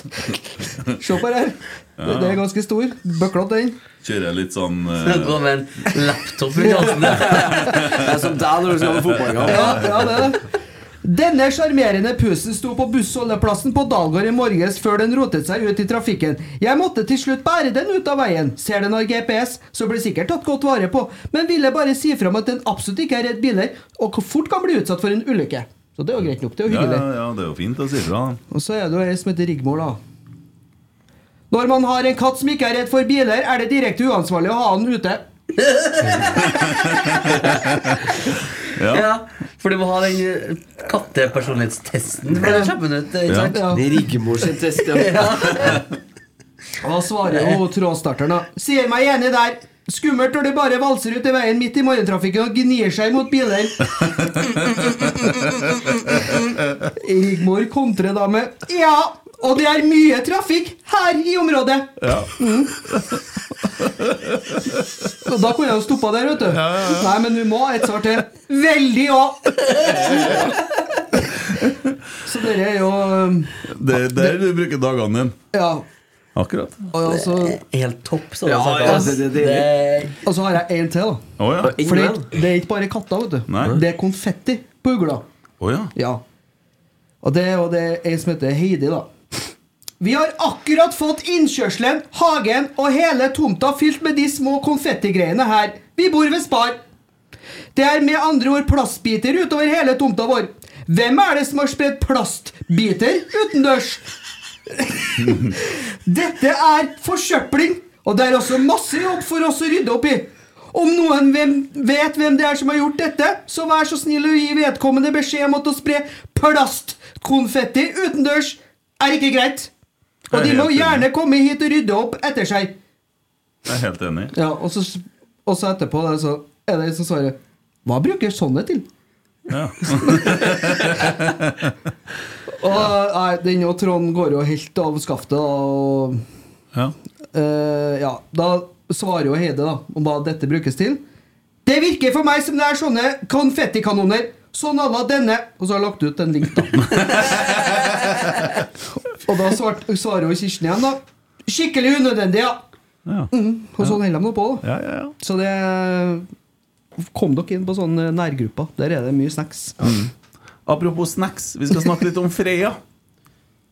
[SPEAKER 3] Se på det her. Det- Det er ganske stor. Bøklete, den.
[SPEAKER 4] Kjører litt sånn eh,
[SPEAKER 3] Det går
[SPEAKER 2] med en laptop i halsen. Det er som deg når du skal på fotballkamp.
[SPEAKER 3] Ja, ja, det er det. Denne sjarmerende pusen sto på bussholdeplassen på Dalgård i morges før den rotet seg ut i trafikken. Jeg måtte til slutt bære den ut av veien. Ser den har GPS, så blir sikkert tatt godt vare på, men ville bare si fram at den absolutt ikke er redd biler, og hvor fort kan bli utsatt for en ulykke. Så det er jo greit nok. Det er jo
[SPEAKER 4] ja,
[SPEAKER 3] hyggelig.
[SPEAKER 4] ja, ja, det er jo fint å si fra. da.
[SPEAKER 3] Og så er det jo ei som heter Rigmor, da. Når man har en katt som ikke er redd for biler, er det direkte uansvarlig å ha den ute.
[SPEAKER 4] Ja.
[SPEAKER 13] For du må ha den eh, kattepersonlighetstesten for å slippe den ut. eh, ikke
[SPEAKER 3] Ja.
[SPEAKER 13] sant?
[SPEAKER 3] Ja. Det er Rigmor sin test, ja. Og da svarer jo trådstarteren, da. Sier meg enig der. Skummelt når du bare valser ut i veien midt i morgentrafikken og gnir seg mot biler. Rigmor kontrer da med Ja, og det er mye trafikk her i området.
[SPEAKER 4] Ja.
[SPEAKER 3] Mm. Og da kunne jeg jo stoppa der, vet du. Nei, men du må ha et svar til. Veldig òg. Så dere er jo um,
[SPEAKER 4] Det er der du bruker dagene dine.
[SPEAKER 3] Ja.
[SPEAKER 4] Akkurat.
[SPEAKER 3] Og altså,
[SPEAKER 13] Helt topp, sånn
[SPEAKER 3] Ja,
[SPEAKER 13] sagt,
[SPEAKER 3] ja,
[SPEAKER 13] altså.
[SPEAKER 3] det- det-
[SPEAKER 13] Det-
[SPEAKER 3] og så har jeg en til, da.
[SPEAKER 4] Å ja.
[SPEAKER 3] For det, er ikke- det er ikke bare katter, vet du.
[SPEAKER 4] Nei.
[SPEAKER 3] Det er konfetti på ugla.
[SPEAKER 4] Å ja.
[SPEAKER 3] Ja. Og det, og det er ei som heter Heidi, da. Vi har akkurat fått innkjørselen, hagen og hele tomta fylt med de små konfettigreiene her. Vi bor ved Spar. Det er med andre ord plastbiter utover hele tomta vår. Hvem er det som har spredt plastbiter utendørs? Dette er forsøpling, Og det er også masse jobb for oss å rydde opp i. Om noen hvem, vet hvem det er som har gjort dette, så vær så snill å gi vedkommende beskjed om at å spre plastkonfetti utendørs er ikke greit. Og de må gjerne komme hit og rydde opp etter seg.
[SPEAKER 4] Jeg er helt enig.
[SPEAKER 3] Ja, og så, og så etterpå der, så er det en som svarer Hva bruker sånne til?
[SPEAKER 4] Ja.
[SPEAKER 3] Og nei, den og Trond går jo helt av skaftet, da, og eh,
[SPEAKER 4] ja.
[SPEAKER 3] ja. Da svarer jo Heide da om hva dette brukes til. Det virker for meg som det er sånne konfettikanoner. Sånn à la denne. Og så har jeg lagt ut en link, da. og da svart, svarer jo Kirsten igjen, da. Skikkelig unødvendig, ja. Mm, og sånn holder de nå på, da. Så det Kom dere inn på sånne nærgrupper. Der er det mye snacks.
[SPEAKER 4] Mm. Apropos snacks, vi skal snakke litt om Freya.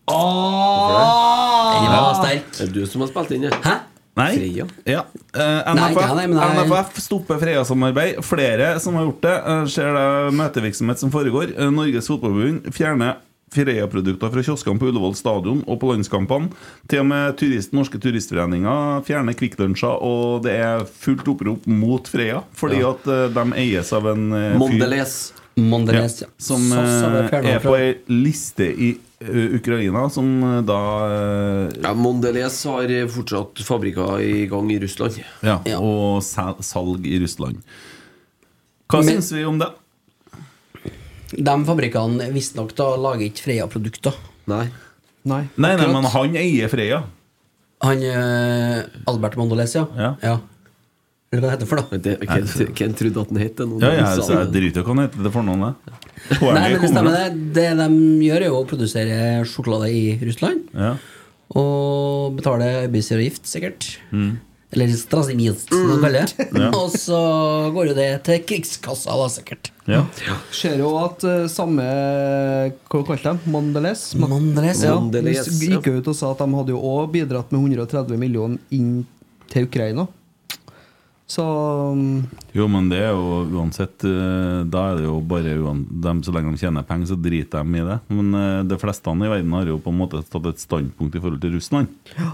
[SPEAKER 3] Den
[SPEAKER 4] var sterk.
[SPEAKER 14] Det er du som har spilt inn, det.
[SPEAKER 4] Hæ? Nei.
[SPEAKER 14] Freya.
[SPEAKER 4] Ja. Eh,
[SPEAKER 14] Nei,
[SPEAKER 4] NFF,
[SPEAKER 14] ikke han, nei, men nei.
[SPEAKER 4] NFF stopper Freia-samarbeid. Flere som har gjort det. Eh, Ser det møtevirksomhet som foregår. Eh, Norges Fotballforbund fjerner Freia-produkter fra kioskene på Ullevål stadion og på landskampene. Til og med turist, norske turistforeninger fjerner Kvikk Lunsjer, og det er fullt opprop mot Freia fordi
[SPEAKER 2] Ja.
[SPEAKER 4] at eh, de eies av en eh, fyr-
[SPEAKER 2] Mondelez. Mondelez, ja.
[SPEAKER 4] Som
[SPEAKER 2] Sass, ja, det
[SPEAKER 4] eh,
[SPEAKER 2] fjerner han
[SPEAKER 4] er
[SPEAKER 2] fra.
[SPEAKER 4] på ei liste i eh, Ukraina, som eh, da eh,
[SPEAKER 2] Ja, Mondelez har fortsatt fabrikker i gang i Russland.
[SPEAKER 4] Ja, og sal- salg i Russland. Hva
[SPEAKER 5] Men-
[SPEAKER 4] syns vi om det?
[SPEAKER 5] De fabrikkene visstnok da lager ikke Freia-produkter.
[SPEAKER 2] Nei.
[SPEAKER 3] Nei,
[SPEAKER 4] Nei, nei,
[SPEAKER 5] akkurat.
[SPEAKER 4] men han eier Freia.
[SPEAKER 5] Han eh, Albert Mondelez, ja.
[SPEAKER 4] ja.
[SPEAKER 5] Eller hva det heter for noe?
[SPEAKER 14] Det,
[SPEAKER 4] Ken-
[SPEAKER 14] Ken trodde at den het det. nå.
[SPEAKER 4] Ja, ja, så jeg driter i hva han heter det for noen, det.
[SPEAKER 5] Nei, men
[SPEAKER 4] Poenget
[SPEAKER 5] det
[SPEAKER 4] kommer
[SPEAKER 5] stemmer
[SPEAKER 4] nå.
[SPEAKER 5] det. Det de gjør, er jo å produsere sjokolade i Russland.
[SPEAKER 4] Ja.
[SPEAKER 5] Og betale arbeidsgiveravgift, sikkert.
[SPEAKER 4] Mm.
[SPEAKER 5] Eller strasimist, som de kaller det.
[SPEAKER 4] Ja.
[SPEAKER 5] Og så går jo det til krigskassa, da, sikkert.
[SPEAKER 4] Ja.
[SPEAKER 3] Ser jo at eh, samme Hva kalte de? Mondelez? Ma-
[SPEAKER 5] Mondelez,
[SPEAKER 3] ja.
[SPEAKER 5] ja. Mondelez,
[SPEAKER 3] de gikk jo ut og sa at de hadde jo òg bidratt med 130 millioner inn til Ukraina. Så mm,
[SPEAKER 4] Jo, men det er jo uansett eh, Da er det jo bare uan, dem, Så lenge de tjener penger, så driter de i det. Men eh, de fleste i verden har jo på en måte tatt et standpunkt i forhold til Russland.
[SPEAKER 3] ja,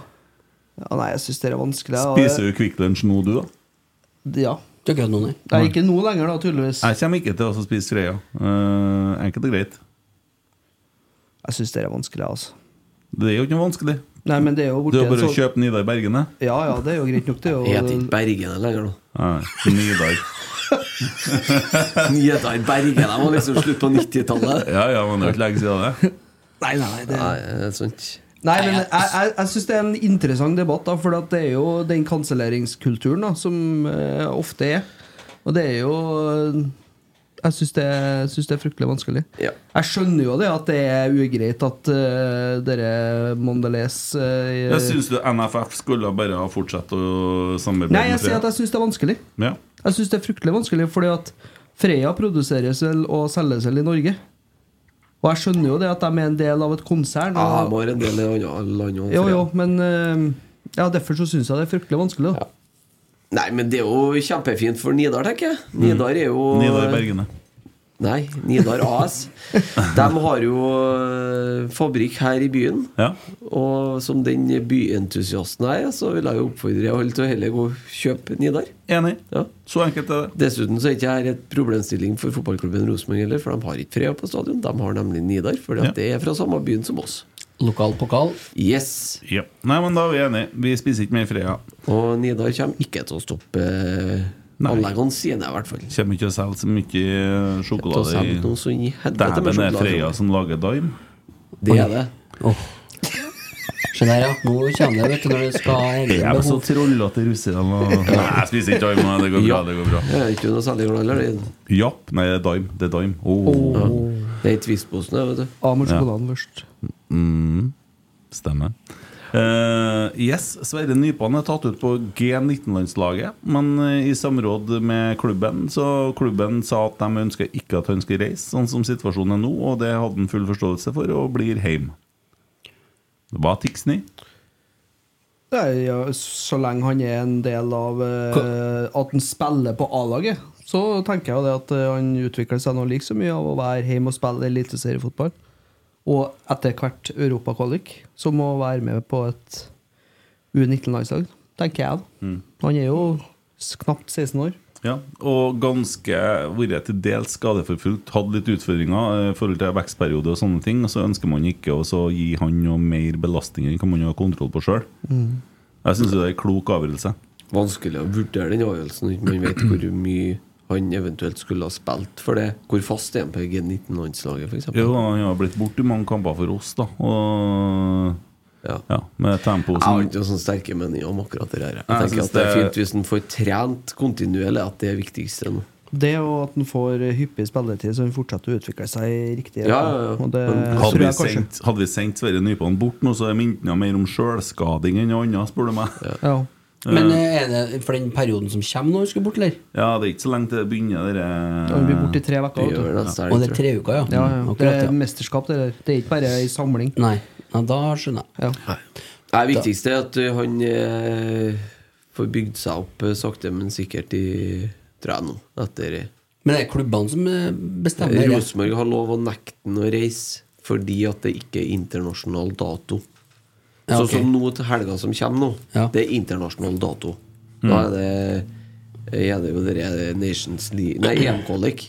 [SPEAKER 3] Nei, jeg syns det er vanskelig. og-
[SPEAKER 4] Spiser du Kvikk Lunsj nå, du, da?
[SPEAKER 3] Ja.
[SPEAKER 5] Du har ikke hatt noen,
[SPEAKER 3] Det er ikke nå lenger, da, tydeligvis.
[SPEAKER 4] Jeg kommer ikke til å spise Freia. Eh, enkelt og greit.
[SPEAKER 3] Jeg syns det er vanskelig, altså.
[SPEAKER 4] Det er jo ikke noe vanskelig.
[SPEAKER 3] Nei, men det er jo borti
[SPEAKER 4] Det er jo
[SPEAKER 3] en
[SPEAKER 4] bare å
[SPEAKER 3] sånn
[SPEAKER 4] kjøpe Nidar eh? Bergene.
[SPEAKER 3] Ja, ja, det er jo greit nok, det. er jo-
[SPEAKER 2] Jeg heter ikke Bergen lenger, da.
[SPEAKER 4] Nei, Nidar.
[SPEAKER 2] Nidar Bergen, de var liksom slutt på 90-tallet.
[SPEAKER 4] Ja, ja, men det er jo ikke lenge
[SPEAKER 3] Eh.
[SPEAKER 4] siden det.
[SPEAKER 3] Nei, nei, nei, det
[SPEAKER 2] Nei, det er sant.
[SPEAKER 3] Nei, men jeg, jeg, jeg syns det er en interessant debatt, da, for at det er jo den kanselleringskulturen da, som eh, ofte er. Og det er jo eh, Jeg syns det, jeg synes det er fryktelig vanskelig. Jeg skjønner jo det at det er ugreit at uh, dere Mondelez eh,
[SPEAKER 4] Jeg syns du NFF skulle bare ha fortsatt å samarbeide
[SPEAKER 3] Nei, jeg sier at jeg syns det er vanskelig.
[SPEAKER 4] Ja.
[SPEAKER 3] Jeg syns det er fryktelig vanskelig, fordi at Freia produseres vel og selges vel i Norge. Og jeg skjønner jo det at de er en del av et konsern.
[SPEAKER 2] Ja,
[SPEAKER 3] og-
[SPEAKER 2] de har en del i andre land også,
[SPEAKER 3] Jo,
[SPEAKER 2] Freia.
[SPEAKER 3] jo, men eh, Ja, derfor så syns jeg det er fryktelig vanskelig. Da.
[SPEAKER 2] Nei, men det er jo kjempefint for Nidar, tenker jeg. Nidar er jo
[SPEAKER 4] Mm. Nidar
[SPEAKER 3] eh,
[SPEAKER 4] eh. Bergene.
[SPEAKER 2] Nei, Nidar AS. De har jo eh, fabrikk her i byen. Og som den byentusiasten jeg er, så vil jeg jo oppfordre alle til å heller gå og kjøpe Nidar.
[SPEAKER 4] Enig.
[SPEAKER 2] Ja.
[SPEAKER 4] Så enkelt er
[SPEAKER 2] det. Dessuten så er ikke her et problemstilling for fotballklubben Rosenborg heller, for de har ikke Freia på stadion. De har nemlig Nidar, for
[SPEAKER 4] Ja.
[SPEAKER 2] det er fra samme byen som oss.
[SPEAKER 5] Lokal pokal.
[SPEAKER 2] Yes.
[SPEAKER 4] Ja. Nei, men da er vi enige. Vi spiser ikke mer Freia.
[SPEAKER 2] Og Nidar kommer ikke til å stoppe eh, anleggene sine, i hvert fall.
[SPEAKER 4] Kommer ikke til å selge så mye eh,
[SPEAKER 2] Til å
[SPEAKER 4] sjokolade
[SPEAKER 2] selge noe så i helvete med
[SPEAKER 4] Dæven, det er
[SPEAKER 2] sjokolade.
[SPEAKER 4] Freia som lager Dime.
[SPEAKER 2] Det er det.
[SPEAKER 5] Se der, ja. Nå kommer det, vet du, når du skal ha
[SPEAKER 4] Jeg
[SPEAKER 5] egne
[SPEAKER 4] er så
[SPEAKER 5] behov.
[SPEAKER 4] trollete russerne. og- Nei, jeg spiser ikke Dime. men Det går bra. det går bra
[SPEAKER 2] Jeg er ikke noe særlig glad heller. det.
[SPEAKER 4] Japp. Nei, det er Dime. Det er Dime. Åh.
[SPEAKER 2] Ja. Det er i Twist-posen, det, vet du.
[SPEAKER 4] Ja.
[SPEAKER 3] sjokoladen først.
[SPEAKER 4] Mm, stemmer. Eh, yes, Sverre Nypan er tatt ut på G19-landslaget, men eh, i samråd med klubben. Så klubben sa at de ønsker ikke at han skal reise, sånn som situasjonen er nå, og det hadde han full forståelse for, og blir hjem. Det var Tixny.
[SPEAKER 3] Det er, ja, så lenge han er en del av eh, At han spiller på A-laget, så tenker jeg jo det at eh, han utvikler seg noe like så mye av å være hjemme og spille eliteseriefotball. Og etter hvert europakvalik, som må være med på et U19-landslag.
[SPEAKER 6] tenker jeg. da.
[SPEAKER 4] Mm.
[SPEAKER 6] Han er jo s- knapt 16 år.
[SPEAKER 4] Ja, og ganske vært til dels skadeforfulgt. Hatt litt utfordringer eh, i forhold til vekstperiode og sånne ting. Og så ønsker man ikke å så gi han noe mer belastninger enn hva man har kontroll på sjøl.
[SPEAKER 2] Mm.
[SPEAKER 4] Jeg syns det er en klok avgjørelse.
[SPEAKER 2] Vanskelig å vurdere den avgjørelsen når man vet hvor mye han eventuelt skulle ha spilt for det. Hvor fast er han på G19-landslaget, f.eks.?
[SPEAKER 4] Jo, han har blitt borti mange kamper for oss, da. Og ja. med tempo
[SPEAKER 2] Jeg
[SPEAKER 4] som
[SPEAKER 2] har ikke noen sånne sterke meninger om akkurat det her. Jeg
[SPEAKER 4] sånn. Nei, jeg
[SPEAKER 2] tenker
[SPEAKER 4] synes
[SPEAKER 2] at det er
[SPEAKER 4] det-
[SPEAKER 2] fint hvis han får trent kontinuerlig, at det er viktigste nå.
[SPEAKER 6] Det og at han får hyppig spilletid, så han fortsetter å utvikle seg i riktig retning. Og det
[SPEAKER 4] hadde,
[SPEAKER 6] tror
[SPEAKER 4] vi
[SPEAKER 6] jeg kanskje.
[SPEAKER 4] sendt, hadde vi sendt Sverre Nypan bort nå, så er mintene mer om sjølskading enn noe annet, spør du meg.
[SPEAKER 3] Ja. Men eh, er det for den perioden som kommer når han skal bort, eller?
[SPEAKER 4] Ja, det er ikke så lenge til det begynner det eh,
[SPEAKER 6] Ja, han blir borte i tre uker. vet du.
[SPEAKER 3] Og det er tre uker, ja.
[SPEAKER 6] ja, ja.
[SPEAKER 3] Mm,
[SPEAKER 6] Det
[SPEAKER 3] Akkurat,
[SPEAKER 6] er
[SPEAKER 3] ja.
[SPEAKER 6] mesterskap, det der. Det er ikke bare ei samling.
[SPEAKER 3] Nei, da skjønner jeg.
[SPEAKER 2] Det er viktigste er at uh, han eh, får bygd seg opp eh, sakte, men sikkert i Træn nå. Etter
[SPEAKER 3] Men det er klubbene som eh, bestemmer det.
[SPEAKER 2] Rosenborg har lov å nekte han å reise fordi at det ikke er internasjonal dato.
[SPEAKER 3] Ja, ok.
[SPEAKER 2] Sånn som nå til helga som kommer nå,
[SPEAKER 3] Ja.
[SPEAKER 2] det er internasjonal dato.
[SPEAKER 3] Mm.
[SPEAKER 2] Da er det er det jo det der Nations League Nei, EM-kvalik.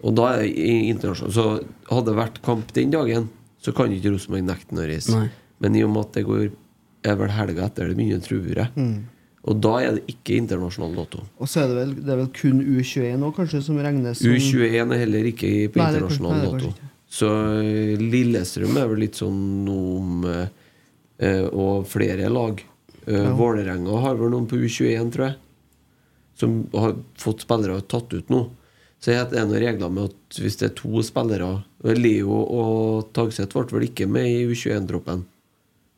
[SPEAKER 2] Og da er det i- internasjonal Så hadde det vært kamp den dagen, så kan ikke Rosenborg nekte han å reise.
[SPEAKER 3] Nei.
[SPEAKER 2] Men i og med at det går er vel helga etter det begynner, tror jeg.
[SPEAKER 6] Mm.
[SPEAKER 2] Og da er det ikke internasjonal dato.
[SPEAKER 6] Og så er det vel, det er vel kun U21 nå, kanskje, som regnes som
[SPEAKER 2] U21 er heller ikke i- på
[SPEAKER 6] Nei, det er kanskje- nei,
[SPEAKER 2] internasjonal
[SPEAKER 6] det er kanskje
[SPEAKER 2] dato. Så eh, Lillestrøm er vel litt sånn om eh, eh, Og flere lag. Eh,
[SPEAKER 6] Ja.
[SPEAKER 2] Vålerenga har vel noen på U21, tror jeg. Som har fått spillere og tatt ut nå. Så jeg- det er noen regler med at hvis det er to spillere og Leo og Tagseth ble vel ikke med i U21-troppen.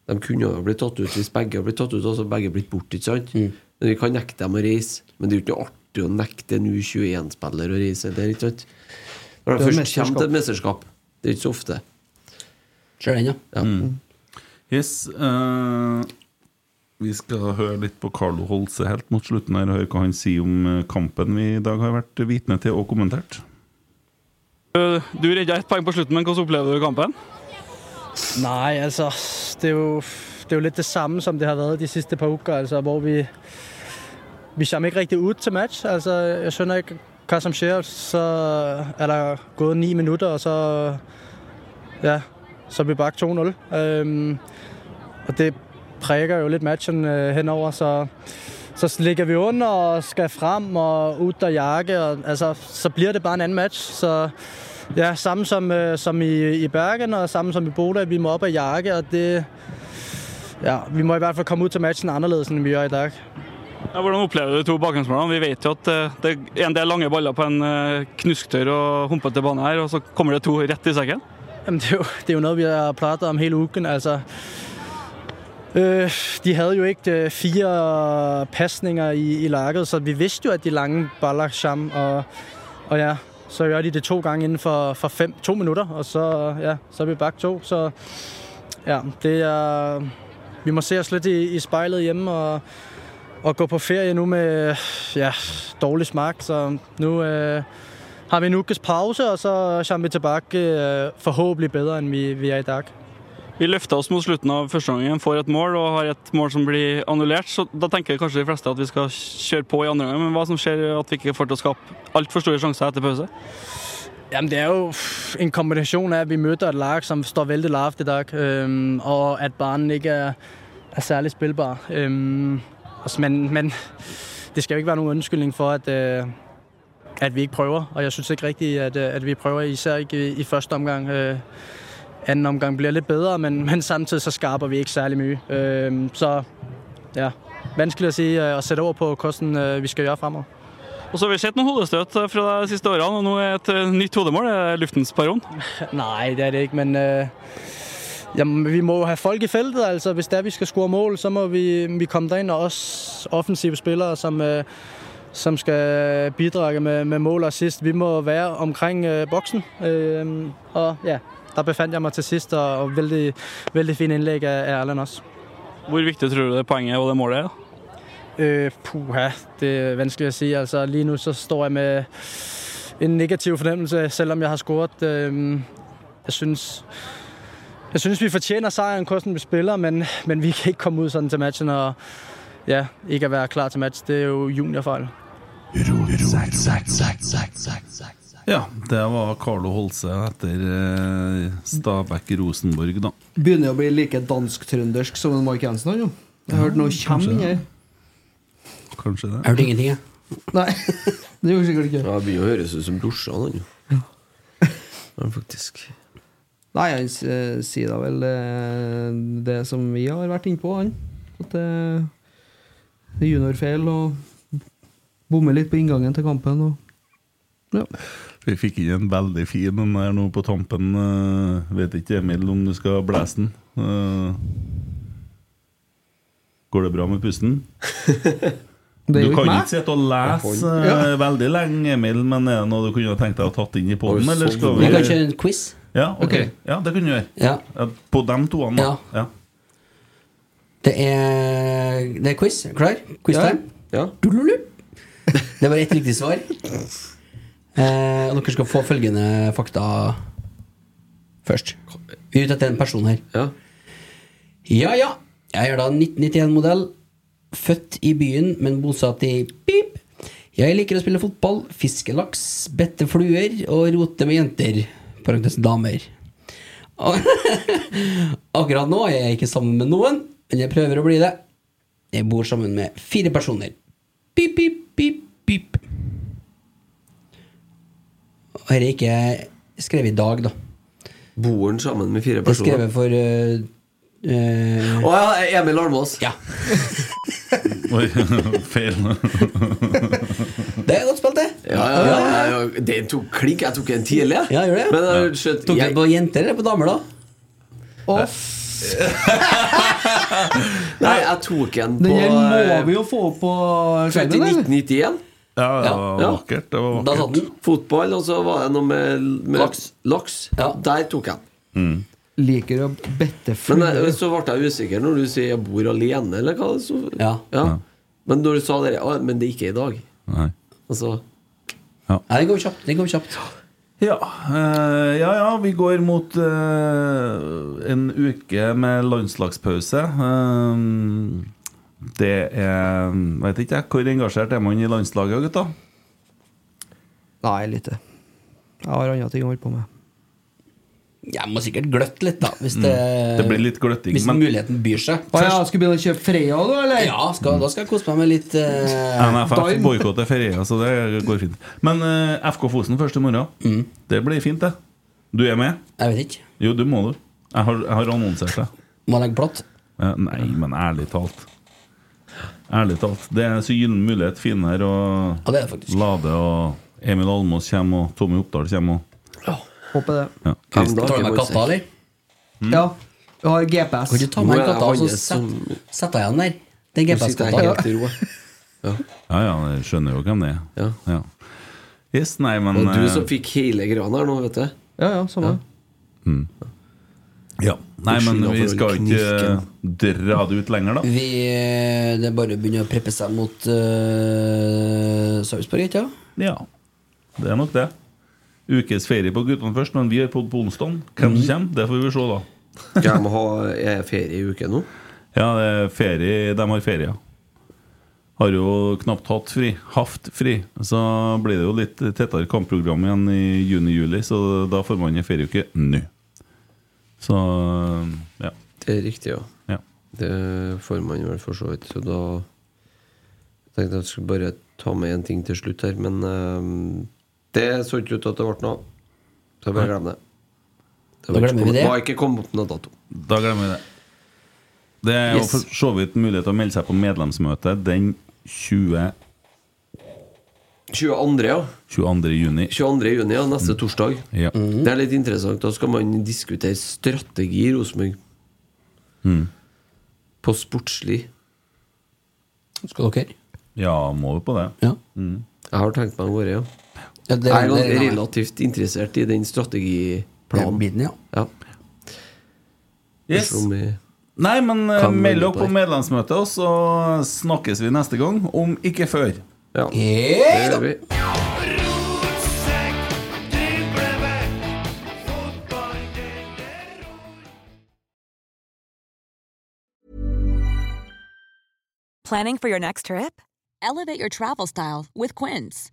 [SPEAKER 2] De kunne jo blitt tatt ut hvis begge har blitt tatt ut, og så har begge blitt borte. ikke sant?
[SPEAKER 5] Mm.
[SPEAKER 2] Men Vi kan nekte dem å reise, men det er jo ikke noe artig å nekte en U21-spiller å reise. Der, ikke sant? Når
[SPEAKER 6] Det
[SPEAKER 2] de
[SPEAKER 6] er jo
[SPEAKER 2] først kommer til et mesterskap. Det er ikke så ofte.
[SPEAKER 3] Ser den, ja.
[SPEAKER 4] Mm. Yes. eh, vi skal høre litt på Carlo Holse helt mot slutten her, og høre hva han sier om eh, kampen vi i dag har vært vitne til og kommentert.
[SPEAKER 15] Du redda ett poeng på slutten, men hvordan opplever du kampen?
[SPEAKER 5] Nej, altså, det er, jo, det er jo lidt det samme, som det har været de sidste par uger, altså, hvor vi, vi kom ikke rigtig ud til match. Altså, jeg skønner ikke, Kasim Sheriff, så er der gået 9 minutter, og så, ja, så er vi bagt 2-0. Øhm, og det præger jo lidt matchen øh, henover, så, så ligger vi under og skal frem og ud og jakke, og altså, så bliver det bare en anden match. Så ja, samme som, øh, som i, i Bergen og samme som i Boda, vi må op og jakke, og det, ja, vi må i hvert fald komme ud til matchen anderledes, end vi gør i dag.
[SPEAKER 15] Ja, hvordan opplever du de to bakgrunnsmålene? Vi vet jo at eh, det er en del lange baller på en eh, knusktørr og humpete bane her, og så kommer det to rett i sekken.
[SPEAKER 5] Jamen, det, er jo, det er jo noget, vi har pratet om hele ugen. Altså, øh, de havde jo ikke øh, fire pasninger i, i lakket, så vi vidste jo, at de lange baller sammen. Og, og ja, så gør de det to gange inden for, for fem, to minutter, og så, ja, så er vi bagt to. Så ja, det er, vi må se os lidt i, i spejlet hjemme og, og gå på ferie nu med ja, dårlig smak. Så nu, øh, har vi en ukes pause, og så kommer vi tilbage øh, forhåbentlig bedre, end vi, vi er i dag.
[SPEAKER 15] Vi løfta oss mot slutten av første gangen, får et mål og har et mål som blir annullert. Så da tenker kanskje de fleste at vi skal kjøre på i andre omgang, men hva som skjer at vi ikke får til å skape altfor store sjanser etter pause?
[SPEAKER 5] Jamen, det er jo pff, en kombination af, at vi mødte et lag, som står vældig lavt i dag, øhm, og at banen ikke er, er særlig spilbar. Øhm, og så- men, men det skal jo ikke være nogen undskyldning for, at, øh, at vi ikke prøver. Og jeg synes ikke rigtigt, at, øh, at vi prøver, især ikke i, i første omgang. Øh, anden omgang bliver lidt bedre, men, men samtidig så skarper vi ikke særlig mye. Øhm, så ja, vanskeligt at, sige, øh, at sætte over på kosten, øh, vi skal gøre fremover.
[SPEAKER 15] Og så har vi sett noen hodestøt fra de siste årene, og nå er et eh, nytt hodemål. Det er luftens baron.
[SPEAKER 5] Nej, det er det ikke, men øh, jamen, vi må jo have folk i feltet. Altså, hvis det er, vi skal score mål, så må vi, vi komme derind, og også offensive spillere, som, øh, som skal bidrage med, med mål og sidst. Vi må være omkring øh, boksen, øh, og ja, der befandt jeg mig til sidst, og, og vældig, vældig fint indlæg af, af Erland også.
[SPEAKER 15] Hvor viktig tror du det poenget og det målet er? da?
[SPEAKER 5] Øh, puha, det er vanskeligt at sige. Altså, lige nu så står jeg med en negativ fornemmelse, selvom jeg har scoret. Øh, jeg synes,
[SPEAKER 16] Jeg synes, vi fortjener sejren, hvordan vi spiller, men, men vi kan ikke komme ud sådan til matchen og ja, ikke at være klar til match. Det er jo juniorfejl.
[SPEAKER 4] Ja, det var Carlo Holse etter eh, Stabæk-Rosenborg, da.
[SPEAKER 5] Begynner å bli like dansk-trøndersk som en Mark Jensen. han, jo. Jeg hørte noe kjem
[SPEAKER 4] kanskje
[SPEAKER 5] inn
[SPEAKER 4] det.
[SPEAKER 5] her.
[SPEAKER 4] Kanskje det.
[SPEAKER 3] hørte ingenting, jeg.
[SPEAKER 5] Nei, det gjorde sikkert ikke
[SPEAKER 2] Ja, det begynner å høres ut som brorsan, han jo. Ja, faktisk.
[SPEAKER 5] Nei, han s- eh, sier da vel eh, det som vi har vært inne på, han. At det er juniorfeil og bommer litt på inngangen til kampen. Og
[SPEAKER 4] Vi fikk inn en veldig fin en her nå på tampen. eh, vet ikke, Emil, om du skal blæse den. Eh, går det bra med pusten?
[SPEAKER 5] Det er
[SPEAKER 4] du
[SPEAKER 5] jo ikke
[SPEAKER 4] kan
[SPEAKER 5] meg.
[SPEAKER 4] ikke sitte og lese
[SPEAKER 5] Jeg
[SPEAKER 4] eh,
[SPEAKER 5] kan.
[SPEAKER 4] veldig lenge, Emil, men er det noe du kunne tenkt deg å tatt inn i poden? Eller skal vi
[SPEAKER 3] Vi kan kjøre en quiz.
[SPEAKER 4] Ja, ok. Ja, det kunne du gjøre.
[SPEAKER 3] Ja.
[SPEAKER 4] På dem to, da. Ja.
[SPEAKER 3] Det er, det er quiz. Klar? Quiztime?
[SPEAKER 2] Ja.
[SPEAKER 3] Det var ett riktig svar. Eh, og dere skal få følgende fakta først. Vi er ute etter en person her.
[SPEAKER 2] Ja
[SPEAKER 3] ja. Jeg er da 1991-modell. Født i byen, men bosatt i pip. Jeg liker å spille fotball, fiske laks, bette fluer og rote med jenter. Parentes damer. Akkurat nå er jeg ikke sammen med noen, men jeg prøver å bli det. Jeg bor sammen med fire personer. Pip, pip, pip, pip. Og dette er ikke skrevet i dag, da.
[SPEAKER 2] Bor han sammen med fire
[SPEAKER 3] Det er skrevet
[SPEAKER 2] personer?
[SPEAKER 3] for eh, eh,
[SPEAKER 2] Å ja, Emil Almås.
[SPEAKER 3] Ja.
[SPEAKER 4] Oi, feil.
[SPEAKER 3] Det er godt spilt, det.
[SPEAKER 2] Ja, ja, ja, ja, ja. Den tok klink. Jeg tok en tidlig, jeg.
[SPEAKER 3] Ja, gjør det.
[SPEAKER 2] Men uh, jeg har skjønt
[SPEAKER 3] Tok du på jenter eller på damer, da?
[SPEAKER 2] Nei, jeg tok en på
[SPEAKER 5] Den her må
[SPEAKER 2] eh,
[SPEAKER 5] vi jo få opp på
[SPEAKER 2] Født i
[SPEAKER 5] skjermen, eller?
[SPEAKER 2] 1991.
[SPEAKER 4] Ja,
[SPEAKER 5] det var
[SPEAKER 4] vakkert. Det var
[SPEAKER 2] Da satt den. Fotball, og så var det noe med, med laks. Der tok jeg den.
[SPEAKER 5] Liker å bette
[SPEAKER 2] Men eh,
[SPEAKER 5] fluer.
[SPEAKER 2] jeg, så ble jeg usikker når du sier 'jeg bor alene', eller hva? Så,
[SPEAKER 3] Ja.
[SPEAKER 2] Men når du sa det «Å, Men det er ikke i dag.
[SPEAKER 4] Nei.
[SPEAKER 2] Altså
[SPEAKER 3] Nei, den kom kjapt. Den kom kjapt.
[SPEAKER 4] Ja, eh, ja, ja, vi går mot eh, en uke med landslagspause. Eh, det er Vet ikke jeg, hvor engasjert er man i landslaget, gutta?
[SPEAKER 5] Nei, lite. Jeg har andre ting å holde på med.
[SPEAKER 3] Jeg må sikkert gløtte litt, da. Hvis det,
[SPEAKER 4] Mm. Det blir litt gløtting,
[SPEAKER 3] Hvis
[SPEAKER 4] men-
[SPEAKER 3] muligheten byr seg.
[SPEAKER 5] Å ja, skal vi begynne å kjøpe Freia, da, eller?
[SPEAKER 3] Ja, skal, da skal jeg kose meg med litt eh,
[SPEAKER 4] NFF boikotter ferie, så det går fint. Men eh, FK Fosen først i morgen. Det blir fint, det. Du er med?
[SPEAKER 3] Jeg vet ikke.
[SPEAKER 4] Jo, du må, du. Jeg har, jeg har annonsert det.
[SPEAKER 3] Må legge platt?
[SPEAKER 4] Eh, nei, men ærlig talt. Ærlig talt. Det er så gyllen mulighet finner og
[SPEAKER 3] ja, det er faktisk.
[SPEAKER 4] Lade og Emil Almås kommer, og Tommy Oppdal kommer. og-
[SPEAKER 5] Håper det.
[SPEAKER 4] Ja.
[SPEAKER 3] Tar du med katta, eller?
[SPEAKER 5] Mm. Ja. Du har GPS.
[SPEAKER 3] Kan du ta med katta og så sette sette deg igjen der? Den GPS-katta.
[SPEAKER 2] ro.
[SPEAKER 4] Ja, ja, jeg skjønner jo hvem det er. Ja. Yes, nei, men
[SPEAKER 2] Og du
[SPEAKER 4] eh,
[SPEAKER 2] som fikk hele grana her nå, vet du.
[SPEAKER 5] Ja, ja, samme.
[SPEAKER 4] ja. Nei, men
[SPEAKER 2] Skylda
[SPEAKER 4] vi
[SPEAKER 2] for
[SPEAKER 4] skal ikke dra det ut lenger, da.
[SPEAKER 3] Vi, eh, det er bare å begynne å preppe seg mot uh, Sarpsborg, ikke sant?
[SPEAKER 4] Ja, det er nok det. Ukes ferie på guttene først, men vi er på på onsdag. Hvem
[SPEAKER 2] Mm.
[SPEAKER 4] som kommer, det får vi se, da.
[SPEAKER 2] Skal de ha er ferie i uke nå?
[SPEAKER 4] Ja, det er ferie, de har ferie. ja. Har jo knapt hatt fri. Haft fri. Så blir det jo litt tettere kampprogram igjen i juni-juli, så da får man en ferieuke nå. Så ja.
[SPEAKER 2] Det er riktig, ja.
[SPEAKER 4] Ja.
[SPEAKER 2] Det får man vel for så vidt. Så da tenkte jeg at jeg skulle bare ta med en ting til slutt her, men ehm, det så ikke ut til at det ble noe av. Så jeg bare glem det. Det
[SPEAKER 4] Da
[SPEAKER 2] var ikke
[SPEAKER 4] glemmer vi det.
[SPEAKER 2] kommet- var ikke kommet opp noen dato.
[SPEAKER 4] Da glemmer vi det. Det er jo
[SPEAKER 2] Yes.
[SPEAKER 4] for så vidt mulighet til å melde seg på medlemsmøte den 20.
[SPEAKER 2] 22., ja.
[SPEAKER 4] 22. juni.
[SPEAKER 2] 22. juni, ja, neste torsdag.
[SPEAKER 4] Ja.
[SPEAKER 2] Det er litt interessant. Da skal man diskutere strategi i Rosenborg.
[SPEAKER 4] Mm.
[SPEAKER 2] På sportslig.
[SPEAKER 3] Skal dere?
[SPEAKER 4] Ja, må jo på det. Mm.
[SPEAKER 2] Jeg har tenkt meg å være, ja.
[SPEAKER 3] Ja, det-
[SPEAKER 2] jeg er
[SPEAKER 3] det-
[SPEAKER 2] ganske relativt interessert i den
[SPEAKER 3] Den
[SPEAKER 2] strategiplanen.
[SPEAKER 3] biten, ja.
[SPEAKER 4] Yes.
[SPEAKER 2] Spørs om vi-
[SPEAKER 4] Nei, men eh,
[SPEAKER 2] Kan
[SPEAKER 4] meld
[SPEAKER 2] melde
[SPEAKER 4] dere på
[SPEAKER 2] på.
[SPEAKER 4] medlemsmøtet, og så snakkes vi neste gang, om ikke før.
[SPEAKER 2] Ja.
[SPEAKER 3] Det
[SPEAKER 2] gjør vi.
[SPEAKER 8] Planning for your next trip?
[SPEAKER 9] Elevate your travel style with Quince.